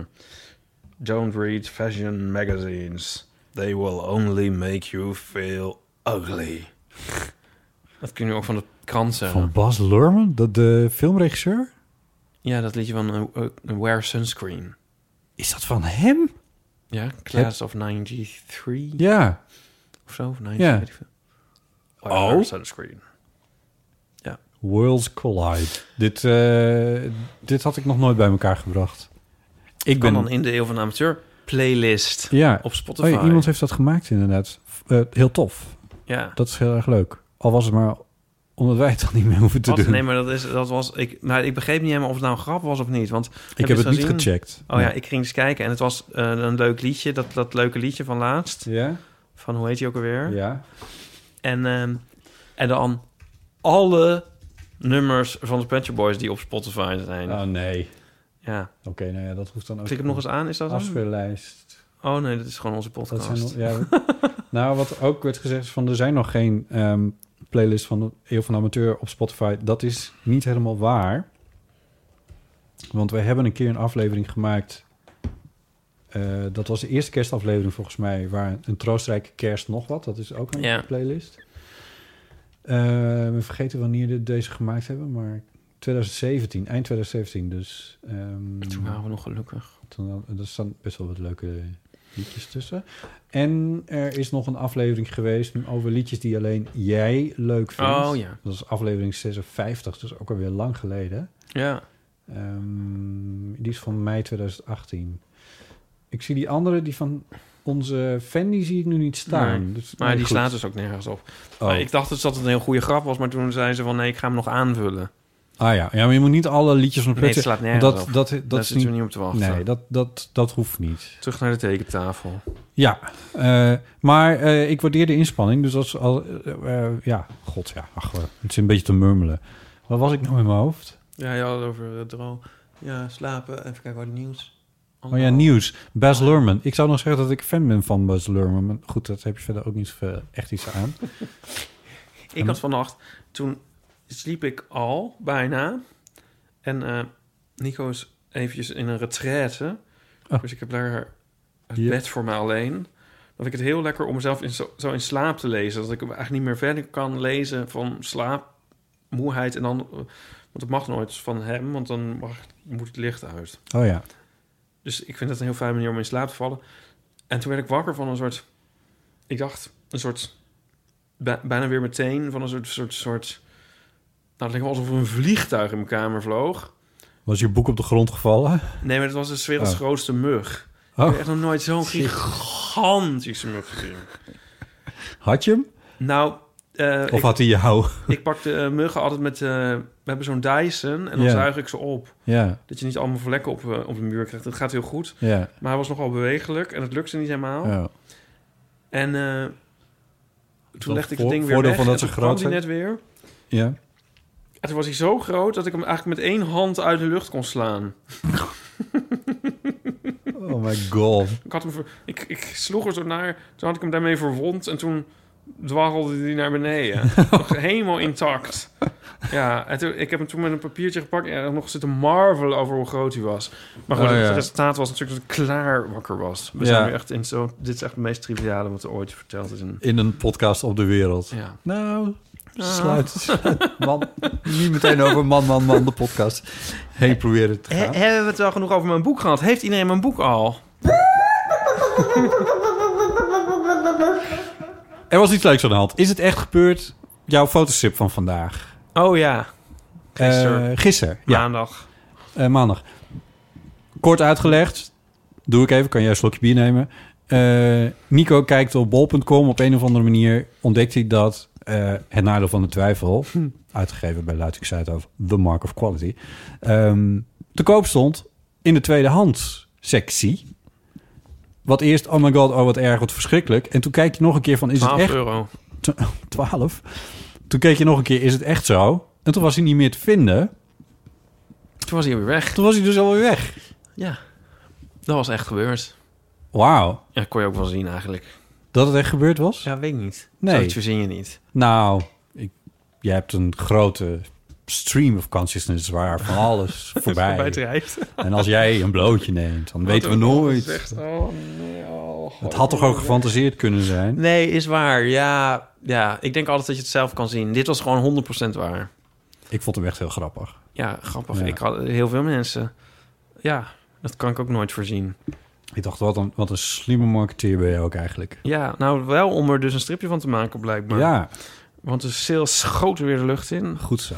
Speaker 2: Don't read fashion magazines. They will only make you feel ugly. Dat kun je ook van de krant zeggen.
Speaker 1: Van Bas Lurman, dat de filmregisseur?
Speaker 2: Ja, dat liedje van eh, eh, Wear Sunscreen.
Speaker 1: Is dat van hem?
Speaker 2: Ja, Class of 93
Speaker 1: Ja.
Speaker 2: of zo. Of 90,
Speaker 1: Ja. Oh.
Speaker 2: weet ik veel. Wear Sunscreen.
Speaker 1: Worlds Collide. Dit, eh, dit had ik nog nooit bij elkaar gebracht. Ik
Speaker 2: Ik ben dan in de Eeuw van de Amateur playlist
Speaker 1: ja.
Speaker 2: op Spotify.
Speaker 1: Oh ja, iemand heeft dat gemaakt inderdaad. F- eh, heel tof.
Speaker 2: Ja.
Speaker 1: Dat is heel erg leuk. Al was het maar omdat wij het dan niet meer hoeven te
Speaker 2: Wat?
Speaker 1: doen.
Speaker 2: Nee, maar dat, is, dat was... Ik, nou, ik begreep niet helemaal of het nou een grap was of niet. Want
Speaker 1: heb
Speaker 2: je
Speaker 1: het niet
Speaker 2: gezien?
Speaker 1: gecheckt.
Speaker 2: Oh ja,
Speaker 1: Nee.
Speaker 2: ik ging eens kijken en het was eh, een leuk liedje. Dat, dat leuke liedje van laatst.
Speaker 1: Ja?
Speaker 2: Van hoe heet die ook alweer?
Speaker 1: Ja.
Speaker 2: En, ehm, en dan alle nummers van de Pet Shop Boys die op Spotify zijn.
Speaker 1: Oh nee.
Speaker 2: Ja.
Speaker 1: Oké, nou ja, dat hoeft dan ook.
Speaker 2: Klik hem nog eens aan, is dat hem?
Speaker 1: Afspeellijst.
Speaker 2: Oh nee, dat is gewoon onze
Speaker 1: Dat
Speaker 2: podcast.
Speaker 1: zijn, nog- ja, nou, wat ook werd gezegd is van... er zijn nog geen ehm, playlist van de Eeuw van de Amateur op Spotify. Dat is niet helemaal waar. Want wij hebben een keer een aflevering gemaakt... eh, dat was de eerste kerstaflevering volgens mij... waar een troostrijke kerst nog wat. Dat is ook een
Speaker 2: Ja.
Speaker 1: playlist. Eh, we vergeten wanneer we deze gemaakt hebben, maar 2017, eind 2017. Dus ehm,
Speaker 2: Toen waren we nog gelukkig.
Speaker 1: toen, er staan best wel wat leuke liedjes tussen. En er is nog een aflevering geweest over liedjes die alleen jij leuk vindt.
Speaker 2: Oh, ja.
Speaker 1: Dat is aflevering 56, dus ook alweer lang geleden.
Speaker 2: Ja.
Speaker 1: Ehm, die is van mei 2018. Ik zie die andere, die van onze fan, die zie ik nu niet staan.
Speaker 2: Nee,
Speaker 1: Dus-
Speaker 2: maar
Speaker 1: nee,
Speaker 2: die
Speaker 1: goed.
Speaker 2: slaat dus ook nergens op.
Speaker 1: Oh.
Speaker 2: Maar ik dacht dus dat het een heel goede grap was, maar toen zei ze van nee, ik ga hem nog aanvullen.
Speaker 1: Ah ja. ja, maar je moet niet alle liedjes van de
Speaker 2: Nee, het
Speaker 1: Pet Shop-
Speaker 2: slaat nergens
Speaker 1: dat,
Speaker 2: op.
Speaker 1: Dat, dat,
Speaker 2: Daar
Speaker 1: is
Speaker 2: zitten
Speaker 1: niet...
Speaker 2: we niet op te wachten.
Speaker 1: Nee, dat, dat, dat hoeft niet.
Speaker 2: Terug naar de tekentafel.
Speaker 1: Ja, eh, maar eh, ik waardeer de inspanning. Dus als al, eh, eh, ja, god ja, ach, eh, het is een beetje te murmelen. Wat was ik nou in mijn hoofd?
Speaker 2: Ja, je had het over eh, droom. Ja, slapen. Even kijken wat nieuws.
Speaker 1: Oh ja, nieuws. Bas Lerman. Ik zou nog zeggen dat ik fan ben van Bas Lerman. Maar goed, dat heb je verder ook niet zoveel echt iets aan.
Speaker 2: Ik had vannacht, toen sliep ik al bijna. En eh, Nico is eventjes in een retraite.
Speaker 1: Oh.
Speaker 2: Dus ik heb daar het
Speaker 1: Ja.
Speaker 2: bed voor me alleen. Dat ik het heel lekker om mezelf in zo, zo in slaap te lezen. Dat ik hem eigenlijk niet meer verder kan lezen van slaap, moeheid. En dan, eh, want dat mag nooit van hem, want dan mag, moet het licht uit.
Speaker 1: Oh ja.
Speaker 2: Dus ik vind dat een heel fijne manier om in slaap te vallen. En toen werd ik wakker van een soort... Ik dacht, een soort... bij- bijna weer meteen van een soort... soort, soort nou, het leek wel alsof er een vliegtuig in mijn kamer vloog.
Speaker 1: Was je boek op de grond gevallen?
Speaker 2: Nee, maar het was de werelds
Speaker 1: Oh.
Speaker 2: grootste mug. Ik
Speaker 1: Oh,
Speaker 2: heb echt nog nooit zo'n gigantische mug gezien.
Speaker 1: had je hem?
Speaker 2: Nou, eh,
Speaker 1: Of
Speaker 2: ik,
Speaker 1: had hij jou?
Speaker 2: ik pak de eh, muggen altijd met... eh, we hebben zo'n Dyson en dan
Speaker 1: Ja.
Speaker 2: zuig ik ze op.
Speaker 1: Ja,
Speaker 2: Dat je niet allemaal vlekken op, eh, op de muur krijgt. Dat gaat heel goed.
Speaker 1: ja.
Speaker 2: Maar hij was nogal bewegelijk en het lukte niet helemaal.
Speaker 1: ja.
Speaker 2: En eh, toen
Speaker 1: Dat
Speaker 2: legde ik
Speaker 1: voor-
Speaker 2: het ding weer
Speaker 1: voordeel
Speaker 2: weg.
Speaker 1: van dat
Speaker 2: en
Speaker 1: ze
Speaker 2: toen
Speaker 1: groot
Speaker 2: kwam die net weer.
Speaker 1: Ja.
Speaker 2: En toen was hij zo groot dat ik hem eigenlijk met één hand uit de lucht kon slaan.
Speaker 1: Oh my god.
Speaker 2: Ik, had hem ver- ik, ik sloeg er zo naar, toen had ik hem daarmee verwond en toen dwarrelde hij naar beneden. Nog helemaal intact. Ja, en toen, ik heb hem toen met een papiertje gepakt en nog zitten marvelen over hoe groot hij was. Maar goed,
Speaker 1: Oh, ja.
Speaker 2: het resultaat was natuurlijk dat ik klaar wakker was. We
Speaker 1: Ja.
Speaker 2: zijn weer echt in zo, dit is echt het meest triviale wat er ooit verteld is. In,
Speaker 1: In een podcast op de wereld.
Speaker 2: ja.
Speaker 1: Nou, sluit. sluit. Man, niet meteen over man, man, man, de podcast heen proberen te
Speaker 2: He-
Speaker 1: gaan.
Speaker 2: hebben we het wel genoeg over mijn boek gehad? Heeft iedereen mijn boek al?
Speaker 1: Er was iets leuks aan de hand. Is het echt gebeurd? Jouw fotosip van vandaag.
Speaker 2: Oh ja, Gisteren.
Speaker 1: Eh, gisteren, ja.
Speaker 2: maandag.
Speaker 1: Eh, maandag. Kort uitgelegd. Doe ik even. Kan jij een slokje bier nemen? Eh, Nico kijkt op bol.com. Op een of andere manier ontdekt hij dat... eh, het nadeel van de twijfel... uitgegeven bij Luiting Zuidhoofd... The Mark of Quality... ehm, te koop stond in de tweedehands sectie. Wat eerst... Oh my god, oh wat erg, wat verschrikkelijk. En toen kijk je nog een keer van... Is het
Speaker 2: 12
Speaker 1: echt...
Speaker 2: euro.
Speaker 1: Tw- 12. Toen keek je nog een keer, is het echt zo? En toen was hij niet meer te vinden.
Speaker 2: Toen was hij weer weg.
Speaker 1: Toen was hij dus alweer weg.
Speaker 2: Ja, dat was echt gebeurd.
Speaker 1: Wauw,
Speaker 2: Ja, kon je ook wel zien eigenlijk.
Speaker 1: dat het echt gebeurd was?
Speaker 2: Ja, weet ik niet.
Speaker 1: Nee.
Speaker 2: Zoiets verzin je niet.
Speaker 1: Nou, ik, jij hebt een grote stream of consciousness waar van alles voorbij.
Speaker 2: Voorbij drijft.
Speaker 1: en als jij een blootje neemt, dan weten we nooit. oh, het had toch ook gefantaseerd kunnen zijn?
Speaker 2: Nee, is waar. Ja, ja, ik denk altijd dat je het zelf kan zien. Dit was gewoon 100% waar.
Speaker 1: Ik vond hem echt heel grappig.
Speaker 2: Ja, grappig.
Speaker 1: Ja.
Speaker 2: Ik had heel veel mensen. Ja, dat kan ik ook nooit voorzien.
Speaker 1: Ik dacht, wat een, wat een slimme marketeer ben je ook eigenlijk.
Speaker 2: Ja, nou wel om er dus een stripje van te maken blijkbaar.
Speaker 1: Ja,
Speaker 2: Want de sales schoten weer de lucht in.
Speaker 1: goed zo.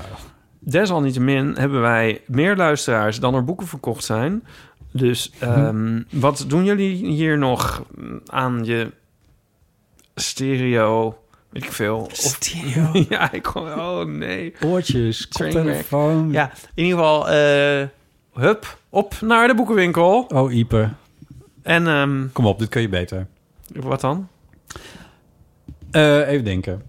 Speaker 2: Desalniettemin hebben wij meer luisteraars dan er boeken verkocht zijn. Dus ehm, wat doen jullie hier nog aan je stereo? Weet ik veel. Of,
Speaker 1: Stereo.
Speaker 2: ja, ik kon, oh nee.
Speaker 1: Oortjes,
Speaker 2: Trainwreck.
Speaker 1: koptelefoon.
Speaker 2: Ja, in ieder geval, eh, hup, op naar de boekenwinkel.
Speaker 1: Oh, Ieper.
Speaker 2: En ehm,
Speaker 1: Kom op, dit kun je beter.
Speaker 2: wat dan?
Speaker 1: Eh, even denken.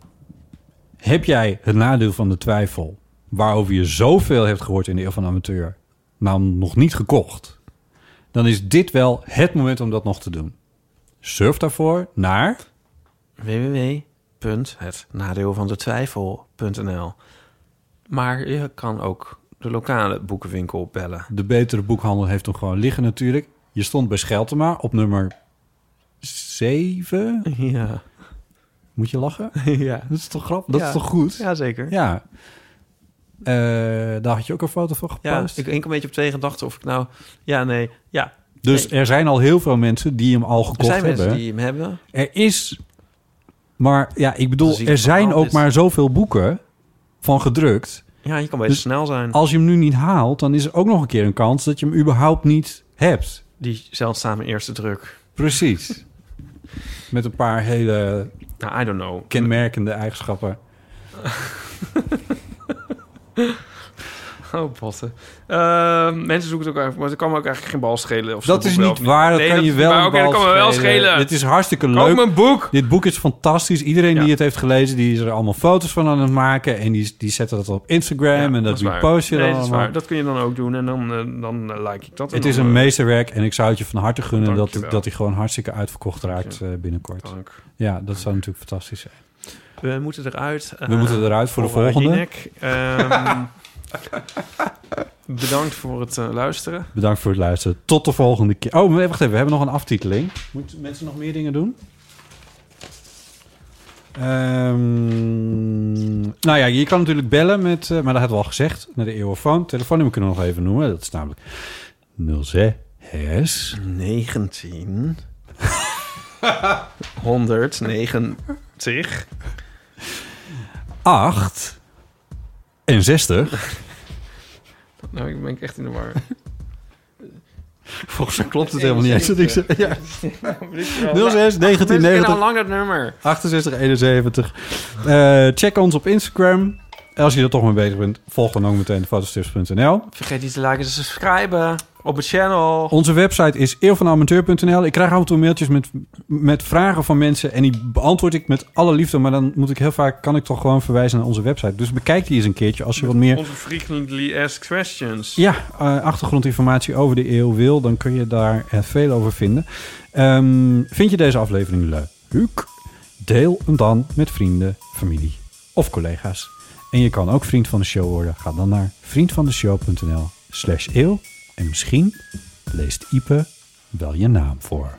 Speaker 1: Heb jij het nadeel van de twijfel... waarover je zoveel hebt gehoord in de Eeuw van de Amateur... nou nog niet gekocht... dan is dit wel het moment om dat nog te doen. Surf daarvoor naar...
Speaker 2: www.hetnadeelvandetwijfel.nl Maar je kan ook de lokale boekenwinkel bellen.
Speaker 1: De betere boekhandel heeft hem gewoon liggen natuurlijk. Je stond bij Scheltema op nummer 7.
Speaker 2: Ja,
Speaker 1: Moet je lachen?
Speaker 2: ja.
Speaker 1: Dat is toch grappig? Dat
Speaker 2: Ja.
Speaker 1: is toch goed? Ja.
Speaker 2: zeker.
Speaker 1: Eh, daar had je ook een foto van
Speaker 2: Ja,
Speaker 1: gepost.
Speaker 2: ik ik een beetje op twee gedachten of ik nou... Ja, nee, ja.
Speaker 1: Dus er zijn al heel veel mensen die hem al
Speaker 2: Er
Speaker 1: gekocht
Speaker 2: zijn mensen
Speaker 1: hebben.
Speaker 2: die hem hebben.
Speaker 1: Er is, maar ja, ik bedoel,
Speaker 2: Ziek
Speaker 1: er zijn
Speaker 2: verhaal
Speaker 1: ook
Speaker 2: is-
Speaker 1: maar zoveel boeken van gedrukt.
Speaker 2: Ja, je kan beter
Speaker 1: Dus
Speaker 2: snel zijn.
Speaker 1: Als je hem nu niet haalt, dan is er ook nog een keer een kans dat je hem überhaupt niet hebt.
Speaker 2: Die zeldzame eerste druk.
Speaker 1: Precies. Met een paar hele
Speaker 2: Nou, I don't know.
Speaker 1: kenmerkende eigenschappen.
Speaker 2: Oh, botten. Eh, mensen zoeken het ook even, maar het kan me ook eigenlijk geen bal schelen. Of ze
Speaker 1: Dat
Speaker 2: het
Speaker 1: is
Speaker 2: boek wel
Speaker 1: niet
Speaker 2: of
Speaker 1: waar, dat
Speaker 2: Nee,
Speaker 1: kan je
Speaker 2: is
Speaker 1: wel
Speaker 2: waar.
Speaker 1: een
Speaker 2: Oké,
Speaker 1: bal
Speaker 2: dat kan me wel schelen.
Speaker 1: Dit is hartstikke
Speaker 2: Koop
Speaker 1: leuk.
Speaker 2: mijn boek.
Speaker 1: Dit boek is fantastisch. Iedereen
Speaker 2: Ja.
Speaker 1: die het heeft gelezen, die is er allemaal foto's van aan het maken. En die, die zetten dat op Instagram en dat,
Speaker 2: is waar.
Speaker 1: repost je
Speaker 2: nee,
Speaker 1: dan
Speaker 2: dat is
Speaker 1: allemaal.
Speaker 2: waar. Dat kun je dan ook doen en dan, eh, dan eh, like ik dat. en
Speaker 1: Het is
Speaker 2: dan,
Speaker 1: een
Speaker 2: eh,
Speaker 1: meesterwerk en ik zou het je van harte gunnen dat,
Speaker 2: Dankjewel.
Speaker 1: dat hij gewoon hartstikke uitverkocht raakt eh, binnenkort.
Speaker 2: dank.
Speaker 1: Ja, dat zou natuurlijk fantastisch zijn.
Speaker 2: We moeten eruit. Eh,
Speaker 1: We moeten eruit voor de Eh, volgende.
Speaker 2: Ehm, bedankt voor het eh, luisteren.
Speaker 1: Bedankt voor het luisteren. Tot de volgende keer. Oh, maar wacht even. We hebben nog een aftiteling. Moeten mensen nog meer dingen doen? Ehm, nou ja, je kan natuurlijk bellen met... eh, maar dat hadden we al gezegd. Naar de eeuwofoon. Telefoonnummer kunnen we nog even noemen. Dat is namelijk 06...
Speaker 2: 19. 190.
Speaker 1: 8 en 60.
Speaker 2: Nou, ik ben echt in de war.
Speaker 1: Volgens mij klopt het helemaal niet eens. wat ik zei. Ja,
Speaker 2: Mensen
Speaker 1: 06
Speaker 2: kennen al
Speaker 1: 1990
Speaker 2: lang dat nummer.
Speaker 1: 68 71. Eh, check ons op Instagram. als je er toch mee bezig bent, volg dan ook meteen fotostips.nl.
Speaker 2: Vergeet niet te liken en te subscriben op het channel.
Speaker 1: Onze website is eeuwvanamateur.nl. Ik krijg af en toe mailtjes met, met vragen van mensen en die beantwoord ik met alle liefde. Maar dan moet ik heel vaak, kan ik toch gewoon verwijzen naar onze website. Dus bekijk die eens een keertje als je wat meer
Speaker 4: Onze frequently asked questions.
Speaker 1: ja, eh, achtergrondinformatie over de eeuw wil. Dan kun je daar eh, veel over vinden. Ehm, vind je deze aflevering leuk? Deel hem dan met vrienden, familie of collega's. En je kan ook vriend van de show worden. Ga dan naar vriendvandeshow.nl slash eeuw. En misschien leest Ipe wel je naam voor.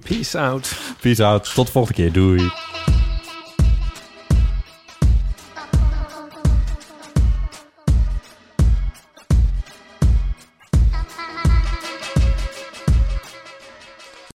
Speaker 2: Peace out.
Speaker 1: Peace out. Tot de volgende keer. Doei.